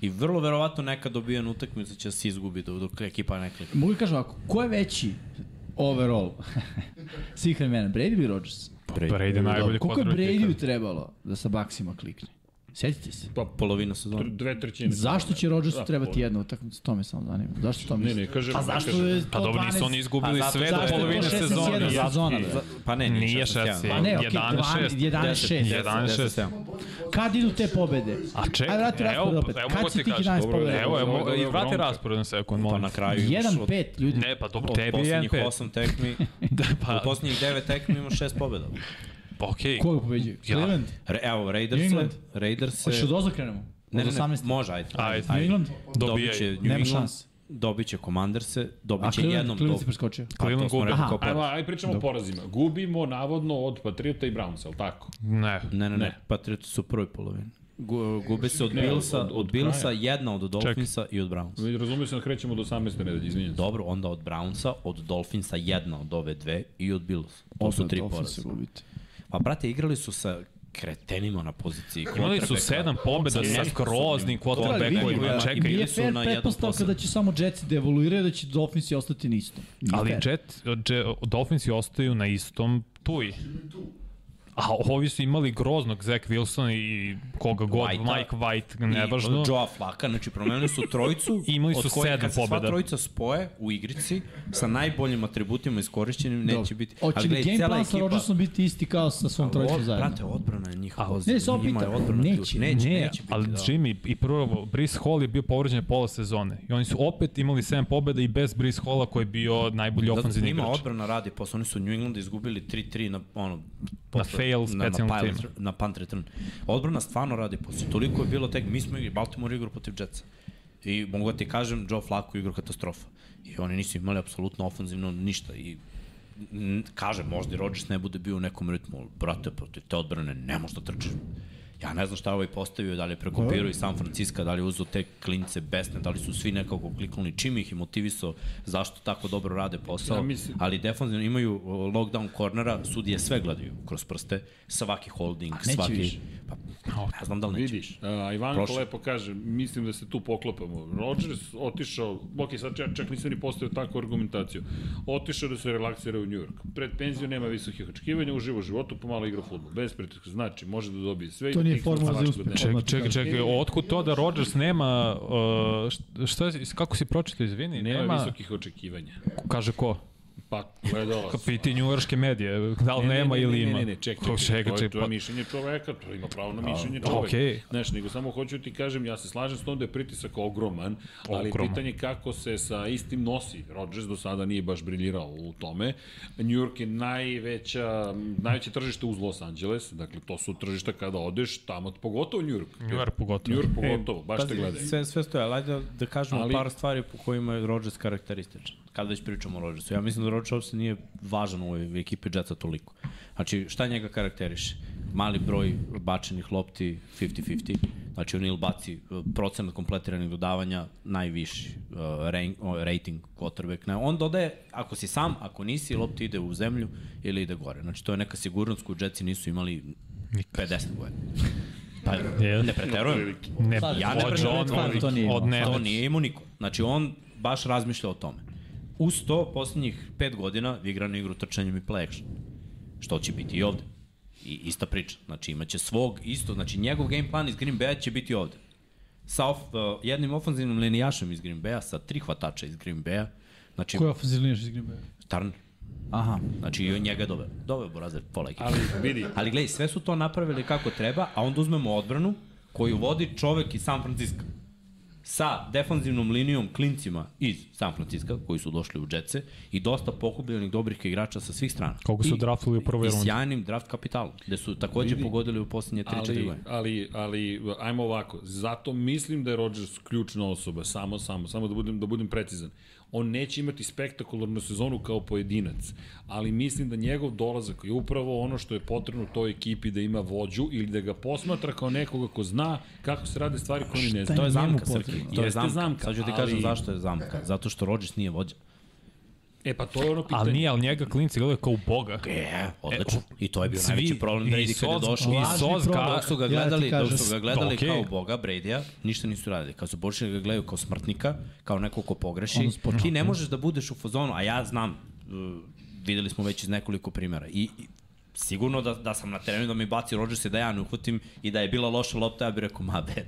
I vrlo verovatno neka dobijen utakmica će se izgubiti dok ekipa ne klika. Mogu da kažem ovako, ko je veći overall svih vremena, Brady ili Rodgers? Brady je najbolji Koliko je quarterback ikada. Bradyu trebalo da sa Baksima klikne? Sjetite se. Pa polovina sezona. Dve trećine. Zašto će Rodgersu Da, trebati jedna utakmica? To me samo zanima. Zašto to Ne, misliš? ne, kažem. A zašto je to Pa dobro, nisu oni 12? izgubili A zato- sve do zašto je to polovine 16-1 sezone. Ja- sezona, da. Pa ne, Nije 16-1. 6-1. Pa ne, okej, 11-6. 11-6. 11-6. Kad idu te pobede? A čekaj, Ajde, vrati raspored evo, opet. evo Kad mogu si ti tih kažem. 11 Dobro, pobeda? evo, Ovo je evo, i dobra bronka. vrati raspored na sekund, Pa molim. na te. kraju imaš od- 1-5, ljudi. Ne, pa dobro, Od tebi je poslednjih 1-5. 8 tekmi, Da, u pa, poslednjih 9 tekmi imaš 6 pobjeda. pa okej. Koga pobeđuje? Ja. Cleveland? Re, evo, Raiders, New England. Raiders Hoćeš da od ozdo krenemo? Ne, ne, Od ne, 18. može, ajde. Ajde. New England? Dobit Dobijaj. će New Nema England, šanse. dobit će Commanders-e, A dobit će Cleveland, jednom Dolphins. Cleveland si preskočio. Cleveland gubi. Aha, Ajmo, ajde pričamo o porazima. Gubimo, navodno, od Patriota i Brownsa, ali tako? Ne, Ne, ne, ne, Ne. Patrioti su u prvoj polovini. Gu, gube se od Ne, Billsa, od- od, od Billsa, kraja. jedna od Dolphinsa i od Brownsa. Mi razumio sam da krećemo od 18. nedelje, izvinjam se. Dobro, onda od Brownsa, od Dolphinsa jedna od ove dve i od Billsa. To su tri poraza. gubite. Pa, brate, igrali su sa kretenima na poziciji. Imali su quarterbacka. sedam pobjeda sa Jeste, skroznim vidimo, quarterbackovima, da. čekaj. Bili Nije su fair na jednom pretpostavka posledu. da će samo Jetsi da evoluiraju, da će Dolphinsi ostati na istom. Nije Ali fair. Jet, Jet, Dolphinsi ostaju na istom tuji. A ovi su imali groznog Zach Wilson i koga god, Whitea. Mike White, I nevažno. Joa Flaka, znači promenili su trojicu. I imali su od koje, sedam kad se pobeda. sva trojica spoje u igrici sa najboljim atributima iskorišćenim, neće biti... Hoće ali li gledaj, game cela plan sa ekipa- Rodgersom biti isti kao sa svom trojicom Od- zajedno? Brate, odbrana je njihova. A, ozbiljna, ne, samo njima je pitam. odbrana Neće, ključ. neće, Ne, neće biti, ali da. Jimmy i prvo, Brice Hall je bio povređen pola sezone i oni su opet imali 7 pobjeda i bez Brice Halla koji je bio najbolji Zato što ofenzivni njima igrač. odbrana radi, posle oni su New Englanda izgubili 3-3 na ono posle- fail specijalni na, tim. na punt return. Odbrana stvarno radi posle. Toliko je bilo tek, mi smo igrali Baltimore igru protiv Jetsa. I mogu da ti kažem, Joe Flacco igru katastrofa. I oni nisu imali apsolutno ofenzivno ništa. I n- kažem, možda i Rodgers ne bude bio u nekom ritmu, ali brate, protiv te odbrane ne može da trče. Ja ne znam šta je ovaj postavio, da li je prekopirao i San Francisco, da li je uzeo te klince besne, da li su svi nekako kliknuli, čim ih je motivisao, zašto tako dobro rade posao, Ja mislim- ali defanzivno imaju o, lockdown cornera, sudije sve gledaju kroz prste, svaki holding, neće svaki... više. Pa, ne znam da li neće više. Vidiš, a, Ivanko Prošlo. lepo kaže, mislim da se tu poklapamo. Rodgers otišao, ok, sad čak, čak nisam ni postavio takvu argumentaciju, otišao da se relaksira u New York. Pred penziju nema visokih očekivanja, uživa u životu, pomalo igra futbol. Bez pritiska, znači, može da dobije sve. i To da nije klikne formula za svašta uspeh. da nema. Čekaj, čekaj, čekaj, otkud to da Rodgers nema, uh, šta, šta, kako si pročito, izvini, Nema nema, visokih očekivanja. kaže ko? Pa, gledala sam. Piti njujorske medije, da li Ne, ne, nema ne, ili ne, ima. ne, ne, čekaj, Ko To je, čega, to je čekaj, pa mišljenje čoveka, to ima pravo na mišljenje da, čoveka. okej. Znaš, nego samo hoću ti kažem, ja se slažem s tom da je pritisak ogroman, ali Ogroman. pitanje je kako se sa istim nosi. Rodgers do sada nije baš briljirao u tome. New York je najveća, najveće tržište uz Los Angeles, dakle to su tržišta kada odeš tamo, pogotovo New York. New York pogotovo. New York pogotovo, baš te Pa gledaju. Sve, sve stoje, ali ajde da kažemo Ali- ali... par stvari po kojima je Rodgers karakterističan. Kada već pričamo o Rodgersu. Ja mislim da Rodgers uopšte nije važan u ovoj ekipi Jetsa toliko. Znači, šta njega karakteriše? Mali broj bačenih lopti 50-50. Znači, on ili baci e, procenat kompletiranih dodavanja najviši uh, rank, o, rating quarterback. Ne, on dodaje, ako si sam, ako nisi, lopti ide u zemlju ili ide gore. Znači, to je neka sigurnost koju Jetsi nisu imali 50 godina. Pa, Je. ne preterujem. ne, pa, Ja ne od- preživim od- stvar, to nije imao. Od Ne, to Nemec. nije imao niko. Znači, on baš razmišlja o tome. Uz to, poslednjih pet godina vi igranu igru trčanjem i play action. Što će biti i ovde. I ista priča. Znači, imaće svog isto. Znači, njegov game plan iz Green Bay će biti ovde. Sa of, uh, jednim ofanzivnim linijašem iz Green Bay-a, sa tri hvatača iz Green Bay-a. Znači, Koji je ofenzivni linijaš iz Green Bay? Turner. Aha. Znači, i on njega je doveo. Doveo je Borazer, pola ekipa. Ali vidi, Ali gledaj, sve su to napravili kako treba, a onda uzmemo odbranu koju vodi čovek iz San Francisco. Sa defanzivnom linijom klincima iz San Francisco, koji su došli u džetce, i dosta pokupljenih dobrih igrača sa svih strana. Koliko su I- draftali u prvoj I rundi. sjajnim draft kapitalom, gde su takođe pogodili u posljednje 3-4 ali, godine. ali, ali, ajmo ovako, zato mislim da je Rodgers ključna osoba, samo, samo, samo da budem, da budem precizan. On neće imati spektakularnu sezonu kao pojedinac, ali mislim da njegov dolazak je upravo ono što je potrebno toj ekipi da ima vođu ili da ga posmatra kao nekoga ko zna kako se rade stvari koje oni ne Šta znaju. To je Njemu zamka, potrebno. Srki. To Jeste je zamka. zamka, Sad ću ti ali- kažem zašto je zamka. Zato što Rodgers nije vođa. E pa to je ono pitanje. Ali nije, ali njega klinci gledaju kao boga. E, odlično. I to je bio Svi- najveći problem da i idi kada je Soz- došao. i Lažni Soz problem. ga- Dok su ga ja ti gledali, kažem, dok su ga gledali okej. kao boga, Brady-a, ništa nisu radili. Kad su počeli da ga gledaju kao smrtnika, kao neko ko pogreši, ti ne možeš da budeš u fazonu, a ja znam, uh, videli smo već iz nekoliko primjera. I, i sigurno da, da sam na terenu da mi baci Rodgers i da ja ne uhvatim i da je bila loša lopta, ja bih rekao, ma be.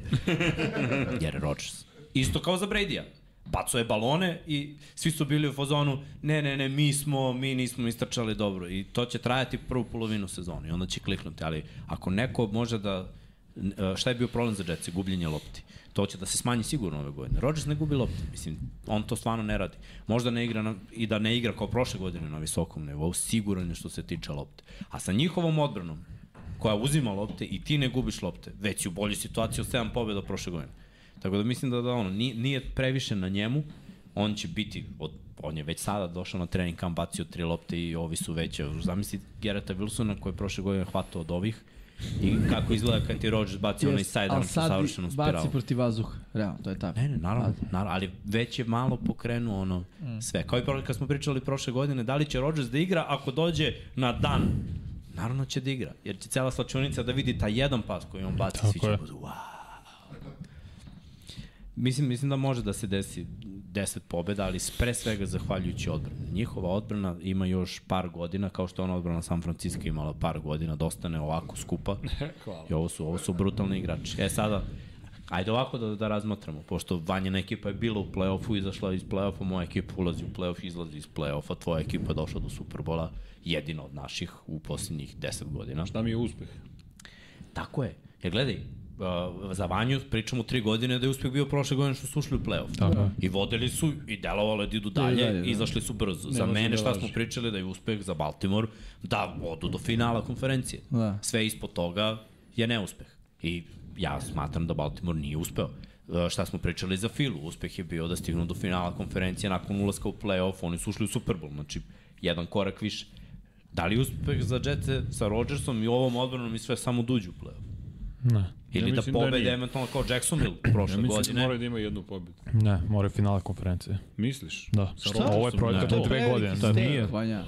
Jer je Rodgers. Isto kao za Brady-a. Bacao je balone i svi su bili u fazonu ne, ne, ne, mi smo, mi nismo istrčali dobro i to će trajati prvu polovinu sezoni i onda će kliknuti, ali ako neko može da n- e, šta je bio problem za Jetsi? Gubljenje lopti. To će da se smanji sigurno ove godine. Rodgers ne gubi lopti, mislim, on to stvarno ne radi. Možda ne igra na, i da ne igra kao prošle godine na visokom nivou, siguran je što se tiče lopte. A sa njihovom odbranom, koja uzima lopte i ti ne gubiš lopte, već si u boljoj situaciji od 7 pobjeda prošle godine. Tako da mislim da, da ono, nije, nije previše na njemu, on će biti, od, on je već sada došao na trening kamp, bacio tri lopte i ovi su već, zamisli Gereta Wilsona koji je prošle godine hvatao od ovih i kako izgleda kad ti Rodgers baci onaj side arm sa savršenom baci spiralom. protiv vazduha, realno, to je tako. Ne, ne, naravno, naravno, ali već je malo pokrenuo ono sve. Kao i pro- kad smo pričali prošle godine, da li će Rodgers da igra ako dođe na dan? Naravno će da igra, jer će cela slačunica da vidi taj jedan pas koji on baci, svi će je. budu, wow. Mislim, mislim da može da se desi 10 pobjeda, ali pre svega zahvaljujući odbrani. Njihova odbrana ima još par godina, kao što je ona odbrana San Francisco imala par godina, da ostane ovako skupa. Hvala. I ovo su, ovo su brutalni igrači. E sada, ajde ovako da, da razmatramo, pošto vanjena ekipa je bila u play-offu, izašla iz play-offa, moja ekipa ulazi u play-off, izlazi iz play-offa, tvoja ekipa je došla do Superbola, jedina od naših u posljednjih 10 godina. Šta mi je uspeh? Tako je. Jer gledaj, uh, za Vanju pričamo tri godine da je uspeh bio prošle godine što su ušli u play-off. Tako. I vodili su i delovalo je da idu dalje, dalje, dalje da. izašli su brzo. može za da mene šta laže. smo pričali da je uspeh za Baltimore da odu do finala konferencije. Da. Sve ispod toga je neuspeh. I ja smatram da Baltimore nije uspeo. E, šta smo pričali za Filu, uspeh je bio da stignu do finala konferencije nakon ulaska u play-off, oni su ušli u Super Bowl, znači jedan korak više. Da li je uspeh za Jetsa sa Rodgersom i ovom odbranom i sve samo duđu u play-off? Ne, Ili Ja ja da mislim da pobede nije. da eventualno kao Jacksonville prošle Ja mislim da godine. mora da ima jednu pobjedu. ne, mora je finale konferencije. Misliš? Da. Sa Šta? Ovo je Rodgersom, projekat ne. na dve godine. Da, nije. Vanja.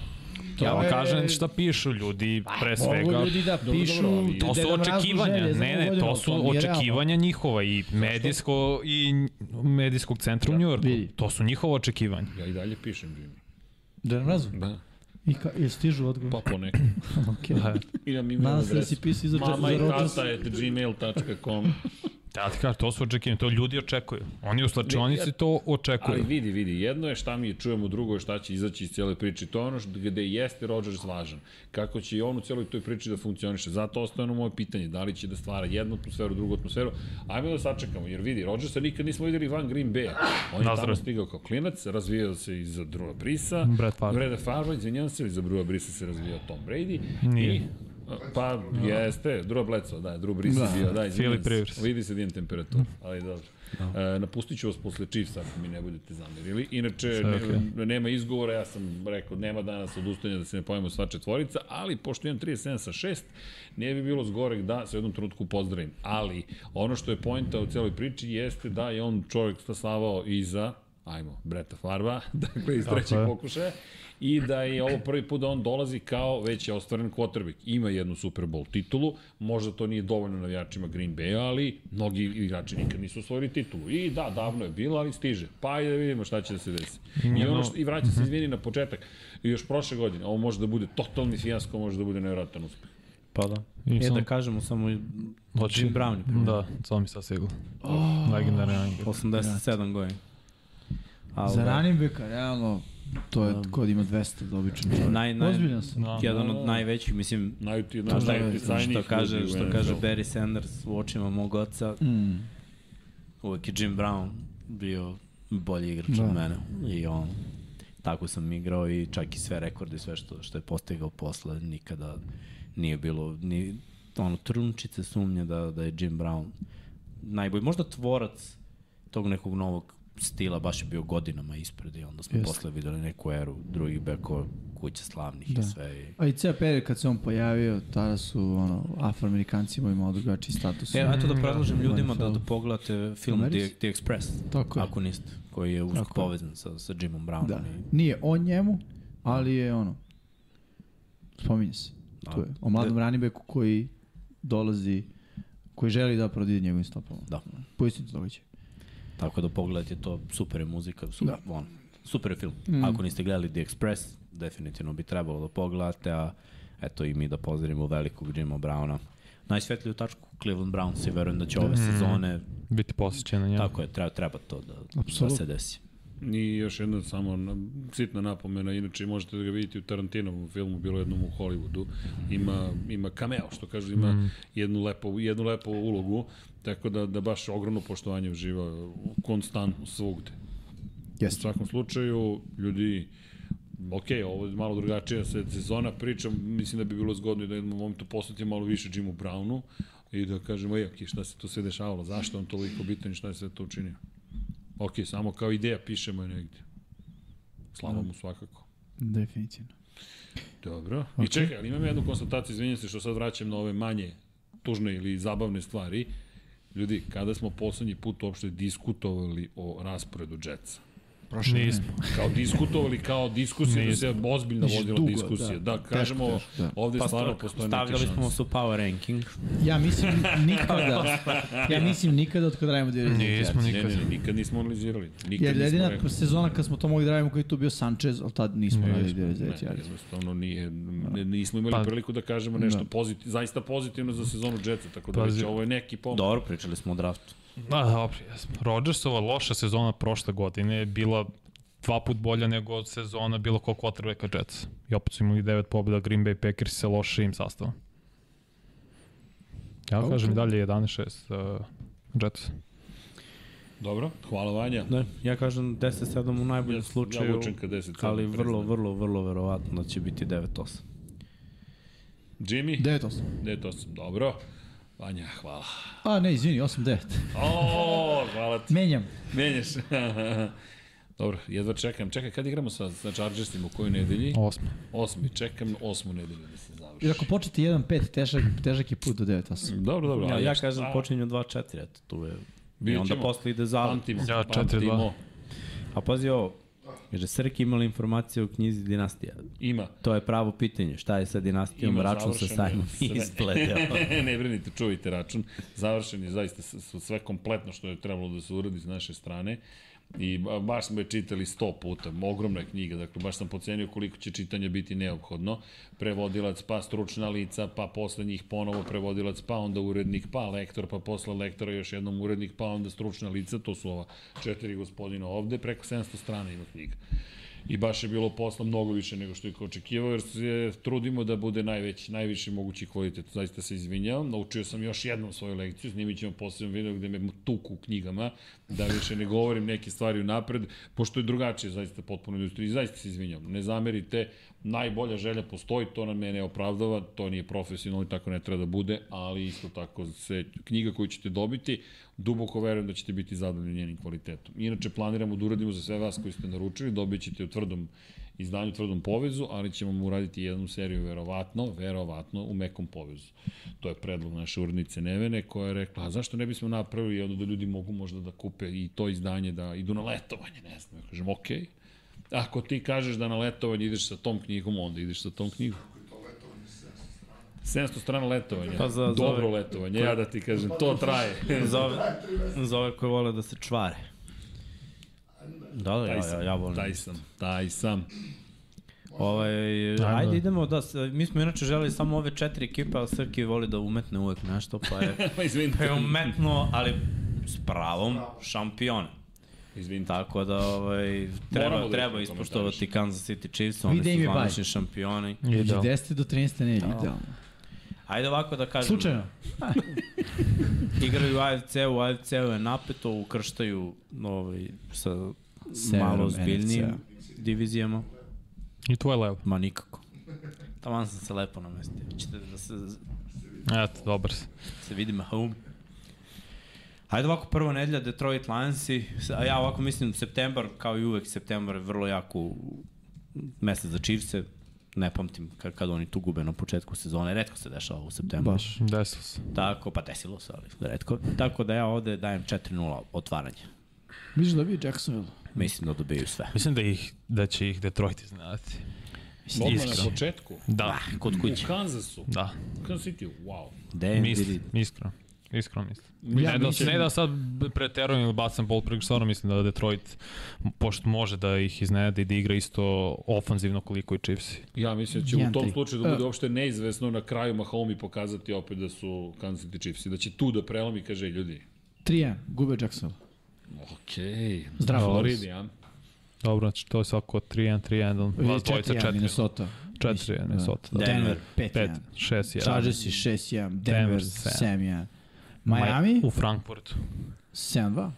Ja vam kažem šta pišu ljudi, pre Mogu svega. ljudi da pišu... dobro, ali- te To su dedom raznu očekivanja, želje za ne, ovu ne, godinu, to su nije realno. očekivanja njihova i medijsko i medijskog centra u Njujorku. vidi. To su njihova očekivanja. Ja i dalje pišem, Jimmy. Da nam razu? Da. I ka, je stižu odgovor? Pa ponekad. Pa, okay. Imam ime Nadam se da si pisao iza Mama i za Rodgers. tata at gmail.com Da ti kažem, to su očekivanje, to ljudi očekuju. Oni u slačionici to očekuju. Ali vidi, vidi, jedno je šta mi čujemo, drugo je šta će izaći iz cijele priče. To je ono što, gde jeste Rodgers važan. Kako će i on u cijeloj toj priči da funkcioniše. Zato ostaje ono moje pitanje, da li će da stvara jednu atmosferu, drugu atmosferu. Ajme da sačekamo, jer vidi, Rodgersa nikad nismo videli van Green Bay. On je tamo Nazdrav. stigao kao klinac, razvijao se iz Drua Brisa. Brett Favre. Breda Favre, izvinjam se, iz Drua Brisa se razvijao Tom Brady. Nije. Da. I Pa, jeste, Drew Bledsoe, da, Drew Brees da. bio, da, izvinjam Philip se. Rivers. Vidi se dijem temperaturu, ali dobro. E, napustit ću vas posle Chiefs ako mi ne budete zamerili. Inače, ne, okej. nema izgovora, ja sam rekao, nema danas odustanja da se ne pojemo sva četvorica, ali pošto imam 37 sa 6, ne bi bilo zgorek da se u jednom trenutku pozdravim. Ali, ono što je pojenta u celoj priči jeste da je on čovjek stasavao iza ajmo, Breta Farva, dakle iz trećeg je. pokušaja, i da je ovo prvi put da on dolazi kao već je ostvaren quarterback. Ima jednu Super Bowl titulu, možda to nije dovoljno navijačima Green Bay, ali mnogi igrači nikad nisu osvojili titulu. I da, davno je bilo, ali stiže. Pa i da vidimo šta će da se desi. I, ono što, i vraća se, izvini, na početak. I još prošle godine, ovo može da bude totalni fijasko, može da bude nevjerojatan uspeh. Pa da. I E, samo- da kažemo samo i- Jim Brown je primjer. Znači, Da, to mi sad siglo. Oh, Legendarni Angel. 87 godina. Ali, Za da, ranim beka, realno, to je kod ima 200 da običan čovjek. Naj, naj, Ozbiljan sam. Da. jedan od najvećih, mislim, Najuti, To najuti, što, najuti, što kaže, što kaže Barry Sanders u očima mog oca, Mm. uvek je Jim Brown bio bolji igrač Da. od mene i on tako sam igrao i čak i sve rekorde, sve što, što je postigao posle, nikada nije bilo ni ono trunčice sumnje da, da je Jim Brown najbolji, možda tvorac tog nekog novog stila, baš je bio godinama ispred i onda smo Jeste. posle videli neku eru drugih bekova, kuća slavnih Da. i sve. I... A i ceo period kad se on pojavio, tada su ono, afroamerikanci imali drugačiji status. E, eto da predlažem Da. ljudima da, da Wonderful. pogledate film The, Ameris? The Express, Tako je. ako niste, koji je usko Tako je. povezan sa, sa Jimom Brownom. Da. I, Nije o njemu, ali je ono, spominje se. da. Tu je. O mladom ranibeku koji dolazi, koji želi da prodide njegovim stopama. Da. Po istinu događaju. Tako da pogledajte to, super je muzika, super, da. on, super je film. Mm. Ako niste gledali The Express, definitivno bi trebalo da pogledate, a eto i mi da pozdravimo velikog Jima Browna. Najsvetliju tačku Cleveland Browns i verujem da će Mm. ove sezone, Biti posjećen na njega. tako je, treba, treba to da, da Apsolutno. se desi. I još jedna samo na- sitna napomena, inače možete da ga vidite u Tarantinovom filmu, bilo jednom u Hollywoodu. Ima, ima cameo, što kažu, ima jednu, lepo, jednu lepo ulogu, tako da, da baš ogromno poštovanje uživa konstantno svugde. U Jeste. svakom slučaju, ljudi, ok, ovo je malo drugačija se sezona priča, mislim da bi bilo zgodno i da u jednom momentu posvetimo malo više Jimu Brownu i da kažemo, ej, ok, šta se tu sve dešavalo, zašto je on toliko bitan i šta je sve to učinio. Ok, samo kao ideja pišemo je negde. Slava mu svakako. Definitivno. Dobro. I čekaj, ali imam jednu konstataciju, izvinjam se što sad vraćam na ove manje tužne ili zabavne stvari. Ljudi, kada smo poslednji put uopšte diskutovali o rasporedu Jetsa? Prošle Nismo. kao diskutovali, kao diskusija, da se ozbiljno Niš vodila dugo, diskusija. Da, da. kažemo, Teško, teško, da. ovde Pa stvarno postoje neke stavljali smo šanse. su power ranking, Ja mislim nikada, ja mislim nikada od kada radimo dvije Nismo rezervacije. Ne, ne, nikad. ne, nikad nismo analizirali. Nikad Jer nismo jedina rekli. sezona kad smo to mogli da radimo koji je tu bio Sanchez, ali tad nismo radili dvije rezervacije. Ne, jednostavno nije, ne, nismo imali Pa- priliku da kažemo nešto pozitiv, zaista pozitivno za sezonu Jetsa, tako da Pazi. već ovo je neki pomak. dobro pričali smo o draftu. Da, dobro, jesmo. Rodgersova loša sezona prošle godine je bila dva put bolja nego sezona bilo kog quarterbacka Jetsa. I opet su imali devet pobjeda Green Bay Packers sa lošim sastavom. Ja okay. kažem i dalje 11-6 uh, Jets. Dobro, hvala Vanja. Ne, ja kažem 10-7 u najboljem Ja- ja, ja slučaju. vučem ka 10-7, Ali vrlo, priznajem. vrlo, vrlo verovatno da će biti 9-8. Jimmy, 9-8. ne, to sam dobro. Vanja, hvala. A ne, izvini, 8-9. O, hvala ti. Menjam. Menjaš. Dobro, jedva čekam. Čekaj, kad igramo sa, sa Chargersima, u kojoj nedelji? Osma. Osmi, čekam osmu nedelju da se završi. Jer ako početi 1-5, težak, težak je put do 9-8. Dobro, dobro. Ja, ali ja šta- kažem počinju 2-4, eto tu je. I Pa, Vidjet onda ćemo. posle ide zavet. Pamtimo. Ja, pamtimo. 4:2. A pazi ovo, Kaže, Srki imali informacije u knjizi Dinastija. Ima. To je pravo pitanje, šta je sa dinastijom, Ima račun sa završen sajmom je. ispleteo. ne brinite, čuvajte račun. Završen je zaista s- s- sve kompletno što je trebalo da se uradi s naše strane. I ba- baš smo je čitali 100 puta, ogromna je knjiga, dakle baš sam pocenio koliko će čitanja biti neophodno. Prevodilac, pa stručna lica, pa posle njih ponovo prevodilac, pa onda urednik, pa lektor, pa posle lektora još jednom urednik, pa onda stručna lica, to su ova četiri gospodina ovde, preko 700 strana ima knjiga. I baš je bilo posla mnogo više nego što je očekivao, jer se trudimo da bude najveći, najviši mogući kvalitet. Zaista se izvinjavam, naučio sam još jednom svoju lekciju, snimit ćemo posebno video gde me tuku u knjigama, da više ne govorim neke stvari u napred, pošto je drugačije zaista potpuno industrija. I zaista se izvinjavam, ne zamerite, najbolja želja postoji, to nam ne, ne opravdava, to nije profesionalno i tako ne treba da bude, ali isto tako se knjiga koju ćete dobiti, duboko verujem da ćete biti zadovoljni njenim kvalitetom. Inače, planiramo da uradimo za sve vas koji ste naručili, dobit ćete u tvrdom izdanju, u tvrdom povezu, ali ćemo mu uraditi jednu seriju verovatno, verovatno u mekom povezu. To je predlog naše urednice Nevene koja je rekla, a zašto ne bismo napravili i onda da ljudi mogu možda da kupe i to izdanje, da idu na letovanje, ne znam. Ja kažem, okej. Okay. Ako ti kažeš da na letovanje ideš sa tom knjigom, onda ideš sa tom knjigom. 700 strana letovanja. Pa za- za Dobro ove- letovanje, ja da ti kažem, to traje. za, ove, za ove koje vole da se čvare. Da, da, Taj ja, sam, ja, ja volim. Taj sam, taj sam. Ovaj, ajde idemo, da, s- mi smo inače želeli samo ove četiri ekipe, ali Srki voli da umetne uvek nešto, pa je, Pa izvinite. pa je umetno, ali s pravom šampiona. Izvinite. Tako da ovaj, treba, Moramo da ih treba ne ispoštovati Kansas City Chiefs, oni Vidi im su je baj. zvanični šampioni. I Od da. 10. Znači, do 13. nedelje, idealno. Ajde ovako da kažem. Slučajno. Igraju u AFC-u, AFC-u je napeto, ukrštaju ovaj, sa Severom malo ozbiljnijim NFC-a. divizijama. I tvoj levo. Ma nikako. Taman sam se lepo namestio. Čete da se, Eto, dobar si. se vidi home. Ajde ovako, prva nedelja, Detroit Lionsi. A ja ovako mislim, septembar, kao i uvek, septembar je vrlo jako u- mesec za Chiefse. Ne pamtim kad, kad oni tu gube na početku sezone. Redko se dešava u septembru. Baš. Desilo se. Tako, pa desilo se, ali redko. Tako da ja ovde dajem 4-0 otvaranje. Misliš da bi Jacksonville? Mislim da dobiju sve. Mislim da, ih, da će ih Detroit iznenaditi. Odmah na Iskreno. početku. Da, Ah, Kod U kuće. Kansasu. da. Kansas City, wow. Damn, Mislim, vidi. iskreno. Iskreno mislim. Ja ne, da, mislim- ne da sad preterujem ili bacam bol preko, stvarno mislim da Detroit, pošto može da ih iznenadi i da igra isto ofanzivno koliko i Chiefs. Ja mislim da će u Jedan, tom tri. slučaju da bude uopšte neizvesno na kraju Mahomi pokazati opet da su Kansas City Chiefs i da će tu da prelomi i kaže ljudi. 3-1, gube Jacksonville. Okej. Zdravo. Floridi, a? Dobro, znači to je svako 3-1, 3-1, vas dvojica 4-1 4-1. Minnesota. Da. 4-1, Minnesota. Da. Denver 5-1. 5, 6-1. Chargers 6-1, Denver Denver 7-1. Maj- Miami U Frankfurtu. 7-2.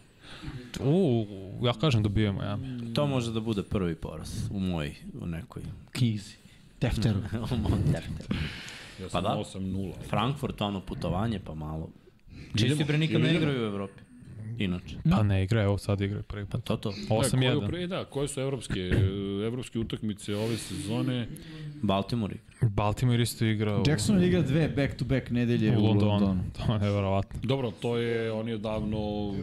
U, ja kažem dobio je Miami. To može da bude prvi poraz u moj, u nekoj. Knjizi. Defteru. u mom defteru. Ja Pa sam da. 8-0. Frankfurt, ono putovanje, pa malo. Čisti Idemo, bre nikad ne idemo. igraju u Evropi. Inače. Da. Pa ne igra, evo sad igra prvi Pa put. to to. Da, koje, 8-1. pre, da, koje su evropske, evropske utakmice ove sezone? Baltimore igra. Baltimore isto igra u, Jackson igra dve back-to-back nedelje u u Londonu. Londonu. To je nevjerovatno. Dobro, to je, oni odavno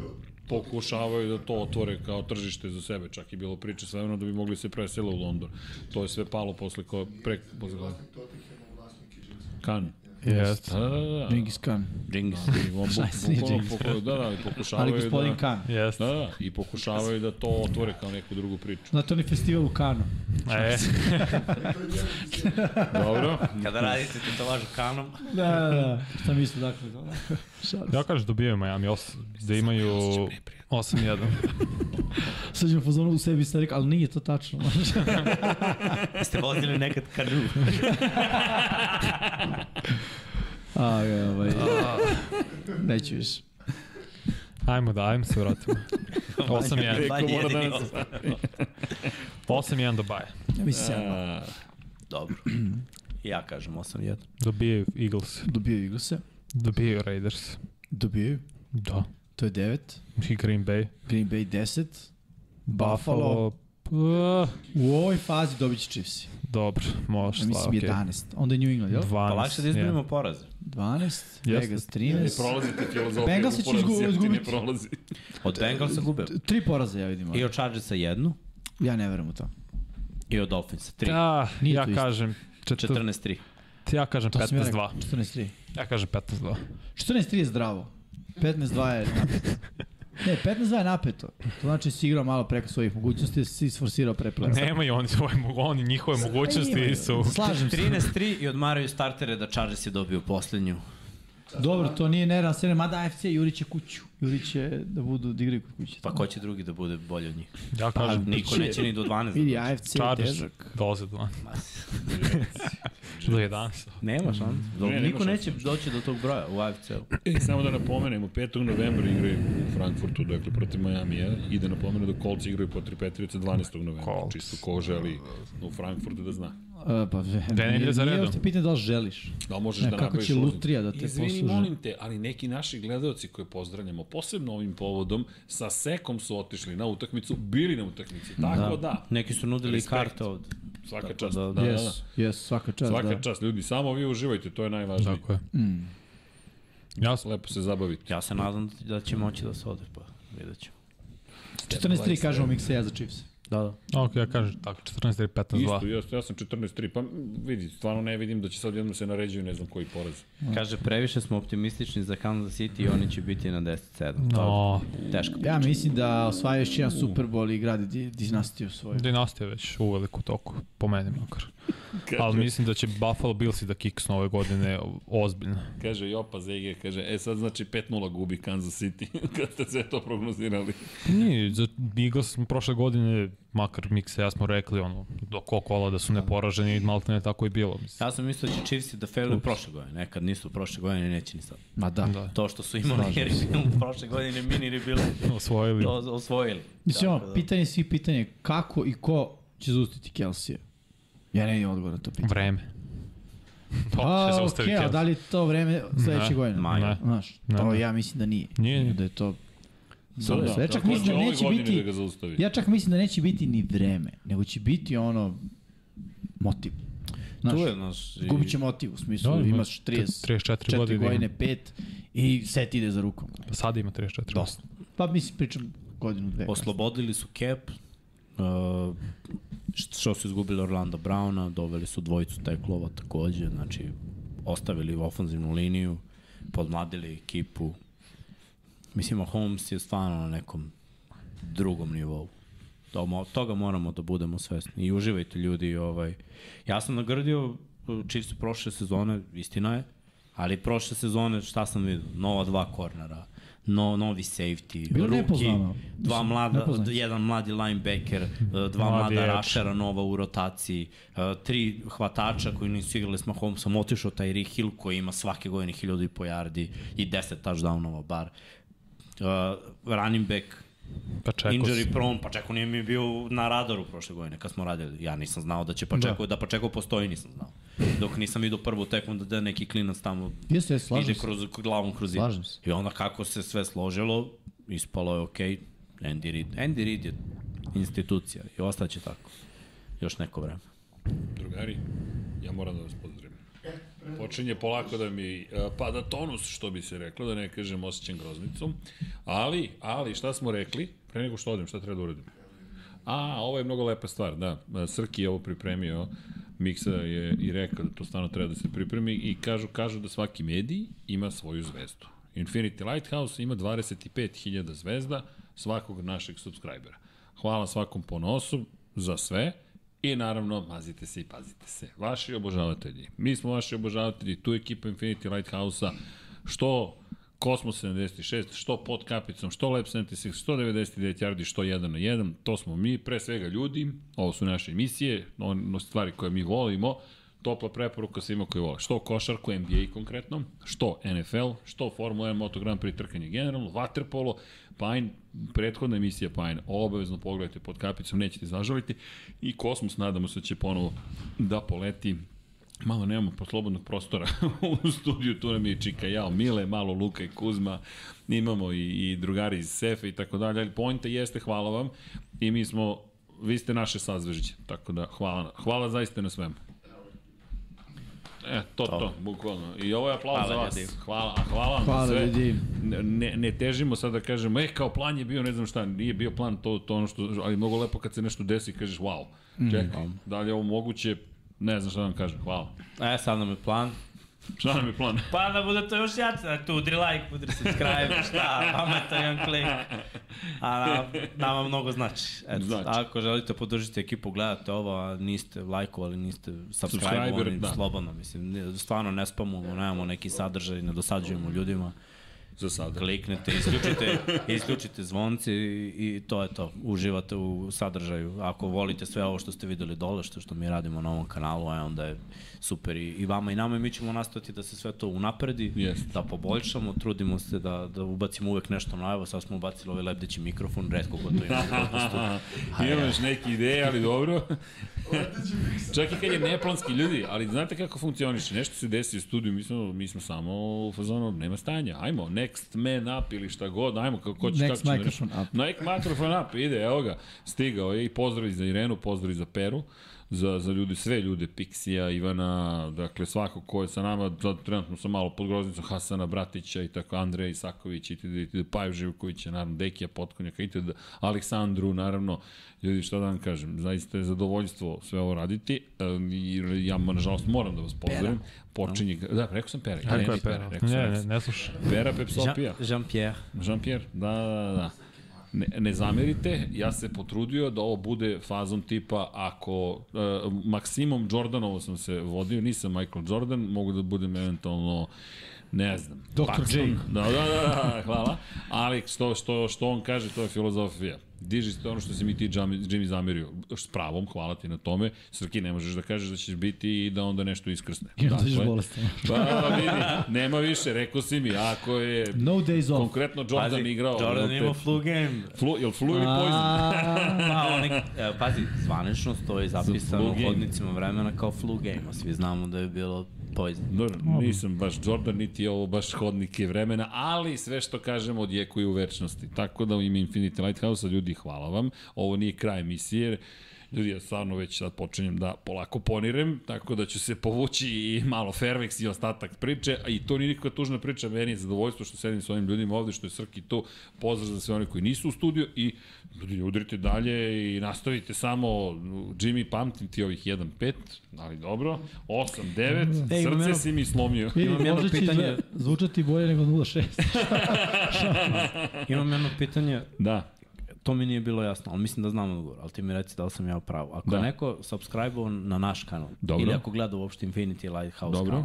pokušavaju da to otvore kao tržište za sebe, čak i bilo priče sve da bi mogli se presele u London. To je sve palo posle ko, pre, posle Kan. Jeste. Da, da, da. Genghis Khan. Džingis. I on Šta je s njim, bukvalno James? poku- da, da, i Ali pokušavaju gospodin da, Khan. Jeste. Da, da, i pokušavaju da to otvore kao neku drugu priču. Znate onaj festival u Kanu? E, Dobro, Kada radite tetovažu kanom. Da, da, da. Šta misli dakle? Da. ja kažem dobio je Miami, os, da imaju 8-1. Sad ćemo fazonu u sebi sad rekao, ali nije to tačno. Ste vozili nekad kanu. A, je, ovaj. Neću više. Ajmo da, ajmo se vratimo. 8-1. Manje mora da nas- jedini osam. 8-1 do baje. Ja mislim sedma. A, Dobro. Ja kažem 8-1. Dobijaju Eagles, Dobio Eaglese. dobijaju Raiders. Dobio. Da. To je devet. I Green Bay. Green Bay 10. Buffalo. Buffalo, p- U ovoj fazi dobit će Chiefs. dobro, može. Ja mislim slabo, okej. 11. Onda je New England, jel? 12. Pa lakše da izbrinemo poraze. 12. Jeste. Vegas ne 13. e, prolazite filozofiju. Bengalsi će uporan izgu- si, ti Ne izgubiti. prolazi. Od da Bengalsa gube. Tri poraza ja vidim. I od Chargersa jednu. Ja ne verujem u to. I od Dolphinsa Ja, 3. da, Nije ja to isto. kažem, četir, 14-3. ja kažem To sam ja rekao. 15-2. 14-3. Ja kažem 15-2. 14-3 je zdravo. 15-2 je napad. Ne, 15-2 je napeto. To znači si igrao malo preko svojih mogućnosti, da si isforsirao pre play. Nemaju oni svoje, mo- oni njihove mogućnosti su... Slažem se. 13-3 i odmaraju startere da Chargers je dobio poslednju. Dobro, to nije nerealan scenarij, mada AFC juriće kuću. Juriće da budu da igraju kod kuće. Pa ko će drugi da bude bolji od njih? Ja Pa, Pa, kažem, Niko neće ni do da 12. Vidi, AFC je Chargers težak. dolaze do 12. pa Do 11. Nema šans. Do, Ne, nema niko šanse. neće doći do tog broja u AFC-u. E, samo da napomenemo, 5. novembra igraju u Frankfurtu, dakle, protiv Majamija i da napomenu da Colts igraju protiv Patriotsa 12. novembra. Colts. Čisto ko želi u Frankfurtu da zna. E, pa, Dve nedelje za redom. Nije uopšte pitanje da li želiš. Da li možeš Ne, da kako napraviš će lozu? Lutrija da te Izvini, posluže. molim te, ali neki naši gledaoci koje pozdravljamo, posebno ovim povodom, sa sekom su otišli na utakmicu, bili na utakmici, tako da, Neki su nudili Respekt. karta ovde. svaka Tako čast. da, Da, da, da, Yes, yes, svaka čast. Svaka da. čast, ljudi, samo vi uživajte, to je najvažnije. Tako je. Mm. Jasno. Lepo se zabavite. Ja se nadam da će moći da se ode, pa vidjet ćemo. 14-3 kažemo Mikseja za Chiefs. Da, da. Ok, ja kažem tako, 14 ili 15, Isto, 2. jeste, ja sam 14-3, pa m, vidi, stvarno ne vidim da će sad jednom se naređuju ne znam koji porez. Kaže, previše smo optimistični za Kansas City i oni će biti na 10-7. No, Teško. Ja mislim da osvaja još jedan Super Bowl i gradi di- dinastiju svoju. dinastija je već u veliku toku, po meni makar. Ali mislim da će Buffalo Bills i da kiksnu ove godine ozbiljno. Kaže Jopa ZG, kaže, e sad znači 5-0 gubi Kansas City, kad ste sve to prognozirali. Nije, za Eagles smo prošle godine, makar Miksa i ja smo rekli, ono, do ko kola da su neporaženi, malo ne tako i bilo. Mislim. Ja sam mislio da će Chiefs da failuju prošle godine. Nekad nisu prošle godine, neće ni sad. Ma da. Da, To što su imali rebuild prošle godine, mini rebuild, osvojili. to osvojili. Mislim, Tako da. ono, pitanje svih pitanja je kako i ko će zaustiti Kelsija. Ja ne vidim odgovor na to pitanje. Vreme. To Pa, će A, zaustaviti. okej, a ja. da li je to vreme sledeće Ne, godine? Ma, da. Ne. Znaš, Ne, to ne. ja mislim da nije. Nije, nije. Da je to... Da, Dobro, sve. Ja čak tako mislim da će ove neće godine biti- Da ga zaustavi. Ja čak mislim da neće biti ni vreme, nego će biti ono motiv. Znaš, Tu je, znaš, i- gubit će motiv, u smislu Da, ima imaš 30, 34 4 godine. godine, 5 i set ide za rukom. Pa sada ima 34. Dosta. Pa mislim, pričam godinu, dve. Oslobodili su cap, uh, št- što su izgubili Orlando Browna, doveli su dvojicu teklova takođe, znači ostavili ofanzivnu liniju, podmladili ekipu. Mislim, Holmes je stvarno na nekom drugom nivou. To, mo- toga moramo da budemo svesni. I uživajte ljudi. Ovaj. Ja sam nagrdio Chiefs prošle sezone, istina je, ali prošle sezone šta sam vidio? Nova dva kornera, no, novi safety, Bilo ruki, nepoznano. dva Mislim, mlada, nepoznanica. jedan mladi linebacker, eh, dva Mladi mlada edge. rašera nova u rotaciji, eh, tri hvatača koji nisu igrali s Mahomesom, otišao Tyreek Hill koji ima svake godine hiljadu i po yardi i 10 touchdownova bar. Eh, running back Pa čekao injury si. prone, Pačeko nije mi bio na radaru prošle godine kad smo radili. Ja nisam znao da će Pačeko, da, da Pačeko postoji nisam znao. Dok nisam vidio prvu tekmu da neki klinac tamo Jeste, jeste, slažem ide se. kroz glavom kroz zid. Slažem se. I onda kako se sve složilo, ispalo je okej, Andy Reid. Andy Reid je institucija i ostaće tako. Još neko vreme. Drugari, ja moram da vas pozdravim. Počinje polako da mi e, pada tonus, što bi se reklo, da ne kažem osjećam groznicom. Ali, ali, šta smo rekli? Pre nego što odem, šta treba da uradim? A, ovo je mnogo lepa stvar, da. E, Srki je ovo pripremio, Miksa je i rekao da to stvarno treba da se pripremi i kažu, kažu da svaki medij ima svoju zvezdu. Infinity Lighthouse ima 25.000 zvezda svakog našeg subscribera. Hvala svakom ponosu za sve i naravno mazite se i pazite se. Vaši obožavatelji, mi smo vaši obožavatelji, tu ekipa Infinity Lighthouse-a, što Kosmos 76, što pod kapicom, što Lab 76, što 99 yardi, što 1 na 1, to smo mi, pre svega ljudi, ovo su naše emisije, ono stvari koje mi volimo, topla preporuka svima koji vole, što košarku, NBA konkretno, što NFL, što Formula 1, Moto Grand Prix trkanje generalno, Waterpolo, Pine, prethodna emisija Pine, obavezno pogledajte pod kapicom, nećete zažaliti, i Kosmos nadamo se da će ponovo da poleti Malo nemamo po slobodnog prostora u studiju, tu nam je Čika Jao Mile, malo Luka i Kuzma, imamo i, i drugari iz Sefe i tako dalje, ali pojenta jeste, hvala vam i mi smo, vi ste naše sazvežđe, tako da hvala, na- hvala zaista na svemu. E, to, to, bukvalno. I ovo je aplauz Hvala ljudi. Hvala, a hvala vam Hvala za sve. ljudi. Ne- Ne, ne težimo sad da kažemo, e, kao plan je bio, ne znam šta, nije bio plan, to, to ono što, ali mnogo lepo kad se nešto desi i kažeš, wow, Mm. čekaj, da li je ovo moguće, ne znam šta da vam kažem, hvala. E, sad nam je plan, Šta nam je plan? Pa da bude to još jače, da tu udri like, udri subscribe, šta, vama je to jedan klik. A na, nama mnogo znači. Eto, Znači. znači. Ako želite podržiti ekipu, gledate ovo, a niste lajkovali, niste subscribe-ovali, Subscriber, da. slobodno, mislim, ne- stvarno ne spamujemo, nemamo neki sadržaj, ne dosađujemo ljudima. Za sada. Kliknete, isključite, isključite zvonci i, i to je to. Uživate u sadržaju. Ako volite sve ovo što ste videli dole, što, što mi radimo na ovom kanalu, a onda je super i, i vama i nama i mi ćemo nastaviti da se sve to unapredi, Jeste. da poboljšamo, trudimo se da, da ubacimo uvek nešto novo. Sad smo ubacili ovaj lebdeći mikrofon, redko ko to ima. Aha, imaš neke ideje, ali dobro. Leteći mikser. Čak i kad je neplanski ljudi, ali znate kako funkcioniše, nešto se desi u studiju, mi smo, mi smo samo u fazonu, nema stanja, ajmo, next man up ili šta god, ajmo, kako ko će, Next kako će microphone up. Next microphone up, ide, evo ga, stigao je i pozdrav i za Irenu, pozdrav i za Peru, za, za ljude, sve ljude, Pixija, Ivana, dakle svako ko je sa nama, da, trenutno sam malo pod groznicom Hasana Bratića i tako, Andreja Isaković, i td, itd, Paju Živkovića, naravno, Dekija Potkonjaka, itd, Aleksandru, naravno, ljudi, šta da vam kažem, zaista je zadovoljstvo sve ovo raditi, e, i ja, nažalost, moram da vas pozdravim, počinje, da, rekao sam Pera, ja, Tako ne, je, Pera, Pera. rekao sam, Ne, ne, rekao sam. ne slušaj. Pera Pepsopija. Jean-Pierre. Jean-Pierre, da, da, da. Ne, ne zamerite, ja se potrudio da ovo bude fazom tipa ako e, Maksimom Jordanovo sam se vodio, nisam Michael Jordan, mogu da budem eventualno ne znam. Dr. J. Da, da, da, da, hvala. Ali što, što, što on kaže, to je filozofija. Diži se to ono što si mi ti Jimmy, Jimmy zamerio. S pravom, hvala ti na tome. Srki, ne možeš da kažeš da ćeš biti i da onda nešto iskrsne. I onda ćeš Dakle, bolestan. Pa vidi, nema više, rekao si mi, ako je No days off. Konkretno Jordan Pazi, igrao. Jordan ono, imao te- flu Ah. game. flu, jel flu ili poison? Pa, oni, e, pazi, zvanično stoji zapisano flu u game. hodnicima vremena kao flu game, a svi znamo da je bilo poison. Dobro, nisam baš Jordan, niti je ovo baš hodnik je vremena, ali sve što kažemo odjekuje u večnosti. Tako da u ime Infinity Lighthouse-a, ljudi, hvala vam. Ovo nije kraj emisije, jer ljudi, ja stvarno već sad počinjem da polako ponirem, tako da ću se povući i malo Fairvex i ostatak priče, a i to nije nikakva tužna priča, meni je zadovoljstvo što sedim s ovim ljudima ovde, što je Srki tu, pozdrav za sve one koji nisu u studiju i ljudi, udrite dalje i nastavite samo, Jimmy, pamtim ti ovih 1-5, ali dobro, 8-9, E, imam srce jedno- si mi slomio. Vidi, Imam jedno možda će pitanje. izve- zvučati bolje nego 0.6. Imam jedno pitanje, Da, to mi nije bilo jasno, ali mislim da znam odgovor, ali ti mi reci da li sam ja u pravu. Ako Da. da. neko subscribe na naš kanal, Dobro. ili ako gleda uopšte Infinity Lighthouse Dobro. kanal,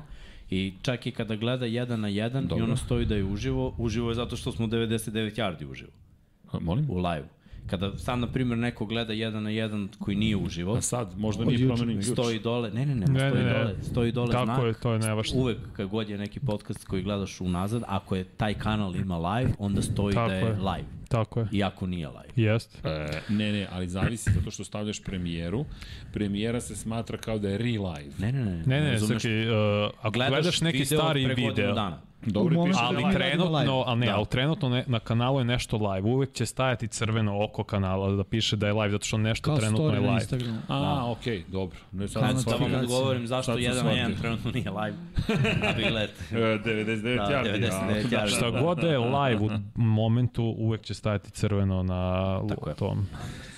i čak i kada gleda jedan na jedan Dobro. i ono stoji da je uživo, uživo je zato što smo 99 yardi uživo, A, molim? u live. Kada sam, na primjer, neko gleda jedan na jedan koji nije uživo, A sad, možda mi promenim ključ. stoji dole, ne, ne, ne, Ne, stoji ne, ne. dole, stoji dole Tako znak, je, to je najvažnije. Uvek kad god je neki podcast koji gledaš unazad, ako je taj kanal ima live, onda stoji Tako da je, je. live, Tako je. i ako nije live. Jeste. E, ne, ne, ali zavisi zato što stavljaš premijeru. Premijera se smatra kao da je re-live. Ne, ne, ne. Ne, ne, ne, razumeš? Srki, uh, ako gledaš, neki video od stari pre godinu video, Dana. Dobro, ti momentu- što da ali Live. trenutno, Live. ali ne, da. ali trenutno ne, na kanalu je nešto live, uvek će stajati crveno oko kanala da piše da je live, zato što nešto Kao trenutno je story na live. Instagramu. A, okej, dobro. Ne, sad Kao sam na Da shvatio. vam Notifikacije. odgovorim zašto Sad sam jedan na jedan shvatio. trenutno nije live. A vi gledajte. E, 99 Da, yardi. 99 a. yardi. Šta god da je live u momentu, uvek će stajati crveno na Tako je. tom.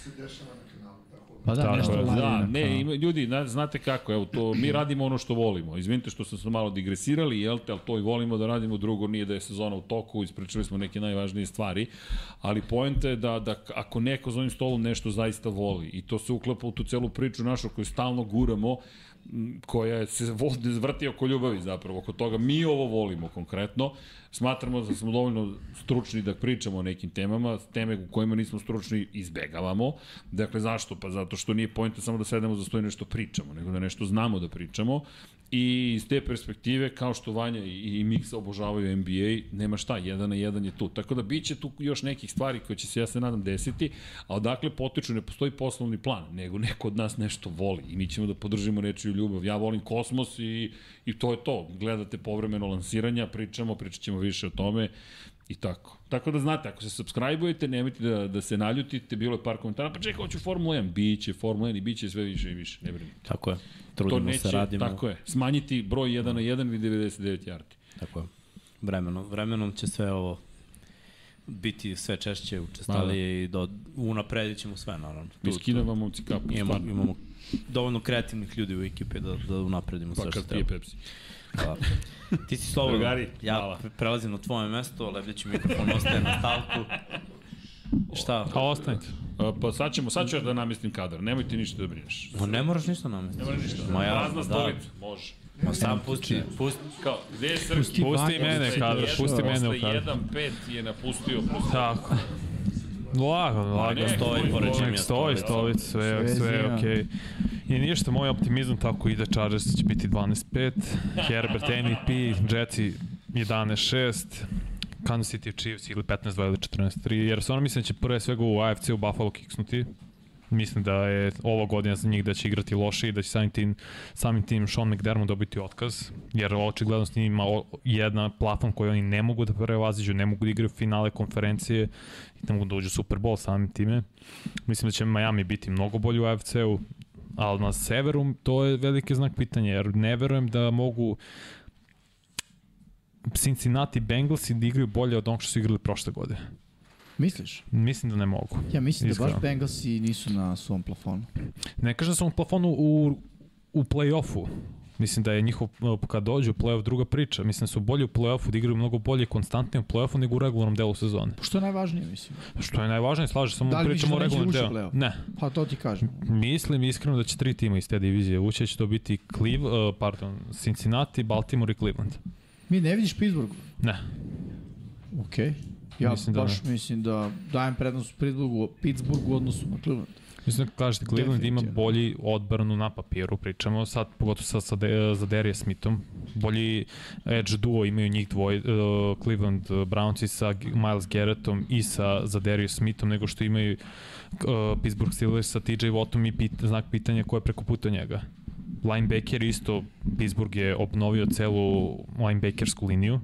se dešava na kanalu. Tako. Pa da, Tako nešto je. live. Da, inako, ono. ne, ima, ljudi, na- znate kako, evo, to, mi radimo ono što volimo. Izvinite što smo se malo digresirali, jel te, ali to i volimo da radimo, drugo nije da je sezona u toku, ispričali smo neke najvažnije stvari, ali poenta je da, da k- ako neko za ovim stolom nešto zaista voli i to se uklapa u tu celu priču našu koju stalno guramo, m, koja se vode, vrti oko ljubavi zapravo, oko toga mi ovo volimo konkretno, smatramo da smo dovoljno stručni da pričamo o nekim temama, teme u kojima nismo stručni izbegavamo. Dakle, zašto? Pa zato što nije pojenta samo da sedemo za sto i nešto pričamo, nego da nešto znamo da pričamo. I iz te perspektive, kao što Vanja i, i Miksa obožavaju NBA, nema šta, jedan na jedan je tu. Tako da bit će tu još nekih stvari koje će se, ja se nadam, desiti, a odakle potiču, ne postoji poslovni plan, nego neko od nas nešto voli i mi ćemo da podržimo reči u ljubav. Ja volim kosmos i, i to je to. Gledate povremeno lansiranja, pričamo, pričat ćemo više o tome i tako. Tako da znate, ako se subscribe-ujete, nemojte da, da se naljutite, bilo je par komentara, pa čekaj, hoću Formula 1, biće Formula 1 i biće sve više i više, ne brinite. Tako je. To Trudimo neće, se, radimo. tako je, smanjiti broj 1 na 1 i 99 yardi. Tako je. Vremenom, vremenom će sve ovo biti sve češće učestalije i Da, do, unapredit ćemo sve, naravno. Tu- Mi tu- skidam vam momci kapu, Imamo, stvarno. imamo dovoljno kreativnih ljudi u ekipi da, da unapredimo Pa sve što kad pije treba. Pepsi. Hvala. Ti si slobodan. Drugari, ja hvala. pre- prelazim na tvoje mesto, lebdeći mikrofon ostaje na stavku. Šta? A ostanite. A, Pa sad ćemo, sad ću ja da namestim kadar, nemoj ti ništa da brineš. Ma ne moraš ništa namestiti. Ne moraš ništa. Ma ja, Prazna da. stolica, Znači- može. Ma sam pusti, pusti. Kao, gde je Srki? Pusti, Pusti mene kadar, pusti mene u kadar. 1-5 je napustio, plus Tako. Lagano, lagano. nek stoji stoji, pored nek Jimmy. Nek stoji stolica, sve, Sve sve, sve zima. okej. Okay. I ništa, moj optimizam tako ide, Chargers će biti 12-5, Herbert E MVP, Jetsi 11-6, Kansas City Chiefs ili 15-2 ili 14-3, jer stvarno mislim da će pre svega u AFC u Buffalo kiksnuti. Mislim da je ova godina za njih da će igrati loše i da će samim tim, samim tim Sean McDermott dobiti otkaz, jer očigledno s njim ima o- jedna platform koju oni ne mogu da prevaziđu, ne mogu da igraju finale konferencije i ne mogu da uđu u Super Bowl samim time. Mislim da će Miami biti mnogo bolji u AFC-u, ali na severu to je veliki znak pitanja, jer ne verujem da mogu Cincinnati Bengalsi da igraju bolje od onog što su igrali prošle godine. Misliš? Mislim da ne mogu. Ja mislim da Iskreno. baš Bengalsi nisu na svom plafonu. Ne kažem da su u plafonu u, u play-offu. Mislim da je njihov, kad dođu u play-off, druga priča. Mislim da su bolji u play-offu, da igraju mnogo bolje i konstantnije u play-offu nego u regularnom delu sezone. Što je najvažnije, mislim. Što je najvažnije, slažem, samo Da li misliš pričamo o da neće regularnom ući u delu. play-off? Ne, Pa to ti kažem. Mislim iskreno da će tri tima iz te divizije ući, da će to biti Cliv, uh, pardon, Cincinnati, Baltimore i Cleveland. Mi ne vidiš Pittsburgh. Ne, Okej. Ja Mislim mislim da baš da mislim da dajem prednost Pittsburghu, Pittsburghu u odnosu na Cleveland. mislim da kažete Cleveland ima Definitivno. bolji odbranu na papiru, pričamo sad, pogotovo sad sa, de, za Derija Smithom, bolji edge duo imaju njih dvoje, uh, Cleveland uh, Browns i sa G- Miles Garrettom i sa za Derija Smithom, nego što imaju uh, Pittsburgh Steelers sa TJ Wattom i pit, znak pitanja ko je preko puta njega. Linebacker isto, Pittsburgh je obnovio celu linebackersku liniju,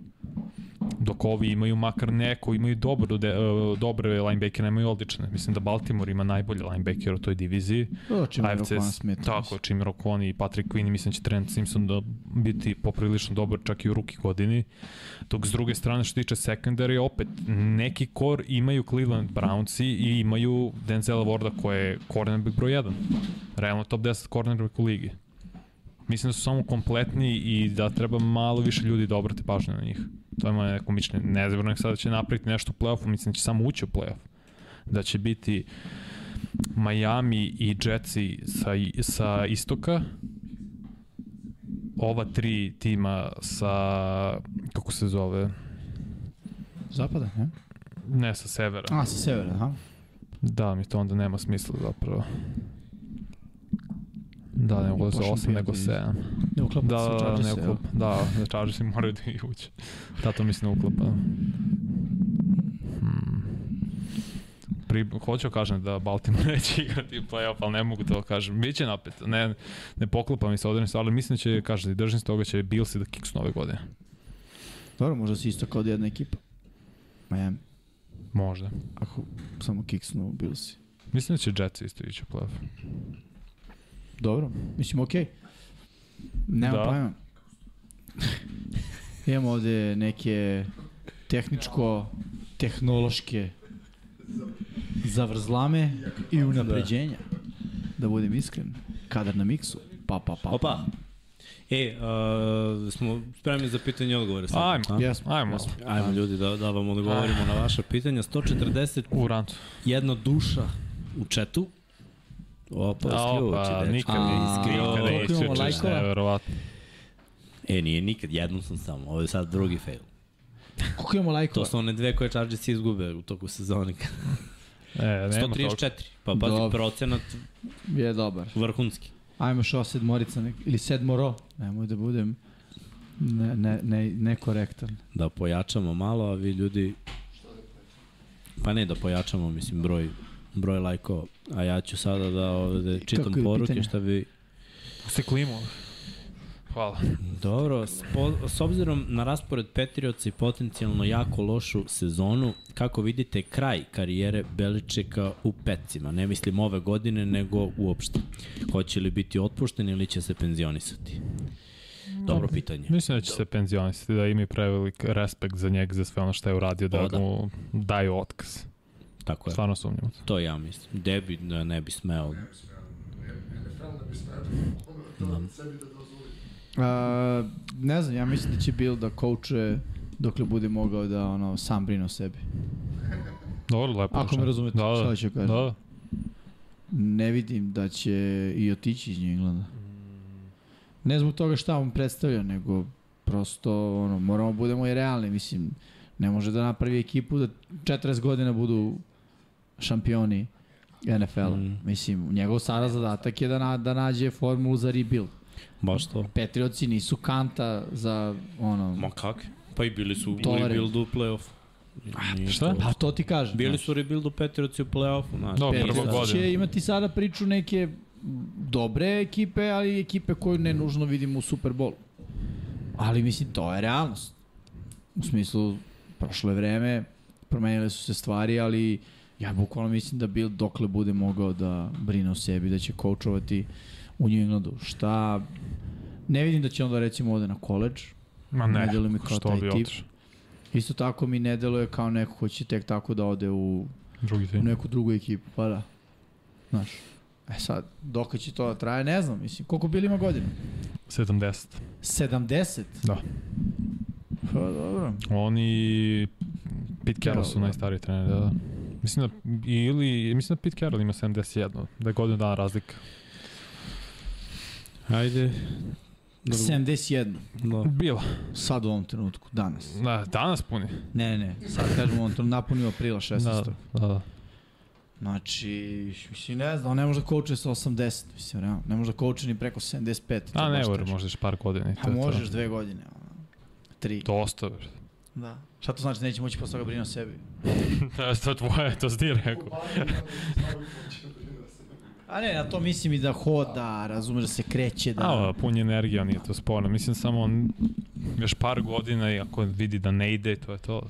dok ovi imaju makar neko, imaju dobro, de, uh, dobre linebackere, nemaju odlične. Mislim da Baltimore ima najbolje linebacker u toj diviziji. To čim je AFC Rokovan Smith. Tako, čim Rokon i Patrick Queen, mislim da će Trent Simpson da biti poprilično dobar čak i u ruki godini. Dok s druge strane što se tiče secondary, opet neki kor imaju Cleveland Brownsi i imaju Denzela Warda koji je cornerback broj 1. Realno top 10 cornerback u ligi. Mislim da su samo kompletni i da treba malo više ljudi da obrate pažnju na njih. To je moje neko mišljenje. Ne znam, nek sada će napraviti nešto u play-offu, mislim da će samo ući u play-off. Da će biti Miami i Jetsi sa, sa istoka, ova tri tima sa, kako se zove, Zapada, ne? ne sa severa. A, sa severa, aha. Da, mi to onda nema smisla zapravo. Da, ne mogu da se Pošaljem 8, nego prijatelje. 7. Ne uklapa Da, se u da, Chargers, ne evo. uklapa. Da, da Chargers im moraju da i uđe. Da, to mislim da uklapa. Hmm. Pri, hoću kažem da Baltimore neće igrati play-off, ali ne mogu to da kažem. Biće napet, ne, ne poklapa mi se određenim stvari, ali mislim da će, kažem, i držim se toga će Bills i da kicks nove godine. Dobro, možda si isto kao da jedna ekipa. Miami, Možda. ako samo kiksnu, bilo si. Mislim da će Jets isto ići u play-off. Dobro, mislim, okej. Nema Da. da. pojma. Imamo ovde neke tehničko, tehnološke zavrzlame i unapređenja. Da budem iskren, kadar na miksu. Pa, pa, pa. Opa. E, uh, smo spremni za pitanje i odgovore sad. Ajmo, a? Jesmo. ajmo. Ajmo ljudi da, da vam odgovorimo na vaša pitanja. 140 U rancu. jedna duša u četu. Opa, Da, Pa, skrivaoće, Opa, dečko. pa, nikad, A, nikad skrivaoće. ne koliko imamo isključiš, lajkova? nevjerovatno. E, nije nikad, jednom sam samo. Ovo je sad drugi fail. Koliko imamo To lajkova? su one dve koje Chargers izgube u toku sezone. E, nema toga. 134. Pa pazi, Dobro. procenat Je dobar. vrhunski. Ajmo šo sedmorica nek, ili sedmoro. Nemoj da budem ne, ne, ne, nekorektan. Da pojačamo malo, a vi ljudi... Pa ne, da pojačamo, mislim, broj broj lajkova. A ja ću sada da ovde čitam Kako je poruke pitanje? šta bi... Pusti klimu. Hvala. Dobro, s, po, s obzirom na raspored Petrioca i potencijalno jako lošu sezonu, kako vidite kraj karijere Beličeka u Pecima? Ne mislim ove godine, nego uopšte. Hoće li biti otpušten ili će se penzionisati? Dobro pitanje. Mislim da će se penzionisati, da imaju prevelik respekt za njeg, za sve ono što je uradio, da O, da. mu daju otkaz. Tako je. Stvarno sumnjamo to. To ja mislim. Debi da ne bi smeo. NFL da bi smelo, ono, to sebi da dozvoli. A, ne znam, ja mislim da će Bill da coache dokle bude mogao da ono, sam brine o sebi. Dobro, lepo. Ako rečeno. me razumete, da, da, šta ću kažem. Da, da. Ne vidim da će i otići iz New Englanda. Ne zbog toga šta on predstavlja, nego prosto ono, moramo da budemo i realni, mislim, ne može da napravi ekipu da 40 godina budu šampioni NFL-a. Mm. Mislim, njegov sada zadatak je da, na, da nađe formulu za rebuild. Baš to. Petrioci nisu kanta za ono... Ma kak? Pa i bili su u Tovare. rebuildu u play-off. Nije šta? to. Pa to ti kažem. Bili su u rebuildu Petrioci u play-offu. Znači, Da, Petrioci- prva Petrioci godina. će imati sada priču neke dobre ekipe, ali i ekipe koju ne nužno vidimo u Super Bowlu. Ali mislim, to je realnost. U smislu, prošlo je vreme, promenile su se stvari, ali ja bukvalno mislim da Bill dokle bude mogao da brine o sebi, da će koučovati u New Englandu. Šta, ne vidim da će onda recimo ode na koleđ. Ma ne, Ne deluje mi kao što taj bi tip. otišao. Isto tako mi ne deluje kao neko ko će tek tako da ode u Drugi u tim. neku drugu ekipu, pa da. Znaš. E sad, dok će to da traje, ne znam, mislim, koliko Bill ima godina? 70. 70? Da. Pa dobro. Oni Pete Carroll su Carroll, da. najstariji trener, da, da. Mislim da, ili, mislim da Pete Carroll ima 71, da je godinu dana razlika. Ajde. Da, 71, da. Bila. sad u ovom trenutku, danas. Da, danas puni. Ne, ne, ne, sad kažemo, on to napunio aprila 16. Da, Da. da, da. Znači, mislim, ne znam, on ne može da kouče sa 80, mislim, realno. Ne može da kouče ni preko 75. to A je ne, baš vore, teško. možda još par godina. i to A je to. Pa možeš da- dve godine, ono, tri. Dosta, bre. Da. Šta to znači, neće moći posle toga brinu o sebi? Da, to je tvoje, to si ti rekao. da A ne, na to mislim i da hoda, razumeš da se kreće, da... Da, pun je energija, nije to sporno. Mislim samo on još par godina i ako vidi da ne ide, to je to.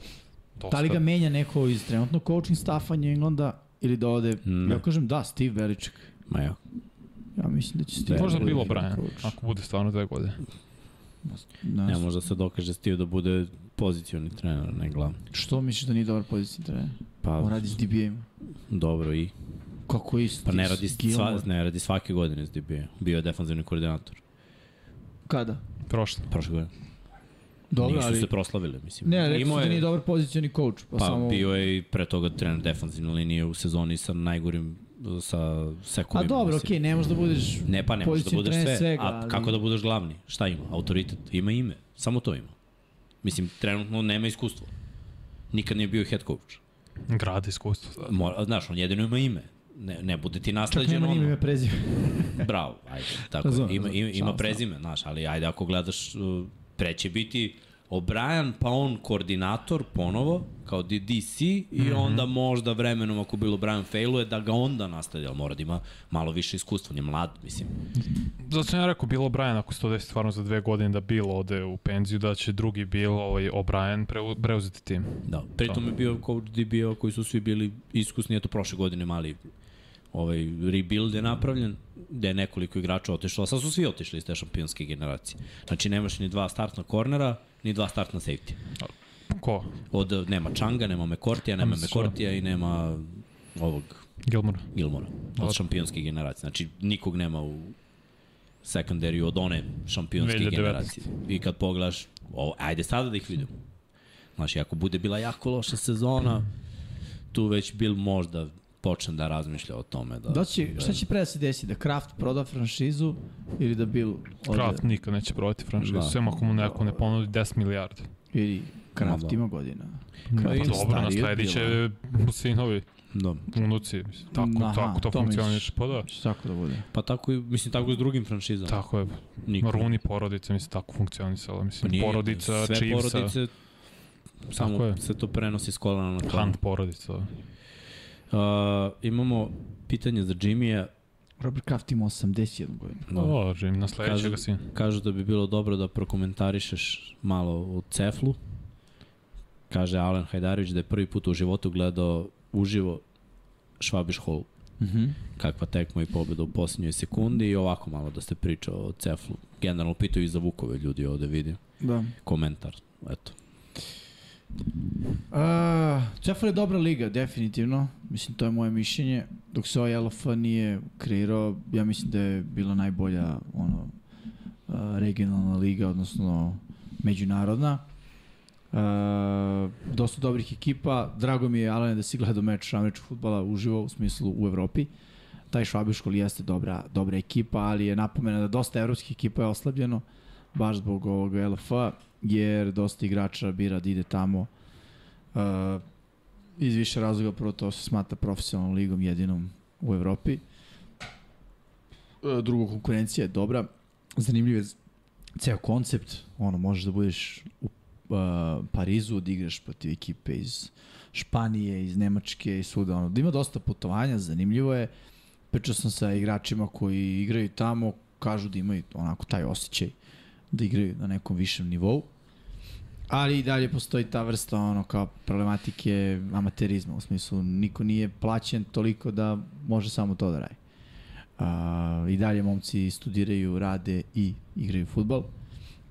Dosta. Da li ga menja neko iz trenutnog coaching staffa New Englanda ili da ode, Ne. ja kažem da, Steve Belichick. Ma ja. Ja mislim da će Steve Belichick Možda da bilo biti Brian, coach. ako bude stvarno dve godine. Da, Ne može da se dokaže Steve da bude pozicioni trener, ne glavni. Što misliš da nije dobar pozicijni trener? Pa On radi s DBA-ima. dobro i Kako isti? pa ne radi s Gilmore. sva, ne radi svake godine s DB. Bio je defanzivni koordinator Kada? Prošlo. prošle godine. Dobro, Nisu ali... se proslavili, mislim. Ne, rekli su Imao da je- nije dobar pozicijni coach, pa, Pa samo... bio je i pre toga trener defanzivne linije u sezoni sa najgorim sa A sekovima. dobro, okej, mislim. ne možeš da budeš... Ne, pa ne možeš da Pozicijni budeš trener sve. svega, a ali- kako da budeš glavni? Šta ima? Autoritet? Ima ime. Samo to ima. Mislim, trenutno nema iskustva. Nikad nije bio head coach. Grad iskustvo. sad. Mora, znaš, on jedino ima ime. Ne, ne bude ti Čak nasleđen nema ni ono. ime prezio. Bravo, ajde. Tako, Razumem, razum, ima, razumem, ima, samo ima znam. prezime, znaš, ali ajde ako gledaš, uh, pre će biti O'Brien, pa on koordinator ponovo, kao DDC, i Mhm. mm -hmm. onda možda vremenom ako bilo Brian failuje, da ga onda nastavlja, ali mora da ima malo više iskustva, on je mlad, mislim. Zato sam ja rekao, bilo Brian, ako se to desi stvarno za dve godine da Bill ode u penziju, da će drugi Bill, ovaj O'Brien, preu- preuzeti tim. Da, pritom je bio coach DBO koji su svi bili iskusni, eto prošle godine mali ovaj rebuild je napravljen, gde je nekoliko igrača otišlo, a sad su svi otišli iz te šampionske generacije. Znači nemaš ni dva startna kornera, ni dva startna safety. Ko? Od, nema Čanga, nema Mekortija, nema Mekortija i nema ovog Gilmore. Gilmora. Od šampionske generacije. Znači nikog nema u secondary od one šampionske 2019. generacije. I kad pogledaš, ovo, ajde sada da ih vidimo. Znači, ako bude bila jako loša sezona, tu već Bill možda počne da razmišlja o tome. Da, Da će, šta će pre da se desi? Da Kraft proda franšizu ili da Bill ode? Kraft nikad neće prodati franšizu, Da. sem ako mu neko ne ponudi 10 milijardi. Ili Kraft Ma da. ima godina. Pa je dobro, stariji od nasledit će sinovi, Da. unuci, mislim. Tako, Aha, tako to, to funkcioniš, misliš. pa da. Što tako da bude? Pa tako i, mislim, tako i s drugim franšizama. Tako je, Niko. Runi porodica, mislim, tako funkcionisala, Pa mislim, nije, porodica, sve Chiefsa, porodice, Tako samo je. se to prenosi s kolana na kolana. Hunt porodica. Uh, imamo pitanje za Jimmy-a. Robert Kraft ima 81 godina. Da. O, Jim, nasledit će Kažu- ga sin. Kažu da bi bilo dobro da prokomentarišeš malo o Ceflu. Kaže Alan Hajdarević da je prvi put u životu gledao uživo Švabiš Hall. Mhm. Kakva tekma i pobjeda u posljednjoj sekundi i ovako malo da ste pričao o Ceflu. Generalno pitaju i za Vukove ljudi ovde vidim. Da. Komentar. Eto. Uh, Cefal je dobra liga, definitivno. Mislim, to je moje mišljenje. Dok se ovaj LFA nije kreirao, ja mislim da je bila najbolja ono, uh, regionalna liga, odnosno međunarodna. E, dosta dobrih ekipa. Drago mi je, Alane, da si gledao meč američkog futbala uživo, u smislu u Evropi. Taj Švabiškol jeste dobra, dobra ekipa, ali je napomena da dosta evropskih ekipa je oslabljeno, baš zbog ovog LFA, jer dosta igrača bira da ide tamo. E, iz više razloga, prvo to se smata profesionalnom ligom jedinom u Evropi. E, drugo, konkurencija je dobra, zanimljiv je ceo koncept, ono, možeš da budeš u uh, Parizu, da igraš protiv ekipe iz Španije, iz Nemačke i svuda, ono, da ima dosta putovanja, zanimljivo je, pričao sam sa igračima koji igraju tamo, kažu da imaju onako taj osjećaj da igraju na nekom višem nivou, ali i dalje postoji ta vrsta ono kao problematike amaterizma, u smislu niko nije plaćen toliko da može samo to da radi. A, I dalje momci studiraju, rade i igraju futbal.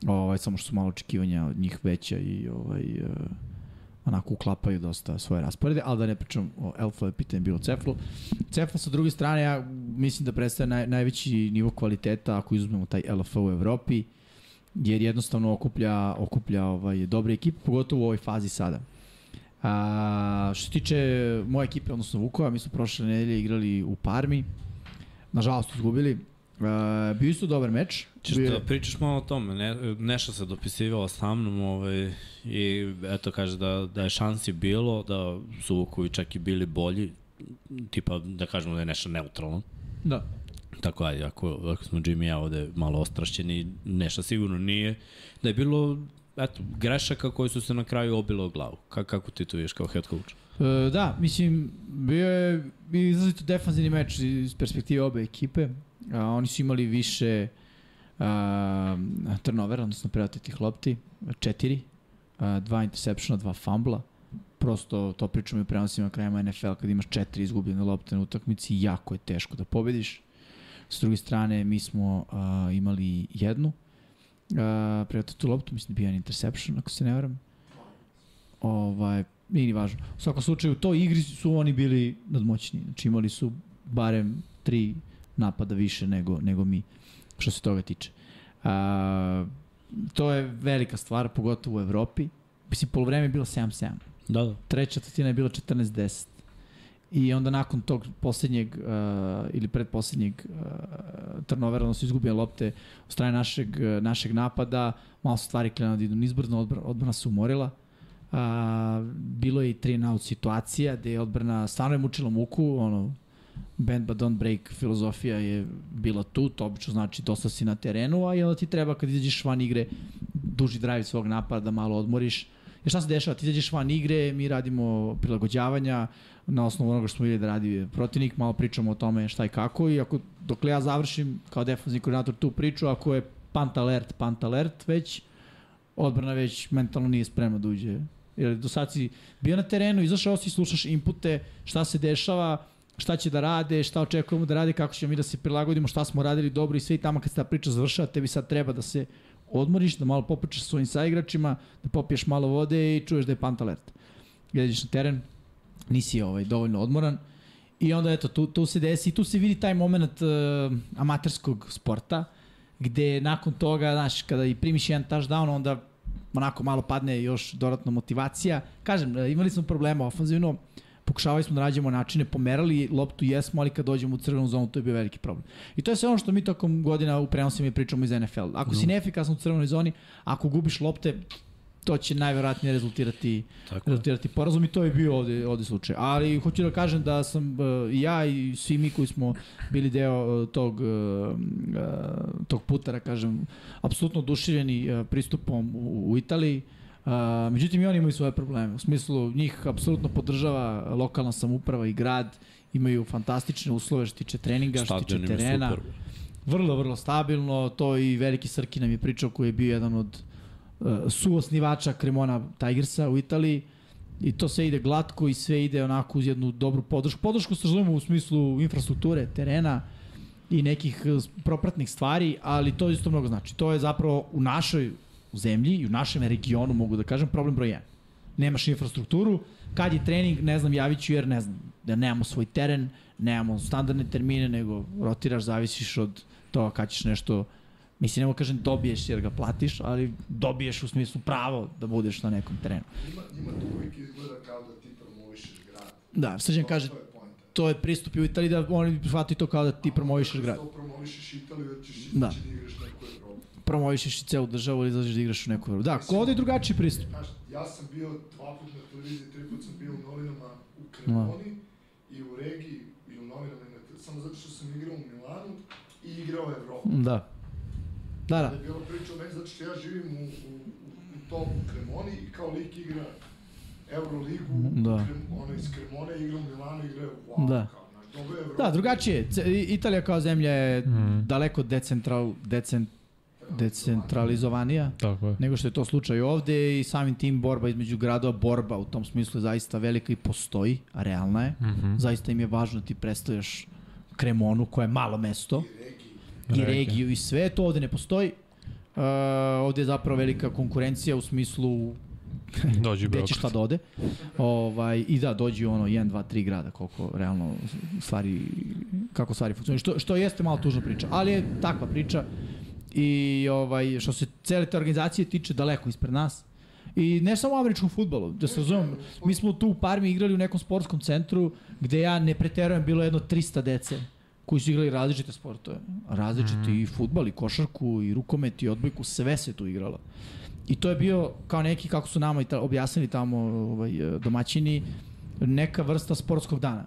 Ovaj, samo što su malo očekivanja od njih veća i ovaj, e, onako uklapaju dosta svoje rasporede, ali da ne pričam o Elfu, je pitanje bilo Ceflu. Cefla sa druge strane, ja mislim da predstavlja naj, najveći nivo kvaliteta ako izuzmemo taj LF u Evropi, jer jednostavno okuplja, okuplja ovaj, dobre ekipe, pogotovo u ovoj fazi sada. A, što se tiče moje ekipe, odnosno Vukova, mi smo prošle nedelje igrali u Parmi, nažalost izgubili. E, bio su dobar meč. Češ Bio je- da pričaš malo o tome, ne, Neša se dopisivala sa mnom ovaj, i eto kaže da, da je šansi bilo, da su Vukovi čak i bili bolji, tipa da kažemo da je Neša neutralan. Da. Tako ajde, ako, ako smo Jimmy i ja ovde malo ostrašćeni, Neša sigurno nije, da je bilo eto, grešaka koje su se na kraju obile o glavu. Ka, kako ti to vidiš kao head coach? E, da, mislim, bio je izrazito defanzivni meč iz perspektive obe ekipe. A, oni su imali više a, turnovera, odnosno preotetih lopti, četiri, a, dva intersepšena, dva fumbla. Prosto to pričamo i u prenosima krajima NFL, kad imaš četiri izgubljene lopte na utakmici, jako je teško da pobediš. S druge strane, mi smo a, imali jednu a, preotetu loptu, mislim da je bio jedan interception, ako se ne varam. Ovaj, nije ni važno. U svakom slučaju, u toj igri su oni bili nadmoćni. Znači imali su barem tri napada više nego, nego mi, što se toga tiče. A, to je velika stvar, pogotovo u Evropi. Mislim, polovreme je bilo 7-7. Da, da. Treća četvrtina je bila 14-10. I onda nakon tog poslednjeg uh, ili predposlednjeg uh, turnovera, odnosno izgubljene lopte od strane našeg, uh, našeg napada, malo su stvari krenule da idu nizbrno, odbrana, odbrana se umorila. Uh, bilo je i 3 na out situacija gde je odbrana stvarno je mučila muku, ono, bend but don't break filozofija je bila tu, to obično znači dosta si na terenu, a i onda ti treba kad izađeš van igre duži drive svog napada, malo odmoriš. Jer šta se dešava? Ti izađeš van igre, mi radimo prilagođavanja na osnovu onoga što smo vidjeli da radi protivnik, malo pričamo o tome šta i kako i ako, dokle ja završim kao defensivni koordinator tu priču, ako je punt alert, punt alert već, odbrana već mentalno nije spremna da uđe. Jer do sad si bio na terenu, izašao si, slušaš inpute, šta se dešava, šta će da rade, šta očekujemo da rade, kako ćemo mi da se prilagodimo, šta smo radili dobro i sve i tamo kad se ta priča završava, tebi sad treba da se odmoriš, da malo popričaš sa svojim saigračima, da popiješ malo vode i čuješ da je punt alert. Gledaš na teren, nisi ovaj, dovoljno odmoran i onda eto, tu, tu se desi i tu se vidi taj moment uh, amaterskog sporta gde nakon toga, znaš, kada i primiš jedan touchdown, onda onako malo padne još dodatno motivacija. Kažem, e, imali smo problema ofanzivno, pokušavali smo da nađemo načine, pomerali loptu jesmo, ali kad dođemo u crvenu zonu to je bio veliki problem. I to je sve ono što mi tokom godina u prenosima i pričamo iz NFL. Ako si neefikasan u crvenoj zoni, ako gubiš lopte, to će najverovatnije rezultirati Tako je. rezultirati porazom i to je bio ovde, ovde slučaj. Ali hoću da kažem da sam e, i ja i svi mi koji smo bili deo e, tog, e, e, tog putara, kažem, apsolutno oduševljeni e, pristupom u, u Italiji. Uh, međutim i oni imaju svoje probleme. U smislu njih apsolutno podržava lokalna samuprava i grad, imaju fantastične uslove što se tiče treninga, što se tiče Stadion im je terena. super. Vrlo, vrlo stabilno, to i veliki Srki nam je pričao koji je bio jedan od uh, suosnivača Cremona Tigersa u Italiji i to sve ide glatko i sve ide onako uz jednu dobru podršku. Podršku se razumemo u smislu infrastrukture, terena i nekih uh, s- propratnih stvari, ali to isto mnogo znači. To je zapravo u našoj zemlji i u našem regionu, mogu da kažem, problem broj 1. Nemaš infrastrukturu, kad je trening, ne znam, javit ću jer ne znam, da nemamo svoj teren, nemamo standardne termine, nego rotiraš, zavisiš od toga kad ćeš nešto Mislim, nemo kažem dobiješ jer ga platiš, ali dobiješ u smislu pravo da budeš na nekom terenu. Njima, njima to uvijek izgleda kao da ti promovišeš grad. Da, Srđan kaže, To je pojenta. to je pristup i u Italiji da oni shvataju to kao da ti promovišeš grad. To promovišeš Italiju jer ćeš ići Da. da. da igraš neku Evropu. Promovišeš i celu državu ili izlaziš da igraš u neku Evropu. Da, kod je drugačiji pristup. Znaš, ja sam bio dva puta na televiziji, tri puta sam bio u novinama u Da. Kremoni i u regiji i u novinama, i na te- samo zato što sam igrao u Milanu i igrao Evropu. Da. Da, da. Da je bilo priča o meni, zato što ja živim u, u, u tom Kremoni i kao lik igra Euroligu, Da. Krem, ono iz Kremone igra u Milanu, igra wow, Da. kao, znaš, dobro je Evropa. Da, drugačije. je. Ce- I- Italija kao zemlja je mm. daleko decentral, decent, decentralizovanija Tako je. nego što je to slučaj ovde i samim tim borba između gradova, borba u tom smislu je zaista velika i postoji, a realna je. Mm -hmm. Zaista im je važno da ti predstavljaš Kremonu koja je malo mesto i regiju i sve to ovde ne postoji. Uh, ovde je zapravo velika konkurencija u smislu Dođi u gde će šta Beograd. da ode. Ovaj, I da, dođi ono 1, 2, 3 grada, koliko realno stvari, kako stvari funkcionuju. Što, što jeste malo tužna priča, ali je takva priča. I ovaj, što se cele te organizacije tiče daleko ispred nas. I ne samo u američkom futbolu, da se razumem, mi smo tu u Parmi igrali u nekom sportskom centru gde ja ne preterujem, bilo je jedno 300 dece koji su igrali različite sportove. Različiti mm. i futbal, i košarku, i rukomet, i odbojku, sve se tu igralo. I to je bio kao neki, kako su nama i ta, objasnili tamo ovaj, e, domaćini, neka vrsta sportskog dana.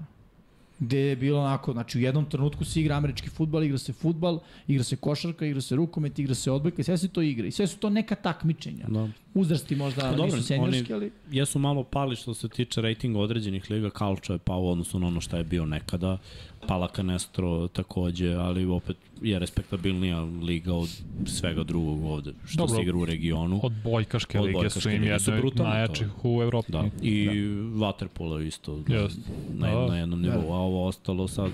Gde je bilo onako, znači u jednom trenutku se igra američki futbal, igra se futbal, igra se košarka, igra se rukomet, igra se odbojka i sve se to igra. I sve su to neka takmičenja. Da. Uzrasti možda Pa dobro, nisu seniorski, ali... Jesu malo pali što se tiče rejtinga određenih liga, Kalča je pao odnosno na ono šta je bio nekada, pala Canestro takođe, ali opet je respektabilnija liga od svega drugog ovde, što Dobro. se igra u regionu. Od bojkaške Od lige bojkaške su im lige su jedne od brutalne, najjačih u Evropi. Da. I da. Waterpolo isto Hm, Jeste. na, Da. na jednom nivou, a ovo ostalo sad,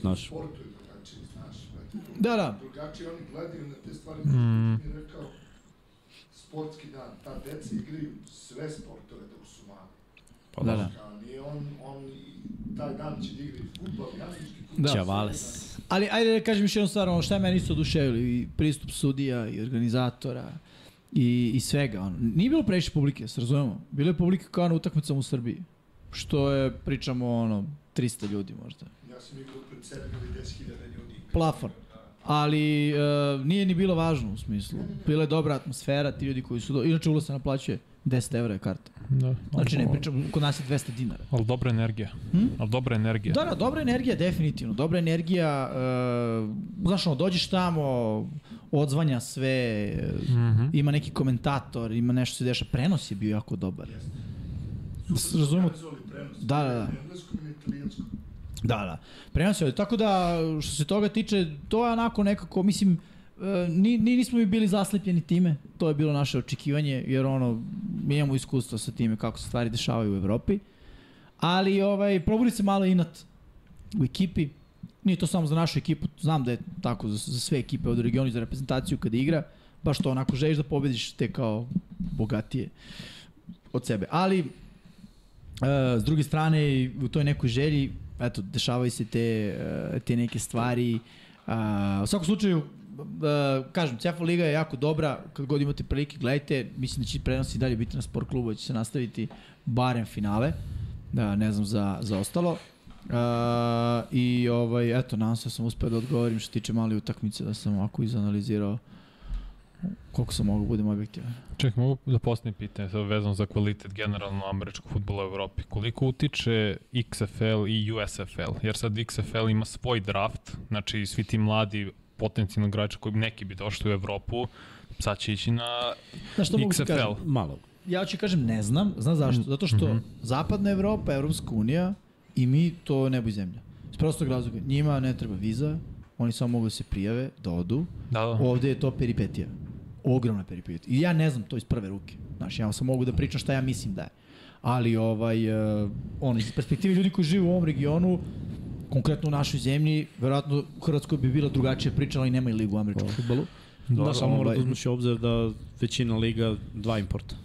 znaš, Sportu je drugačiji, znaš, brate. Da, da. drugačije oni gledaju na te stvari, mm. mi je rekao, sportski dan, ta deca igraju sve sportove dok su mali. pa Da, da. Kao nije on, on i taj dan će da igra i futbol, jasnički futbol. Da. Čavales. Ali ajde da kažem još jednu stvar, ono šta je meni isto oduševilo i pristup sudija i organizatora i, i svega. Ono. Nije bilo previše publike, da se razumemo. Bilo je publike kao na utakmicama u Srbiji. Što je, pričamo, ono, 300 ljudi možda. Ja sam igrao pred 7 ili 10 hiljada ljudi. Plafon. Ali e, nije ni bilo važno u smislu. Bila je dobra atmosfera, ti ljudi koji su... Do... Inače, ulaz se naplaćuje. 10 evra je karta. Da. Znači, ne pričam, kod nas je 200 dinara. Ali dobra energija. Hm? Ali dobra energija. Da, da, dobra energija, definitivno. Dobra energija, e, znaš, ono, dođeš tamo, odzvanja sve, mm -hmm. ima neki komentator, ima nešto se dešava. Prenos je bio jako dobar. S- Razumemo, Zvoli prenos. Da, da, da. Na engleskom i na italijanskom. da, da. Prenos je, tako da, što se toga tiče, to je onako nekako, mislim, e, ni, ni, nismo mi bili zaslepljeni time, to je bilo naše očekivanje, jer ono, mi imamo iskustvo sa time kako se stvari dešavaju u Evropi, ali ovaj, probudi se malo inat u ekipi, nije to samo za našu ekipu, znam da je tako za, za sve ekipe od regionu i za reprezentaciju kada igra, baš to onako želiš da pobediš te kao bogatije od sebe. Ali, e, s druge strane, i u toj nekoj želji, eto, dešavaju se te, e, te neke stvari. A, u svakom slučaju, e, kažem, CFA Liga je jako dobra, kad god imate prilike, gledajte, mislim da će prenos i dalje biti na sport klubu, da će se nastaviti barem finale, da, ne znam za, za ostalo. Uh, I ovaj, eto, nadam se da sam uspeo da odgovorim što se tiče male utakmice, da sam ovako izanalizirao koliko sam mogu budem objektivan. Ček, mogu da postavim pitanje sad vezano za kvalitet generalno američkog futbola u Evropi. Koliko utiče XFL i USFL? Jer sad XFL ima svoj draft, znači svi ti mladi potencijalni igrači koji neki bi došli u Evropu, sad će ići na Znaš što mogu ti kažem? XFL. Malo. Ja ću kažem ne znam, znam zašto. Zato što mm -hmm. Zapadna Evropa, Evropska unija i mi to nebo i zemlja. Iz prostog razloga, njima ne treba viza, oni samo mogu da se prijave, da odu. Da, da. Ovde je to peripetija. Ogromna peripetija. I ja ne znam to iz prve ruke. Znaš, ja sam mogu da pričam šta ja mislim da je. Ali ovaj, uh, on, iz perspektive ljudi koji žive u ovom regionu, konkretno u našoj zemlji, verovatno u Hrvatskoj bi bila drugačija priča, ali nema i ligu u američkom futbolu. Da, samo mora ovaj, da uzmeš u obzir da većina liga dva importa.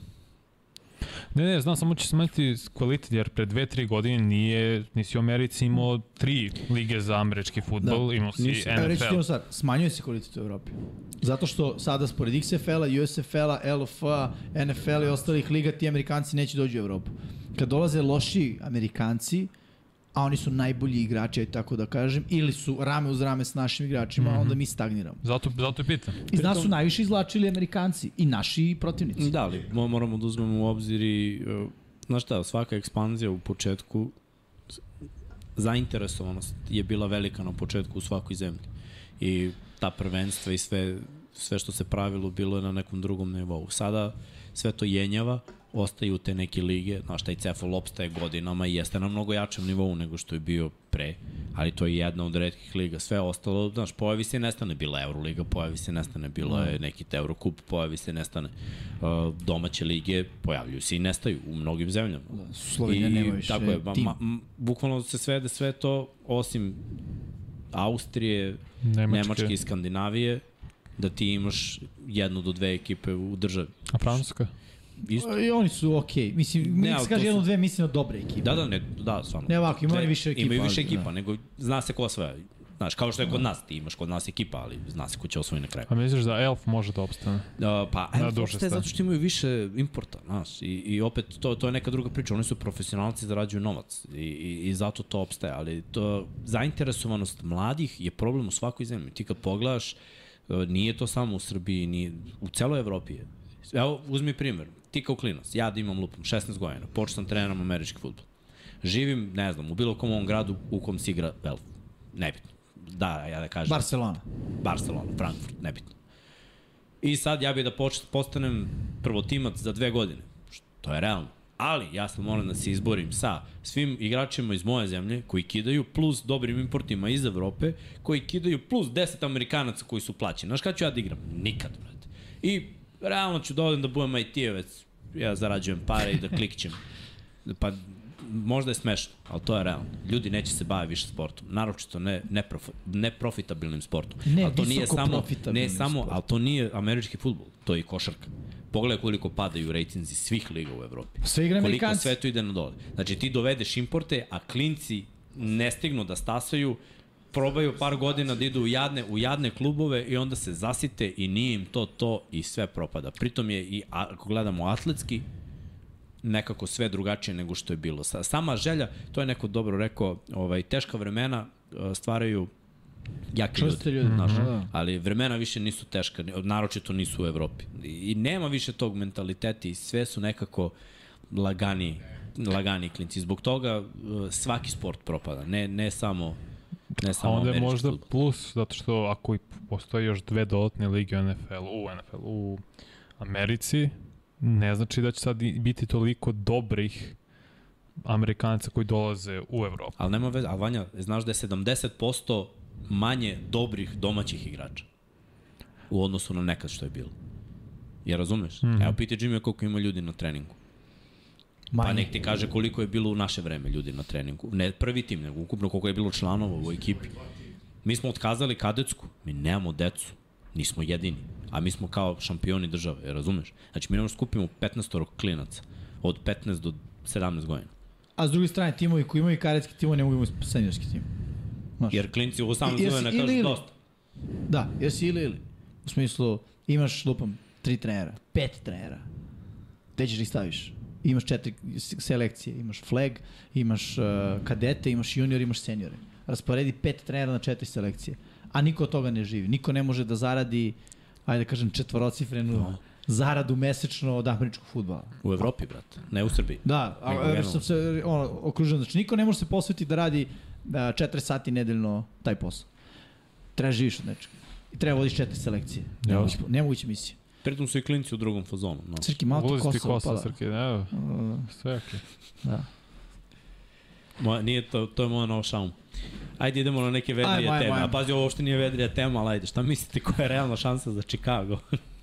Ne, ne, znam, samo će smanjiti kvalitet, jer pre dve, tri godine nije, nisi u Americi imao tri lige za američki futbol, da, imao si Nisi- Evo, Reći ti NFL. jednu stvar, smanjuje se kvalitet u Evropi. Zato što sada spored XFL-a, USFL-a, LFA, NFL-a i ostalih liga, ti Amerikanci neće dođu u Evropu. Kad dolaze loši Amerikanci, a oni su najbolji igrači, aj tako da kažem, ili su rame uz rame s našim Mhm. igračima, mm -hmm. onda mi stagniramo. Zato, zato je pitan. Iz nas su najviše izvlačili Amerikanci i naši protivnici. Da, ali mo- moramo da uzmemo u obzir i, e, znaš šta, svaka ekspanzija u početku, s- zainteresovanost je bila velika na početku u svakoj zemlji. I ta prvenstva i sve, sve što se pravilo bilo je na nekom drugom nivou. Sada sve to jenjava, ostaju te neke lige, znaš, taj Cefal opstaje godinama i jeste na mnogo jačem nivou nego što je bio pre, ali to je jedna od redkih liga. Sve ostalo, znaš, pojavi se i nestane, bila je Euroliga, pojavi se i nestane, bila je neki Eurocup, pojavi se i nestane. Uh, domaće lige pojavljuju se i nestaju u mnogim zemljama. Da, Slovenija I nema više Tako je, ma, tim. ma, m, bukvalno se svede sve to, osim Austrije, Nemačke. Nemačke. Nemačke i Skandinavije, da ti imaš jednu do dve ekipe u državi. A Francuska? Isto. I oni su okej. Okay. Mislim, Ne, ne, ali se to kaže su- jedno, dve, mislim da dobre ekipe. Da, da, ne, da, stvarno. Ne ovako, ima oni više ekipa, Imaju više ali, ekipa, da. da. nego zna se ko osvaja. Znaš, kao što je kod nas, ti imaš kod nas ekipa, ali zna se ko će osvoji na kraju. A misliš da Elf može da opstane? Uh, pa, Na ajmo, duže uopšte staje. zato što imaju više importa, znaš, i, i opet to, to je neka druga priča, oni su profesionalci, zarađuju novac i, i, i zato to opstaje, ali to, zainteresovanost mladih je problem u svakoj zemlji. Ti kad pogledaš, e, nije to samo u Srbiji, ni u celoj Evropi je. Evo, uzmi primer, ti kao klinac, ja da imam lupom, 16 godina, počeo sam treneram američki futbol. Živim, ne znam, u bilo kom ovom gradu u kom se igra, vel, nebitno. Da, ja da kažem. Barcelona. Barcelona, Frankfurt, nebitno. I sad ja bih da poč- postanem prvotimac za dve godine. To je realno. Ali ja sam moram da se izborim sa svim igračima iz moje zemlje koji kidaju plus dobrim importima iz Evrope koji kidaju plus 10 Amerikanaca koji su plaćeni. Znaš kada ću ja da igram? Nikad, brate. I realno ću da odem da budem IT-evec. Ja zarađujem pare i da klikćem. Pa možda je smešno, ali to je realno. Ljudi neće se baviti više sportom, naročito ne neprofi, neprofitabilnim sportom. Ne, ali to nije visoko samo profitabilnim ne samo, sportom. al to nije američki fudbal, to je i košarka. Pogledaj koliko padaju rejtinzi svih liga u Evropi. Pa Sve igra Koliko Amerikanci. sve to ide na dole. Znači ti dovedeš importe, a klinci ne stignu da stasaju, probaju par godina da idu u jadne, u jadne klubove i onda se zasite i nije im to to i sve propada. Pritom je i, a- ako gledamo atletski, nekako sve drugačije nego što je bilo. Sa- Sama želja, to je neko dobro rekao, ovaj, teška vremena e, stvaraju jake Čvrste ljude. ljude, znaš. da. Ali vremena više nisu teška, ni- naročito nisu u Evropi. I i nema više tog mentaliteta i sve su nekako lagani, lagani klinci. Zbog toga e, svaki sport propada, ne, ne samo ne A samo onda je američki možda fudbal. plus, zato što ako i postoje još dve dodatne lige u NFL, u NFL, u Americi, ne znači da će sad i biti toliko dobrih Amerikanaca koji dolaze u Evropu. Ali nema veze, a Vanja, znaš da je 70% manje dobrih domaćih igrača u odnosu na nekad što je bilo. Ja razumeš? Mm Mhm. -hmm. Evo piti Jimmy koliko ima ljudi na treningu. Manje. Pa nek ti kaže koliko je bilo u naše vreme ljudi na treningu. Ne prvi tim, nego ukupno koliko je bilo članova u ekipi. Mi smo otkazali kadetsku, mi nemamo decu, nismo jedini, a mi smo kao šampioni države, razumeš? Znači mi ne možemo skupimo 15 klinaca od 15 do 17 godina. A s druge strane, timovi koji imaju karetski timo ne mogu imati seniorski tim. Znaš. Jer klinci u 18 Jesi godina ili- kažu ili? dosta. Da, jer si ili ili. U smislu, imaš, lupam, tri trenera, pet trenera. Gde ćeš da ih staviš? Imaš četiri s- selekcije, imaš flag, imaš uh, kadete, imaš junior, imaš seniore. Rasporedi pet trenera na četiri selekcije. A niko od toga ne živi. Niko ne može da zaradi, ajde da kažem, četvorocifrenu zaradu mesečno od američkog futbala. U Evropi, brate, ne u Srbiji. Da, a, Nego a, generalno. sam se ono, okružen, znači niko ne može se posvetiti da radi da, 4 sati nedeljno taj posao. Treba živiš od nečega. I treba vodiš četiri selekcije. Nemoguće, nemoguće misije. Pritom su i klinci u drugom fazonu. No. Srki, malo ti Ulazi ti kosa kosa, opala. pa da. Srke, ne, Mm. sve okej. Moja, nije to, to je moja nova šauma. Ajde idemo na neke vedrije Ajmo, ajmo, teme. ajmo. A pazi, ovo uopšte nije vedrija tema, ali ajde, šta mislite koja je realna šansa za Chicago?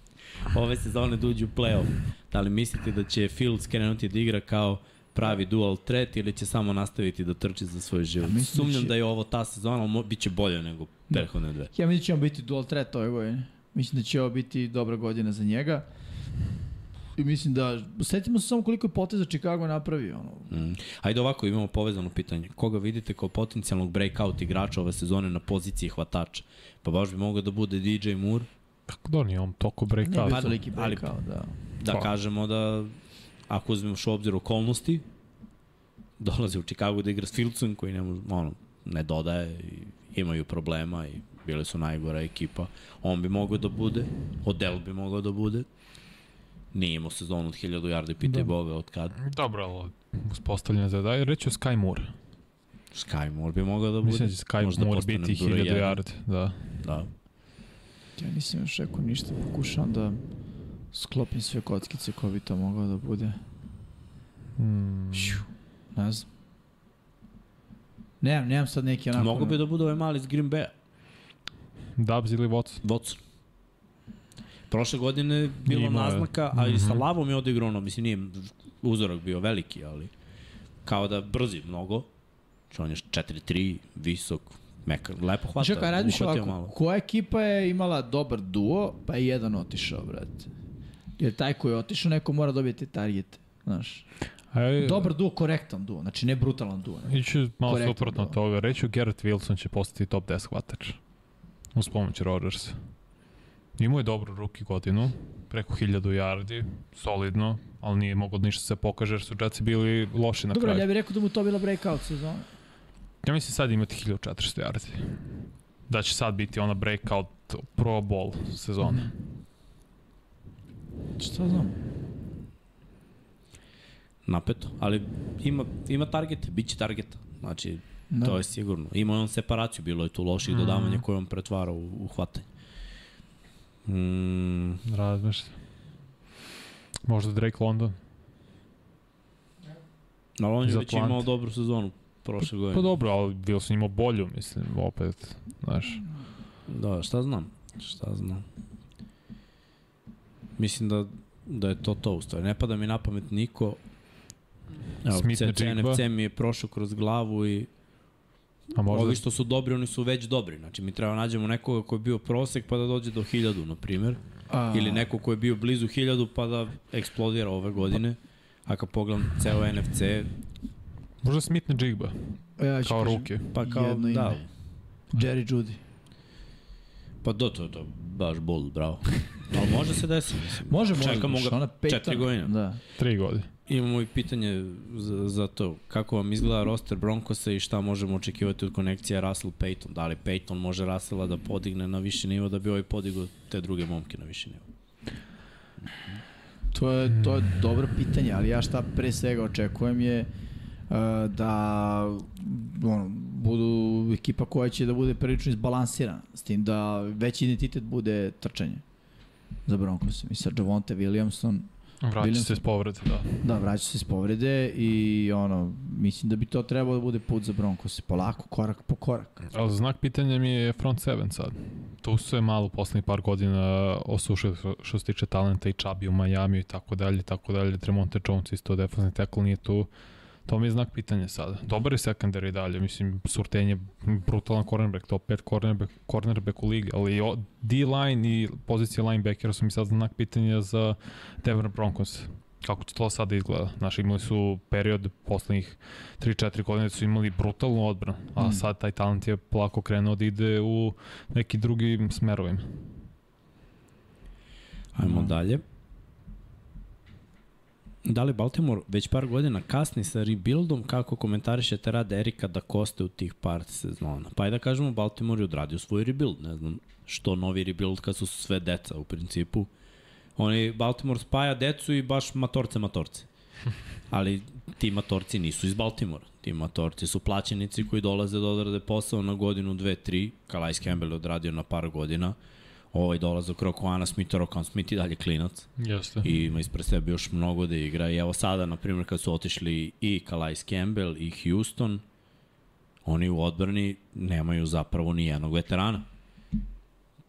Ove sezone da uđu u play-off. Da li mislite da će Fields krenuti da igra kao pravi dual threat ili će samo nastaviti da trči za svoj život? mislim da Sumnjam će- da je ovo ta sezona, ali mo- bit će bolje nego prethodne dve. Ja mislim da će on biti dual threat ove godine. Mislim da će ovo biti dobra godina za njega. I mislim da, setimo se samo koliko je poteza Chicago napravio. Ono. Mm. Ajde ovako, imamo povezano pitanje. Koga vidite kao potencijalnog breakout igrača ove sezone na poziciji hvatača? Pa baš bi mogao da bude DJ Moore, Kako da nije on toliko Ne break-out? bi pa, toliki ali- brekao, da. da Pa. kažemo da ako uzmeš u obzir okolnosti, dolazi u Chicago da igra s Filcom koji ne, može- ono, ne dodaje i imaju problema i bili su najgora ekipa. On bi mogao da bude, Odell bi mogao da bude. Nije imao sezonu od 1000 yardi, Da. pitaj Boga od kad. Dobro, ali uspostavljena za da je reći o Sky Moore. Sky Moore bi mogao da bude. Mislim da će Sky Možda Moore postane biti broj 1000 jedan. yard, da. Da. Ja nisam još rekao ništa, pokušavam da sklopim sve kockice ko bi to mogao da bude. Mm. Ne znam. Nemam, nemam sad neki onako... Mogu bi da bude ovaj mali iz Green Bay. Dubs ili Watson? Watson. Prošle godine je bilo Imao je. Mhm. naznaka, a i sa Lavom je odigrao ono, mislim, nije uzorak bio veliki, ali kao da brzi mnogo. Znači on je 4-3, visok, mekar, lepo hvata. Čekaj, radiš uhvatio ovako, malo. koja ekipa je imala dobar duo, pa je jedan otišao, brate. Jer taj koji je otišao, neko mora dobiti target, znaš. Aj, Dobar duo, korektan duo, znači ne brutalan duo. Ne. Iću malo Korektno, suprotno da. od toga. Reći ću Garrett Wilson će postati top 10 hvatač. Uz pomoć Rodgersa. Imao je dobru ruki godinu, preko 1000 yardi, solidno, ali nije mogao ništa da se pokaže jer su Jetsi bili loši na Dobro, ali kraju. ja bih rekao da mu to bila breakout sezona. Ja mislim sad imati 1400 yardi. Da će sad biti ona breakout pro bowl sezona. Znači, Šta znam? Napeto, ali ima, ima targete, bit će targeta. Znači, Da. to je sigurno. Ima je on separaciju, bilo je tu loših Mhm. mm. dodavanja koje on pretvara u, u hvatanje. Mm, Mhm. Razmišljam. Možda Drake London. ali on je Za već plant. imao dobru sezonu prošle godine. Pa dobro, ali Wilson imao bolju, mislim, opet, znaš. Da, šta znam, šta znam. Mislim da, da je to to u stvari. Ne pada mi na pamet niko. Evo, Smith C- Njigba. CNFC mi je prošao kroz glavu i A možda... ovi što su dobri, oni su već dobri. Znači, mi treba nađemo nekoga koji je bio prosek pa da dođe do 1000, na primjer. A, Ili neko koji je bio blizu 1000 pa da eksplodira ove godine. A kad pogledam ceo NFC, Možda Smith na Jigba, ja ću kao kažem, ruke. pa kao, Jedno ime. da, Jerry Judy. pa do to, to, baš bol, bravo. Ali može se desiti. mislim. Može, može. Čekamo znaš, ga ona peta- četiri godine. Da. Tri godine. Imamo i pitanje za, za to. Kako vam izgleda roster Broncosa i šta možemo očekivati od konekcije Russell Payton? Da li Payton može Russella da podigne na viši nivo da bi ovaj podigao te druge momke na viši nivo? To je, to je dobro pitanje, ali ja šta pre svega očekujem je uh, da ono, budu ekipa koja će da bude prilično izbalansirana, s tim da veći identitet bude trčanje za Broncos. I sa Javonte Williamson, Vraća Williams- se s povrede, da. da, vraća se iz povrede i ono, mislim da bi to trebalo da bude put za Broncos. Polako, korak po korak. Ali znak pitanja mi je front seven sad. Tu su je malo poslednjih par godina osušili što- što se tiče talenta i Čabi u Majamiju i tako dalje, tako dalje. Tremonte Jones isto defensivni tackle nije tu. To mi je znak pitanja sada. Dobar je sekandar i dalje, mislim, surtenje, brutalan cornerback, top 5 cornerback, cornerback u ligi, ali o- D-line i pozicija linebackera su mi sad znak pitanja za Denver Broncos. Kako će to sada izgleda? Znaš, imali su period poslednjih 3-4 godine su imali brutalnu odbranu, a mm. sad taj talent je polako krenuo da ide u neki drugim smerovima. Ajmo dalje. Da li Baltimore već par godina kasni sa rebuildom kako komentarišete rad Erika da koste u tih par sezona? Pa i da kažemo Baltimore je odradio svoj rebuild, ne znam što novi rebuild kad su sve deca u principu. Oni Baltimore spaja decu i baš matorce matorce. Ali ti matorci nisu iz Baltimora. Ti matorci su plaćenici koji dolaze da odrade posao na godinu, dve, tri. Calais Campbell je odradio na par godina. Ovaj dolazak Rokoana Smitha, Rokoan Smith i dalje klinac Jeste. i ima ispred sebe još mnogo da igra i evo sada, na primjer, kad su otišli i Calais Campbell i Houston, oni u odbrani nemaju zapravo ni jednog veterana.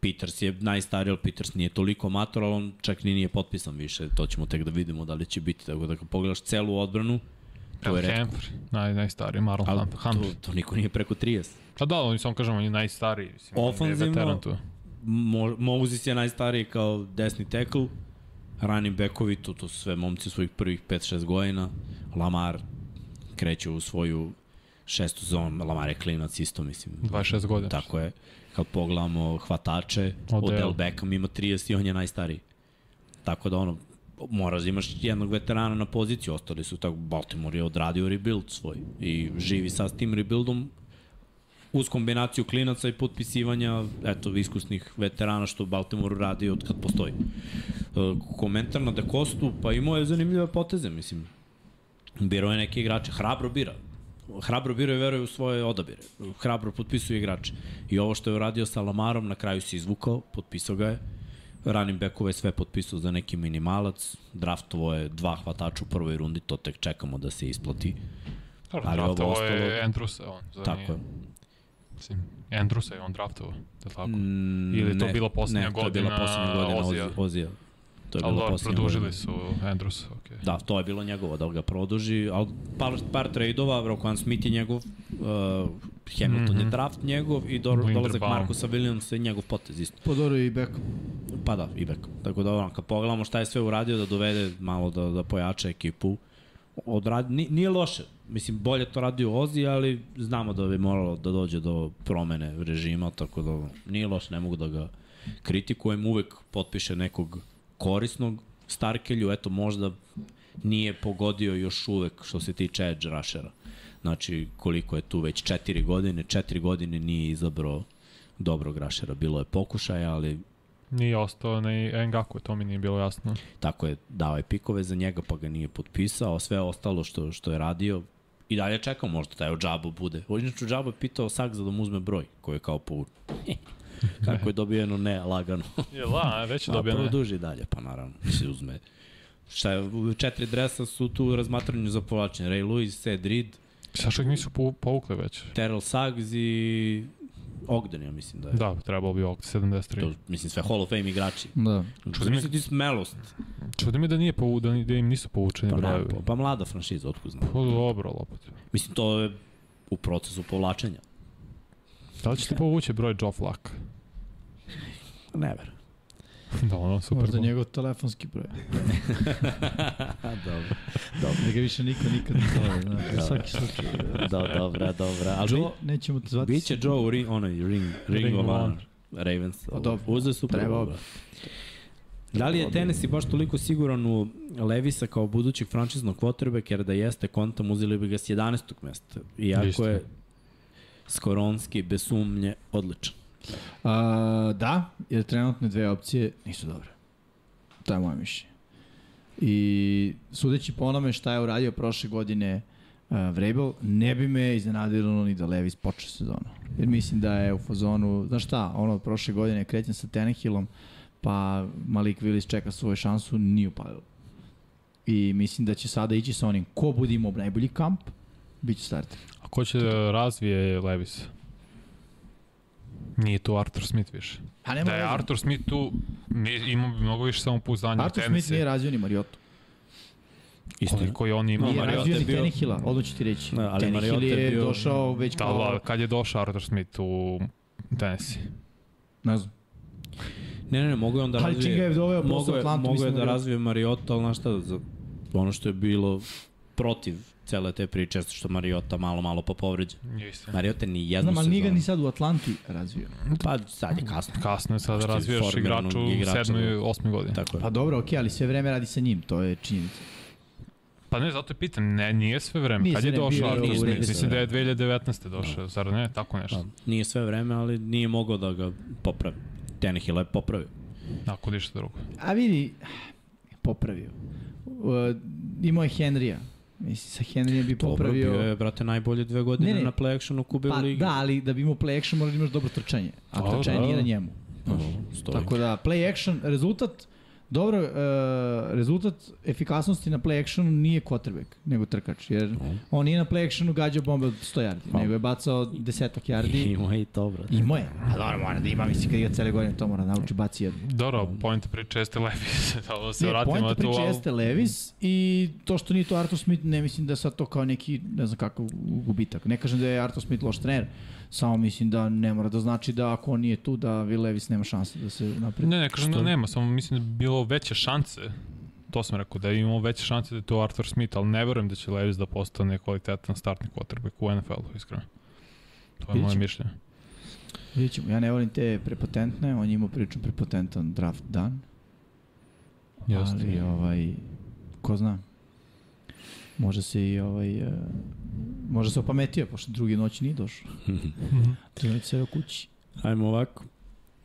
Peters je najstariji, ali Peters nije toliko mator, ali on čak ni nije potpisan više, to ćemo tek da vidimo da li će biti, tako da kad pogledaš celu odbranu, to je redko. Humphrey, naj, najstariji, Marlon Ali Hump- to, Humphrey. to niko nije preko 30. Pa da, ali samo kažem, on je najstariji. Mislim, on je Ofanzivno- veteran tu. Mo, Moses je najstariji kao desni tackle, ranim bekovi, to, to su sve momci svojih prvih 5-6 godina. Lamar kreće u svoju šestu zonu, Lamar je klinac isto, mislim. 26 godina. Tako je. Kad pogledamo hvatače, Odell. Odell Beckham ima 30 i on je najstariji. Tako da ono, moraš da imaš jednog veterana na poziciju, ostali su tako, Baltimore je odradio rebuild svoj i živi sad s tim rebuildom uz kombinaciju klinaca i potpisivanja eto, iskusnih veterana što Baltimore radi od kad postoji. E, komentar na Dakostu, pa imao je zanimljive poteze, mislim. Birao je neke igrače, hrabro bira. Hrabro bira i veruje u svoje odabire. Hrabro potpisuje igrače. I ovo što je uradio sa Lamarom, na kraju se izvukao, potpisao ga je. Ranim bekove sve potpisao za neki minimalac. Draftovo je dva hvatača u prvoj rundi, to tek čekamo da se isplati. Dobro, ali draftovo ovo je ostalo- Andrusa, on. Zar Tako nije? je. Mislim, Andrusa je on draftovo, da tako? Mm, Ili je to bila posljednja ne, to je bila godina poslednja godina Ozija? Ozija. Ozija. To je Ali bila dobro, poslednja produžili godina. su Andrusa, okej. Da, to je bilo njegovo, da li ga produži, ali par, par trade-ova, Rokan Smith je njegov, uh, Hamilton mm -hmm. je draft njegov i do, Linderbaum. dolazak Markusa Williamsa je njegov potez isto. Pa dobro i Beckham. Pa da, i Beckham. Tako da, ono, kad pogledamo šta je sve uradio, da dovede malo da, da pojača ekipu, odradi, ni- nije loše. Mislim, bolje to radio Ozi, ali znamo da bi moralo da dođe do promene režima, tako da ono, nije loše, ne mogu da ga kritikujem. Uvek potpiše nekog korisnog Starkelju, eto možda nije pogodio još uvek što se tiče edge rushera. Znači, koliko je tu već četiri godine, četiri godine nije izabrao dobrog rushera. Bilo je pokušaja, ali Nije ostao ni Engaku, to mi nije bilo jasno. tako je dao je pikove za njega pa ga nije potpisao, sve ostalo što, što je radio i dalje čekam možda taj Ođabo bude. O, Inače Ođabo je pitao Sakza da mu uzme broj koji je kao povučen. Kako je dobijeno ne, lagano. Je la, već je A dobio ne. produži dalje, pa naravno, se uzme. Šta je, četiri dresa su tu u razmatranju za povlačenje. Ray Lewis, Ed Reed, Sad što ih nisu po- povukli već. Terrell Suggs i Ogden, ja mislim da je. Da, trebalo bi ovdje, To, 73. mislim, sve Hall of Fame igrači. Da. Čudim mislim ti smelost. Čudi me da, nije povu, da, ni- da im nisu povučeni Pa, ne, brojevi. pa, pa mlada franšiza, otkud znam. Pa dobro, lopet. Mislim, to je u procesu povlačenja. Da li ćete povući broj Joe Flacco? Ne verujem. da, ono, super. Možda njegov telefonski broj. dobro, Da ga više niko nikad ne zove. Znači, Da. svaki slučaj. do, dobra, dobra. Ali Joe, nećemo te zvati. biće Joe u ring, onaj ring, ring, Ring ring of of Honor. Honor. Ravens. Pa dobro, Uze su trebao treba. bi. Da li je Tennessee baš toliko siguran u Levisa kao budućeg frančiznog quarterbacka, jer da jeste kontam uzeli bi ga s 11. mesta. Iako Isto. je Skoronski bez sumnje odličan. A, da, jer trenutne dve opcije nisu dobre. To je moje mišljenje. I sudeći po onome šta je uradio prošle godine uh, Vrabel, ne bi me iznenadilo ni da Levis počne sezonu. Jer mislim da je u fazonu, znaš šta, ono od prošle godine krećem sa Tenehillom, pa Malik Willis čeka svoju šansu, nije upalilo. I mislim da će sada ići sa onim ko bude imao najbolji kamp, bit će starter. A ko će da razvije Levis? Nije tu Arthur Smith više. A nema Da je veze. Arthur Smith tu, nije, imao bi mnogo više samopouzdanja. Arthur Smith nije razvio ni Mariotu. Isto. Koji on imao. Nije Mariota razvio je ni bio- Tenehila, odmah ću ti reći. Ne, ali Ali Tenehil Mariota je je bio- došao već Da, kao... da, kad je došao Arthur Smith u Tennessee. Ne znam. Ne, ne, ne, mogu je on da Ali čim ga je doveo posle mogu je, Atlantu, mogu je mislim da da bi- razvije Mariota, ali znaš šta, za ono što je bilo protiv cele te priče, što Mariota malo, malo pa povređen. Isto. Mariota ni jednu Znam, ali nije ga sezonu. ni sad u Atlanti razvio. Pa sad je kasno. Kasno je sad da Što je razvijaš formiranog igraču u igrača, sedmoj i da. osmoj godini. Tako je. Pa dobro, okej, ali sve vreme radi sa njim, to je činjenica. Pa ne, zato je pitan, ne, nije sve vreme. Nije Kad sve je vreme, bio došao je Arthur u Smith? regresu. Mislim da je 2019. došao, zar ne? Tako Da, nešto. nije sve vreme, ali nije mogao da ga popravi. Tenehill je popravio. Da. Ako ništa drugo. A vidi, popravio. Uh, imao je Henrya. Mislim, sa Henrya bi popravio... Dobro, bio je, brate, najbolje dve godine Ne, ne. na play actionu Kube Pa ligi. da, ali da bi imao play action moraš da imaš dobro trčanje. A A, trčanje da. nije na njemu. Dobro, stoji. Tako da, play action, rezultat, dobro, e, rezultat efikasnosti na play actionu nije quarterback, nego trkač, jer on nije na play actionu gađao bombe od 100 yardi, nego je bacao desetak yardi. Ima i to, brate. Imao je. A dobro, mora da ima, mislim, kad igra cele godine, to mora da nauči baci jednu. Dobro, point priče jeste Levis, da se Ne, vratimo Da. poenta na tu, priče ali jeste Levis i to što nije to Arthur Smith, ne mislim da je sad to kao neki, ne znam kakav gubitak. Ne kažem da je Arthur Smith loš trener, Samo mislim da ne mora da znači da ako on nije tu, da Will Levis nema šanse da se napredi. Ne, ne kažem da nema, samo mislim da bi bilo veće šanse to sam rekao, da imamo veće šanse da je to Arthur Smith, ali ne verujem da će Levis da postane kvalitetan startni quarterback u NFL-u, iskreno. To je Vidjet moje ćemo. mišljenje. Vidjet ćemo, ja ne volim te prepotentne, on je imao priču prepotentan draft dan, Jeste. ali ovaj, ko zna, može se i ovaj, e, može se opametio, pošto drugi noć nije došao. Drugi noć se u kući. Ajmo ovako.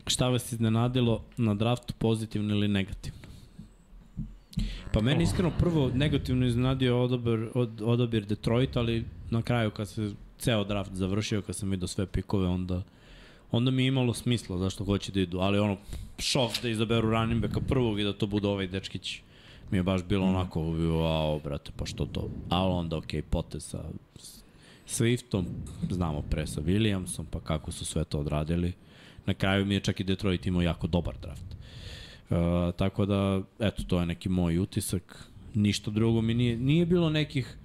Šta vas iznenadilo na draftu, pozitivno ili negativno? Pa meni iskreno prvo negativno iznenadio odabir, od, odabir Detroit, ali na kraju kad se ceo draft završio, kad sam vidio sve pikove, onda onda mi je imalo smisla zašto hoće da idu, ali ono, šok da izaberu running backa prvog i da to bude ovaj dečkić mi je baš bilo onako, wow, brate, pa što to, ali onda okej, okay, potez sa Swiftom, znamo pre sa Williamsom, pa kako su sve to odradili. Na kraju mi je čak i Detroit imao jako dobar draft. E, tako da, eto, to je neki moj utisak. Ništa drugo mi nije, nije bilo nekih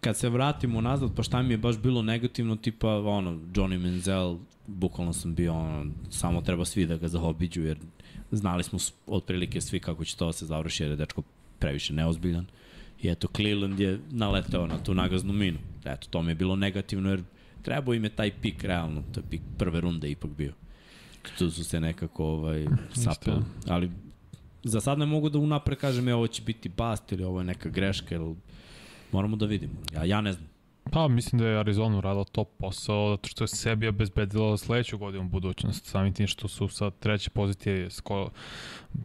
kad se vratimo nazad, pa šta mi je baš bilo negativno, tipa, ono, Johnny Menzel, bukvalno sam bio, ono, samo treba svi da ga zaobiđu, jer znali smo s- otprilike svi kako će to da se završi, jer je dečko previše neozbiljan. I eto, Cleveland je naletao na tu nagaznu minu. Eto, to mi je bilo negativno, jer trebao im je taj pik, realno, to je pik prve runde ipak bio. Tu su se nekako ovaj, sapili. Ali za sad ne mogu da unapred kažem, e, ovo će biti bast ili ovo je neka greška, jer Moramo da vidimo. Ja, ja ne znam. Pa mislim da je Arizona uradila top posao zato što je sebi obezbedila sledeću godinu budućnost. Samim tim što su sa treće pozicije skoro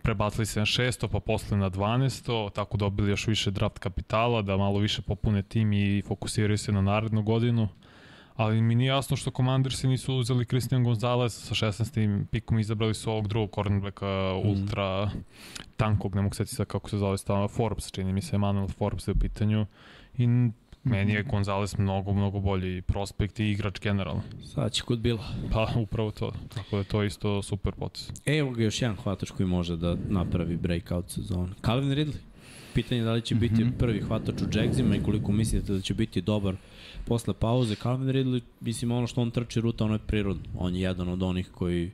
prebacili se na šesto, pa posle na 12, tako dobili još više draft kapitala da malo više popune tim i fokusiraju se na narednu godinu. Ali mi nije jasno što Commandersi nisu uzeli Christian Gonzalez sa 16. pikom izabrali su ovog drugog cornerbacka ultra tankog, ne mogu setiti sad kako se zove stava Forbes, čini mi se Emmanuel Forbes je u pitanju i n- meni je Gonzalez mnogo, mnogo bolji prospekt i igrač generalno. Sad će kod bila. Pa upravo to, tako da je to isto super potes. E, Evo ga još jedan hvatač koji može da napravi breakout sezonu. Calvin Ridley. Pitanje je da li će biti prvi hvatač u Jacksima i koliko mislite da će biti dobar posle pauze. Calvin Ridley, mislim, ono što on trči ruta, ono je prirodno. On je jedan od onih koji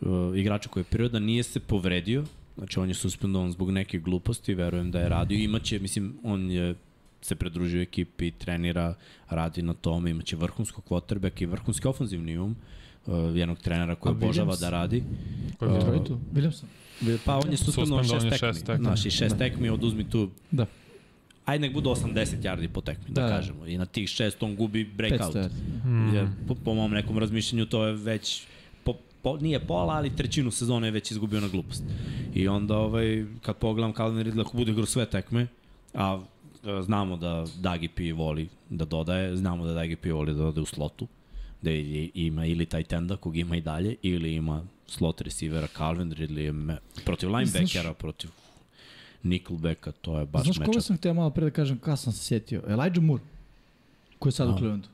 uh, igrača koji je prirodan, nije se povredio, znači on je suspendovan zbog neke gluposti, verujem da je radio, imaće, mislim, on je se pridružio ekipi, trenira, radi na tome, imaće vrhunskog quarterback i vrhunski ofanzivni um, uh, jednog trenera koji obožava da radi. Koji je Uh, Williamson. Pa on je suspendovan Suspendovan je šest tekmi. šest tekmi. Znaš, i šest tekmi oduzmi tu Da. ajde nek bude 80 yardi po tekmi, da, Da, da, da. kažemo. I na tih šest on gubi 500 breakout. yardi. Jer, po, po mom nekom razmišljanju to je već po, po, nije pola, ali trećinu sezone je već izgubio na glupost. I onda ovaj, kad pogledam Calvin Ridley, ako bude igrao sve tekme, a e, znamo da Dagi P voli da dodaje, znamo da Dagi P voli da dodaje u slotu, da i- ima ili taj tenda kog ima i dalje, ili ima slot receivera Calvin Ridley je me, protiv linebackera, protiv Nickelbacka, to je baš Znaš koga matchup. sam htio malo pre da kažem, kada sam se sjetio? Elijah Moore, koji je sad u Clevelandu.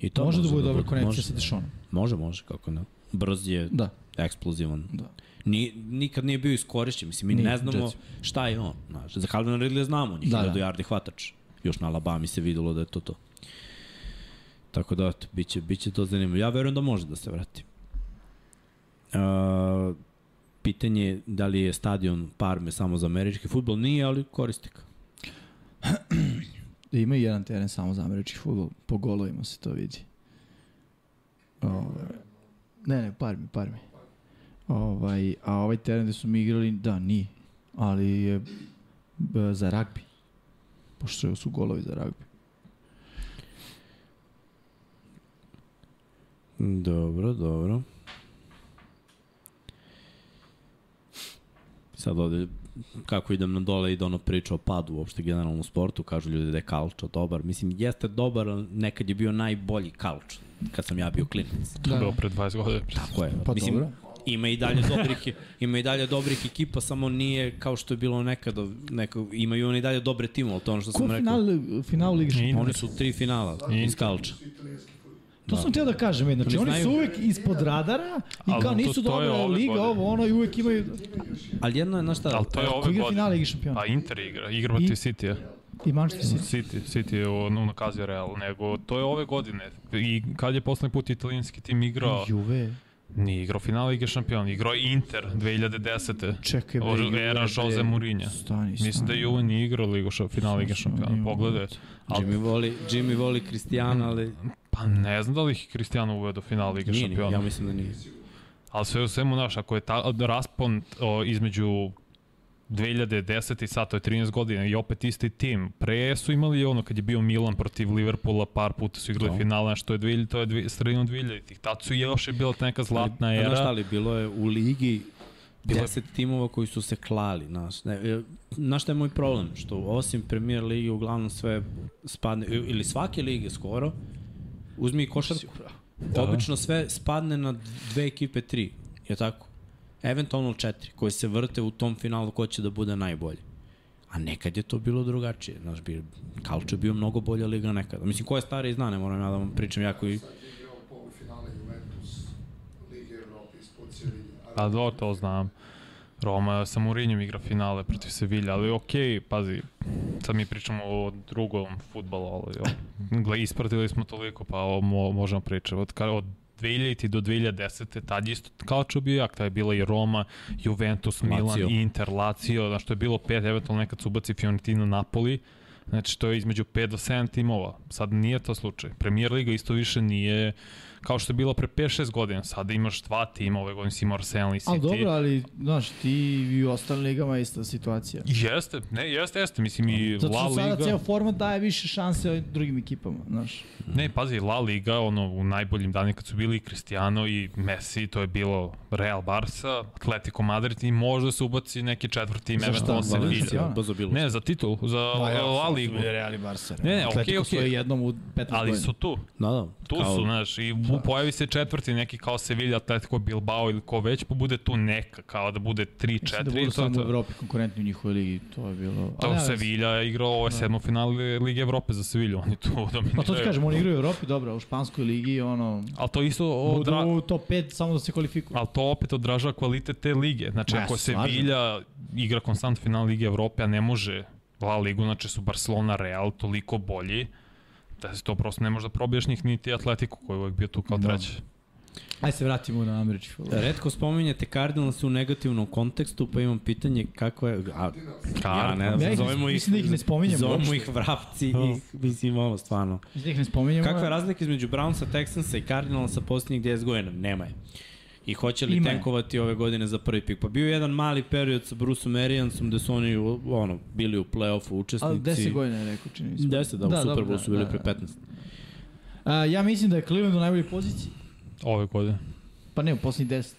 I to To može da bude dobra bude. može, konekcija sa Dešonom. Može, može, kako ne. Brz je, Da. eksplozivan. Da. Ni, nikad nije bio iskorišćen, mislim, mi Nije, ne znamo Jetsi. šta je on. Znaš, za Calvin Ridley znamo, on je Da, 1000 da. yardi hvatač. Još na Alabama se videlo da je to to. Tako da, eto, bit će, bit će to zanimljivo. Ja verujem da može da se vrati. Uh, pitanje je da li je stadion Parme samo za američki futbol, nije, ali koristi ga. Da ima i jedan teren samo za američki futbol. Po golovima se to vidi. Ove, ne, ne, par mi, par mi. Ovaj, a ovaj teren gde su mi igrali, da, nije. Ali je b, za ragbi. Pošto su golovi za ragbi. Dobro, dobro. Sad ovde, kako idem na dole, ide ono priča o padu uopšte generalno u sportu, kažu ljudi da je kalčo dobar. Mislim, jeste dobar, ali nekad je bio najbolji kalč, kad sam ja bio klinac. To je bilo pre 20 godina. Tako je. Da. Pa Mislim, dobro. Ima i dalje dobrih, ima i dalje dobrih ekipa, samo nije kao što je bilo nekada, neko, imaju oni i dalje dobre timove, ali to je ono što Ko sam je rekao. final, final Ligi šampiona? Oni su u tri finala iz kalča. To sam teo da kažem, znači Oni oni su znaju- uvek ispod radara i Ali kao to- nisu to je dobra ove liga, godine. ovo, ono i uvek imaju... Ali jedno je, znaš šta, Ali to je Ko ove Pa, igra godine. finale Ligi šampiona? Pa Inter igra, igra I- protiv City-a. I Manchester City. City, City je ono nakazio Real, nego to je ove godine. I kad je poslednji put italijanski tim igrao, Juve. nije igrao finala Lige šampiona, igrao je Inter 2010. Čekaj, bre, Ovo Juve, era bre. Jose Mourinho. Stani, stani. Mislim da Juve nije igrao Ligu ša, finala Lige šampiona, pogledaj. Ali, Jimmy voli, Jimmy voli Kristijana, ali pa ne znam da li ih Cristiano uveo do finala Lige nije, nije, ja šampiona. mislim da nije. Ali sve u svemu, znaš, ako je ta, raspon o, između 2010 i sad, to je 13 godina i opet isti tim. Pre su imali ono kad je bio Milan protiv Liverpoola, par puta su Da. igrali no. finale, što je 2000, to je dvi- sredinom 2000-ih. Tad su još je bila ta neka zlatna pa Znaš šta era. li, bilo je u ligi Bilo je- 10 timova koji su se klali, znaš. Ne, e, znaš šta je moj problem? Što osim premier ligi uglavnom sve spadne, i- ili svake lige skoro, uzmi i košarku. Da. Obično sve spadne na dve ekipe, tri, je tako? Eventualno četiri, koje se vrte u tom finalu ko će da bude najbolji. A nekad je to bilo drugačije. Znaš, bi, Kalčo je bio mnogo bolja liga nekada. Mislim, ko je stari zna, ne moram ja da vam pričam jako i... Sad je igrao polufinale Juventus, Lige Evrope, ispod Sevilje. ali- Pa do, to znam. Roma sa Mourinhom igra finale protiv Sevilja, ali okej, okay, pazi, sad mi pričamo o drugom futbolu, ali o, gle, ispratili smo toliko, pa o, mo, možemo pričati. Od, ka- od 2000 do 2010. tad je isto kao čo bio jak, tad je bila i Roma, Juventus, Milan, Lazio. Inter, Lazio, znači to je bilo pet, eventualno nekad se ubaci Fiorentina, Napoli, znači to je između 5 do 7 timova, sad nije to slučaj. Premier Liga isto više nije kao što je bilo pre 5-6 godina, sada imaš dva tima, ove godine si imao Arsenal i City. Ali dobro, ali, znaš, ti i u ostalim ligama je ista situacija. Jeste, ne, jeste, jeste, mislim i Zato Znači, La što Liga. sada ceo format daje više šanse ovim drugim ekipama, znaš. Ne, pazi, La Liga, ono, u najboljim danima kad su bili i Cristiano i Messi, to je bilo Real Barca, Atletico Madrid i možda se ubaci neki četvrti, Za šta? eventualno Za da. Cristiano? Sevilla. Brzo bilo. Ne, za titul, za La Ligu. Real i Barca. Ne, ne, okej, Atletico okej. svoje jednom u 15 Ali su tu, Da, da. tu Kao- su, znaš, i da. bu, pojavi se četvrti neki kao Sevilla, Atletico, Bilbao ili ko već, pa bude tu neka, kao da bude 3-4. Mislim da budu samo u Evropi Pa da, konkurentni u njihovoj ligi, to je bilo... To Ali nema veze. Sevilla je igrao ovo sedmo finale Lige Evrope za Sevilju, oni tu dominiraju. Da. Pa to ti kažem, oni igraju u Evropi, dobro, u Španskoj ligi, ono... Ali to isto Budu odra... u top 5 samo da se kvalifikuju. Ali to opet odražava kvalitet te lige. Znači, Ma, ako stvarno. Sevilla igra konstant final Lige Evrope, a ne može La Ligu, znači su Barcelona, Real toliko bolji, da se to prosto ne može da probiješ njih, niti Atletico koji je uvek bio tu kao Da. treći. Ajde se vratimo na američki futbol. Redko spominjete Cardinals u negativnom kontekstu, pa imam pitanje kakva je... A, ja ne Ja znam, ih ne- zovemo ih... mislim da ih ne spominjemo Zovemo uopšte. Da. ih vrapci i mislim ovo stvarno. Mislim da ih ne spominjamo. Kakva je razlika između Brownsa, Texansa i Cardinalsa posljednjih 10 godina? Nema je. I hoće li Ima je. tenkovati ove godine za prvi pik? Pa bio je jedan mali period sa Bruceom Ariansom gde su oni u- ono, bili u play-offu učesnici. Ali 10 godina je rekao, čini mi se. 10, da, u da, Super Bowlu su bili da, da. pre 15. A, ja mislim da je Cleveland u najboljoj poziciji. Ove godine. Pa ne, u poslednjih 10.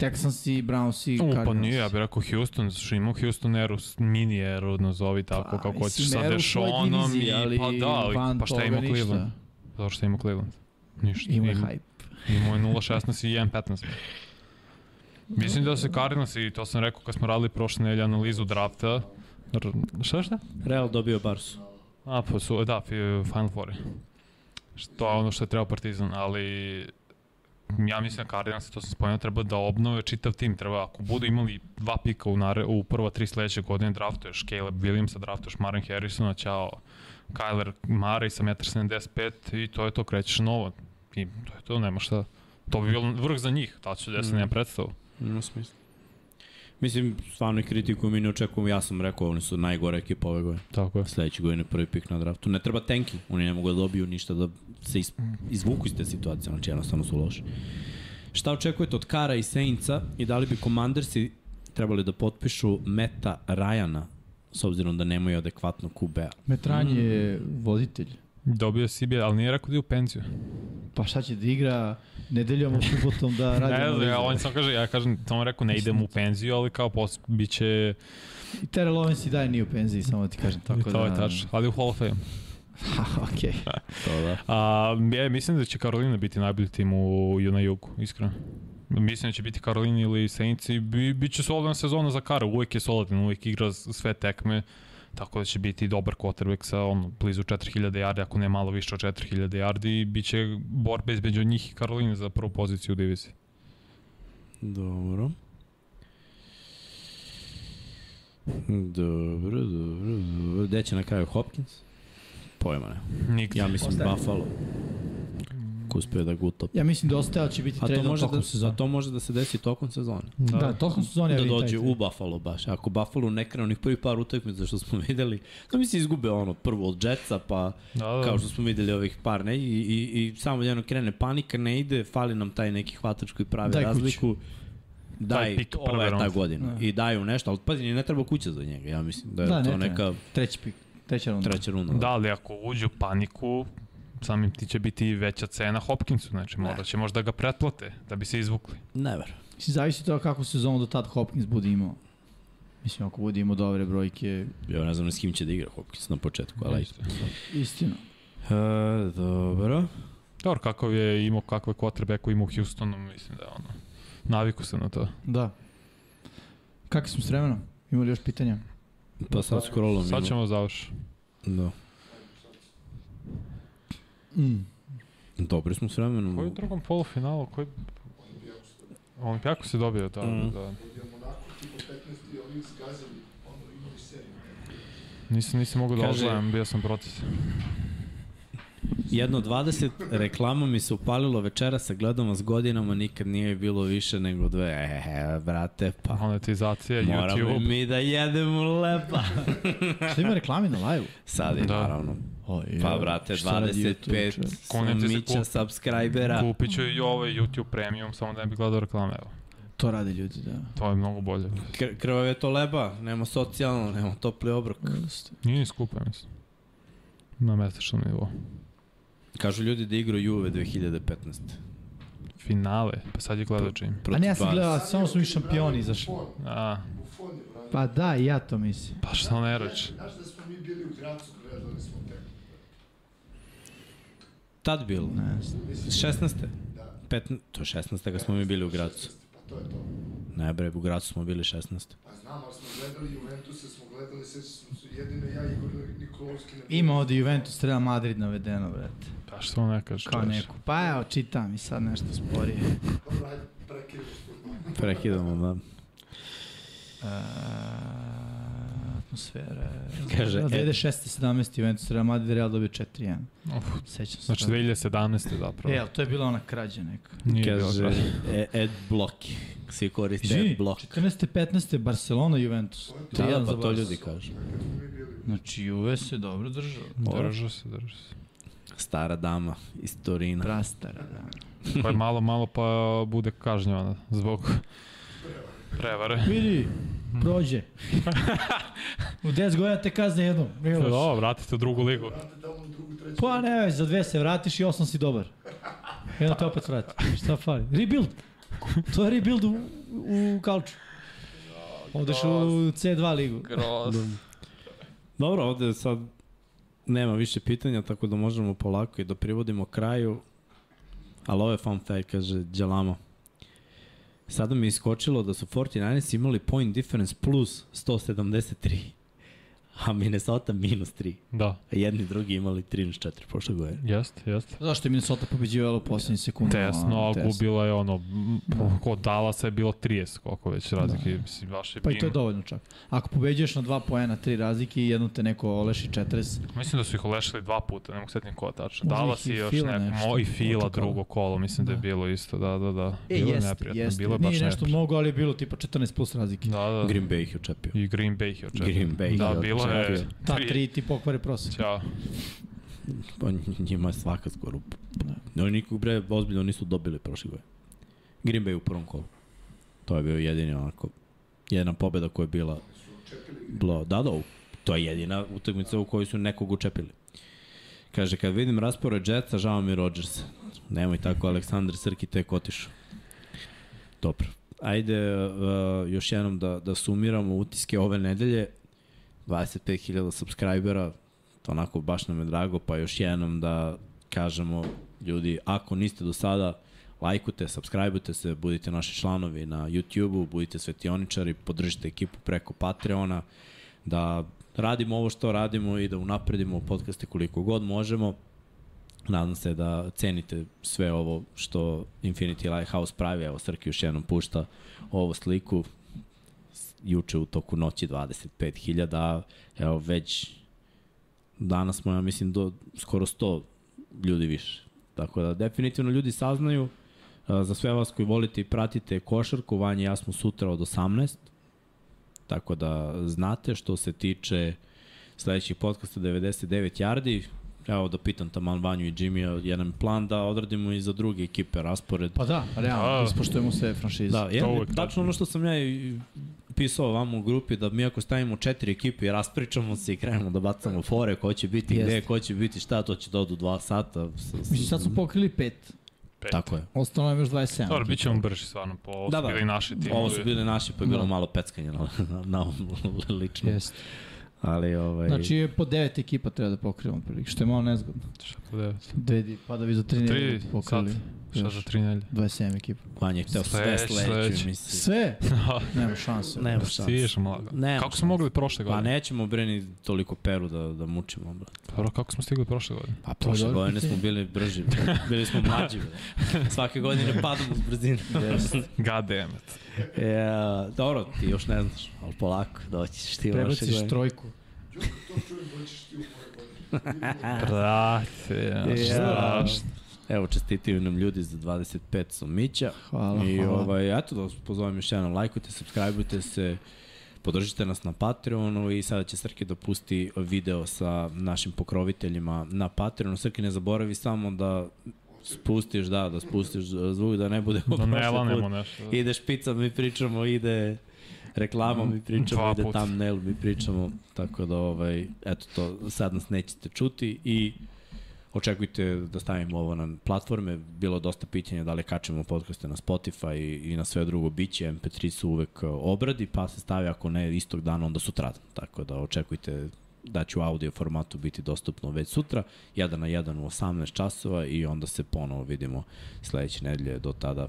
Texans i Browns i U, Cardinals. pa nije, ja bih rekao Houston, zato što imao Houston eru, s- mini eru, nazovi tako, Pa, kako hoćeš, mislim, sa eru u svojoj Dešonom i, diviziji, ali pa da, ali, van pa šta toga ima ništa. Cleveland? Zato što ima Cleveland. Ništa. Ima Im- hype. Imao je 0.16 i 1.15. Mislim da se Cardinals, i to sam rekao kad smo radili prošle nedelje analizu drafta, R šta šta? Real dobio Barsu. A, pa su, da, fi- Final Four. je. Što je ono što je trebao Partizan, ali ja mislim da Cardinals, to sam spomenuo, treba da obnove čitav tim. Treba, ako budu imali dva pika u, nare, u prva tri sledeće godine, draftuješ Caleb Williamsa, draftuješ Maren Harrisona, ćao Kyler Murray sa 1,75 i to je to, krećeš novo. I to je to, nema šta. To bi bilo vrh za njih, ta će desiti, mm. nema predstavu. Ima smisla. Mislim, stvarno i kritikujem i ne očekujem, ja sam rekao, oni su najgore ekipa ove godine. Tako je. Sledeće godine prvi pik na draftu. Ne treba tanking, oni ne mogu da dobiju ništa da se is, izvuku iz te situacije, znači jednostavno su loši. Šta očekujete od Kara i Saintsa i da li bi Commandersi trebali da potpišu Meta Rajana s obzirom da nemaju adekvatno QB-a? Metran Mm. je voditelj. Dobio je CBA, ali nije rekao da je u penciju. Pa šta će da igra nedeljom u subotom da radi? Ne znam, analize? ja, on samo kaže, ja kažem, samo rekao ne idem da- u penziju, ali kao pos, bit će, I Terrell Owens i dalje nije u penziji, samo da ti kažem. Tako Tako to da, je tač, ali u Hall of Fame. Ha, okej. To da. A, ja mislim da će Karolina biti najbolji tim u, na jugu, iskreno. Mislim da će biti Karolina ili Saints i bi, bit će solidna sezona za Kara. Uvijek je solidan, uvijek igra s- sve tekme. Tako da će biti dobar quarterback sa ono, blizu 4000 yardi, ako ne malo više od 4000 yardi. I bit će borbe između njih i Karoline za prvu poziciju u diviziji. Dobro. Dobro, dobro, dobro. Gde će na kraju Hopkins? Pojma ne. Nigde. Ja mislim Ostaje. Buffalo. Ko uspe da ga utop. Ja mislim da ostao će biti A to trade može tokom da, sezone. za to može da se desi tokom sezone. Da, da tokom sezone ja da vidim taj dođe trade. u Buffalo baš. Ako Buffalo ne krene onih prvih par utakmica što smo videli, da mi se izgube ono prvo od Jetsa, pa Da, da. kao što smo videli ovih par, ne? I, i, i samo jedno krene panika, ne ide, fali nam taj neki hvatač koji pravi Daj Daj kuću. razliku. Daj, Taj pik ovo prve je ta runde. godina. Da. I daju nešto, ali pazi, ne treba kuća za njega, ja mislim da je Da, da, ne to treba. neka Treći pik, treća runda. treća runda. Da, ali ako uđe u paniku, samim ti će biti i veća cena Hopkinsu, Da. znači možda će možda ga pretplate da bi se izvukli. Never. Mislim, zavisi to kako sezonu do tad Hopkins bude imao. Mislim, ako bude imao dobre brojke, Ja ne znam s kim će da igra Hopkins na početku, ali... Isto. istina. E, dobro. Dobro, kakav je imao, kakve kotrbe koji ima u Houstonu, mislim da je ono, naviku se na to. Da. Kakvi smo s vremenom? Imali još pitanja? Pa sad scrollom. Sad ćemo završiti. Da. Mm. Dobri smo s vremenom. Koji je u drugom polufinalu, koji... Olimpijakos se dobio, da, Mm. da. Idemo onako, tipa 15 i oni zgazili, ono, imali seriju. Nisam, nisam mogao da Kaže- odgledam, bio sam protiv. Jedno 20 reklama mi se upalilo večera sa gledom vas godinama, nikad nije bilo više nego dve. E, brate, pa Monetizacija, moramo YouTube. mi da jedemo lepa. Šta ima reklami na live-u? Sad je, Da. naravno. O, je, Pa, brate, šta radi YouTube, 25 čovječe? Konec je za mića kup. subscribera. Kupit ću i ovaj YouTube Premium, samo da ne bi gledao reklame, evo. To rade ljudi, da. To je mnogo bolje. Kr krvave to leba, nema socijalno, nema topli obrok. Nije ni skupo, ja mislim. Na mesečnom nivou. Kažu ljudi da igra Juve 2015. Finale, pa sad je gledao Jim. A ne, ja sam Protiv gledao, Barca. Da, samo su mi šampioni izašli. A, Buffon je branio. Pa da, i ja to mislim. pa što ne reći? Znaš da smo mi bili u Gracu, gledali smo te. Tad bilo. Ne znam. 16. Da. 15. To je 16. kad smo mi bili u Gracu. Pa to je to. Ne bre, u Gracu smo bili 16. Pa znam, ali smo gledali Juventuse, smo gledali, sveći smo se jedino ja i Igor Nikolovski. na- Ima ovde Juventus, treba Madrid navedeno, brate. Pa što ne kažeš? Kao čoveče? neku. Pa evo, čitam i sad nešto sporije. Dobro, ajde, prekidamo sportman. Prekidamo, da. Uh, atmosfera. je- Kaže, Da, e- 2016. 17. Juventus, Real Madrid, Real dobio 4-1. Uf, Sećam se. znači toga. 2017. zapravo. E, ali to je bila ona krađa neka. Nije bilo Kaže, krađa. e- adblock. Svi koriste Izvini, adblock. 14. 15. Barcelona, Juventus. Da, 3:1 da, za pa to Barca. ljudi kažu. Znači, Juve se dobro držao. Držao da. se, držao se. Stara dama iz Torina. Prastara, da. Pa je malo, malo pa bude kažnjavana zbog prevare. Vidi, prođe. U 10 godina te kazne jednom. nije loše. Da, vratite u drugu ligu. Pa ne, već, za dve se vratiš i osam si dobar. Jedno te opet vrati. Šta fali? Rebuild. To je rebuild u, u kalču. Odeš u C2 ligu. Dobro, ovde sad nema više pitanja, tako da možemo polako i da privodimo kraju. Ali ovo je fun fact, kaže Đelamo. Sada mi je iskočilo da su 49ers imali point difference plus 173. A Minnesota minus 3. Da, A jedni i drugi imali 34 prošle godine. jeste, jeste. Zašto je Minnesota pobeđivala u poslednjih sekunda? Tesno, a gubila je ono, m, Da. kod Dallasa je bilo 30, koliko već razlike, mislim, baš je Pa i to je bin- dovoljno čak. Ako pobeđuješ na dva poena, tri razlike i jednom te neko oleši 40, Mislim da su ih olešili dva puta, ne mogu setim ko tačno. Možda Dallas ih i i još Fila neko, nešto mo i Fila očekalo. drugo kolo, mislim da je Da. bilo isto, da, da, da. E, Bilo je jeste, neprijatno, jeste. bilo je baš Nije nešto neprijatno. mnogo, ali je bilo tipa 14 plus razlike. Da, da. Green Bay ih je učepio. I Green Bay ih je očekio. Green Bay ih Da, je bilo je... očepio. Ta tri ti pokvare prosek. Ćao. Pa njima je svaka skoro. Ne. Oni nikog bre ozbiljno nisu dobili prošle godine. Green Bay u prvom kolu. To je bio jedini onako jedna pobeda koja je bila bila da da, u- to je jedina utakmica u kojoj su nekog učepili. Kaže, kad vidim raspored Jetsa, žao mi Rodgersa. Nemoj tako, Aleksandar Srki tek otišao. Dobro. Ajde uh, još jednom da, da sumiramo utiske ove nedelje. 25.000 subscribera, to onako baš nam je drago, pa još jednom da kažemo ljudi, ako niste do sada, lajkujte, subscribeujte se, budite naši članovi na YouTube-u, budite svetioničari, podržite ekipu preko Patreona, da radimo ovo što radimo i da unapredimo podcaste koliko god možemo. Nadam se da cenite sve ovo što Infinity Lighthouse pravi. Evo, Srki još jednom pušta ovu sliku. S- juče u toku noći 25.000, a evo već danas smo, ja mislim, do skoro 100 ljudi više. Tako da definitivno ljudi saznaju, a, za sve vas koji volite i pratite košarku, Vanja i ja smo sutra od 18, tako da znate što se tiče sledećih podcasta 99 yardi, evo da pitam taman Vanju i Jimmy jedan plan da odradimo i za druge ekipe raspored. Pa da, realno, Da. ispoštujemo sve franšize. Da, je, uvek tačno ono što sam ja i pisao vam u grupi, da mi ako stavimo četiri ekipe i raspričamo se i krenemo da bacamo fore, ko će biti Jeste. gde, ko će biti šta, to će da odu dva sata. S, s, Mislim, sad su pokrili pet, Tako je. ostalo je još 27. Dobro, bit ćemo brži stvarno, po ovo Da, da, da. bili naši timovi. Ovo su bili naši, pa je bilo Da. malo peckanja na, na, na ovom lično. Jeste. Ali, ovaj... Znači je po devet ekipa treba da pokrijemo prilike, što je malo nezgodno. Šta po devet? Dve di, pa da bi za tri nedelje Tri pokrili sat. Šta za tri nelje? 27 ekipa. Vanja je hteo sve Sleć, sledeće sleć. emisije. Sve? Nema šanse. Nema šanse. Stižemo lagano. Nema Kako smo mogli prošle Pa godine? nećemo breni toliko peru da, da mučimo. Bro. Dobro, kako smo stigli prošle godine? Pa prošle dobro godine pitanje. smo bili brži, bre. bili smo mlađi. Bre. Svake godine padamo s brzine. God damn it. e, dobro, ti još ne znaš, ali polako doćiš ti vaše Prebaciš godine. trojku. Đuka, to čujem, doćiš ti u moje godine. Brate, ja, strašno. Evo, čestitaju nam ljudi za 25 somića. Hvala, I hvala. ovaj, eto da vas pozovem još jednom, lajkujte, subscribeujte se, podržite nas na Patreonu i sada će Srke da pusti video sa našim pokroviteljima na Patreonu. Srke, ne zaboravi samo da spustiš, da, da spustiš zvuk, da ne bude Da prošli ne put. lanemo nešto. Ide špica, mi pričamo, ide reklama, mi pričamo, Mm, Dva ide puta. thumbnail, mi pričamo, tako da, ovaj, eto to, sad nas nećete čuti i očekujte da stavimo ovo na platforme, bilo je dosta pitanja da li kačemo podcaste na Spotify i, i na sve drugo biće, MP3 su uvek e, obradi, pa se stavi ako ne istog dana, onda sutradan, tako da očekujte da će u audio formatu biti dostupno već sutra, 1 na 1 u 18 časova i onda se ponovo vidimo sledeće nedelje, do tada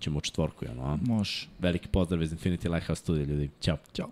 ćemo u četvorku, ono, a? Može. Veliki pozdrav iz Infinity Lighthouse studija, ljudi. Ćao. Ćao.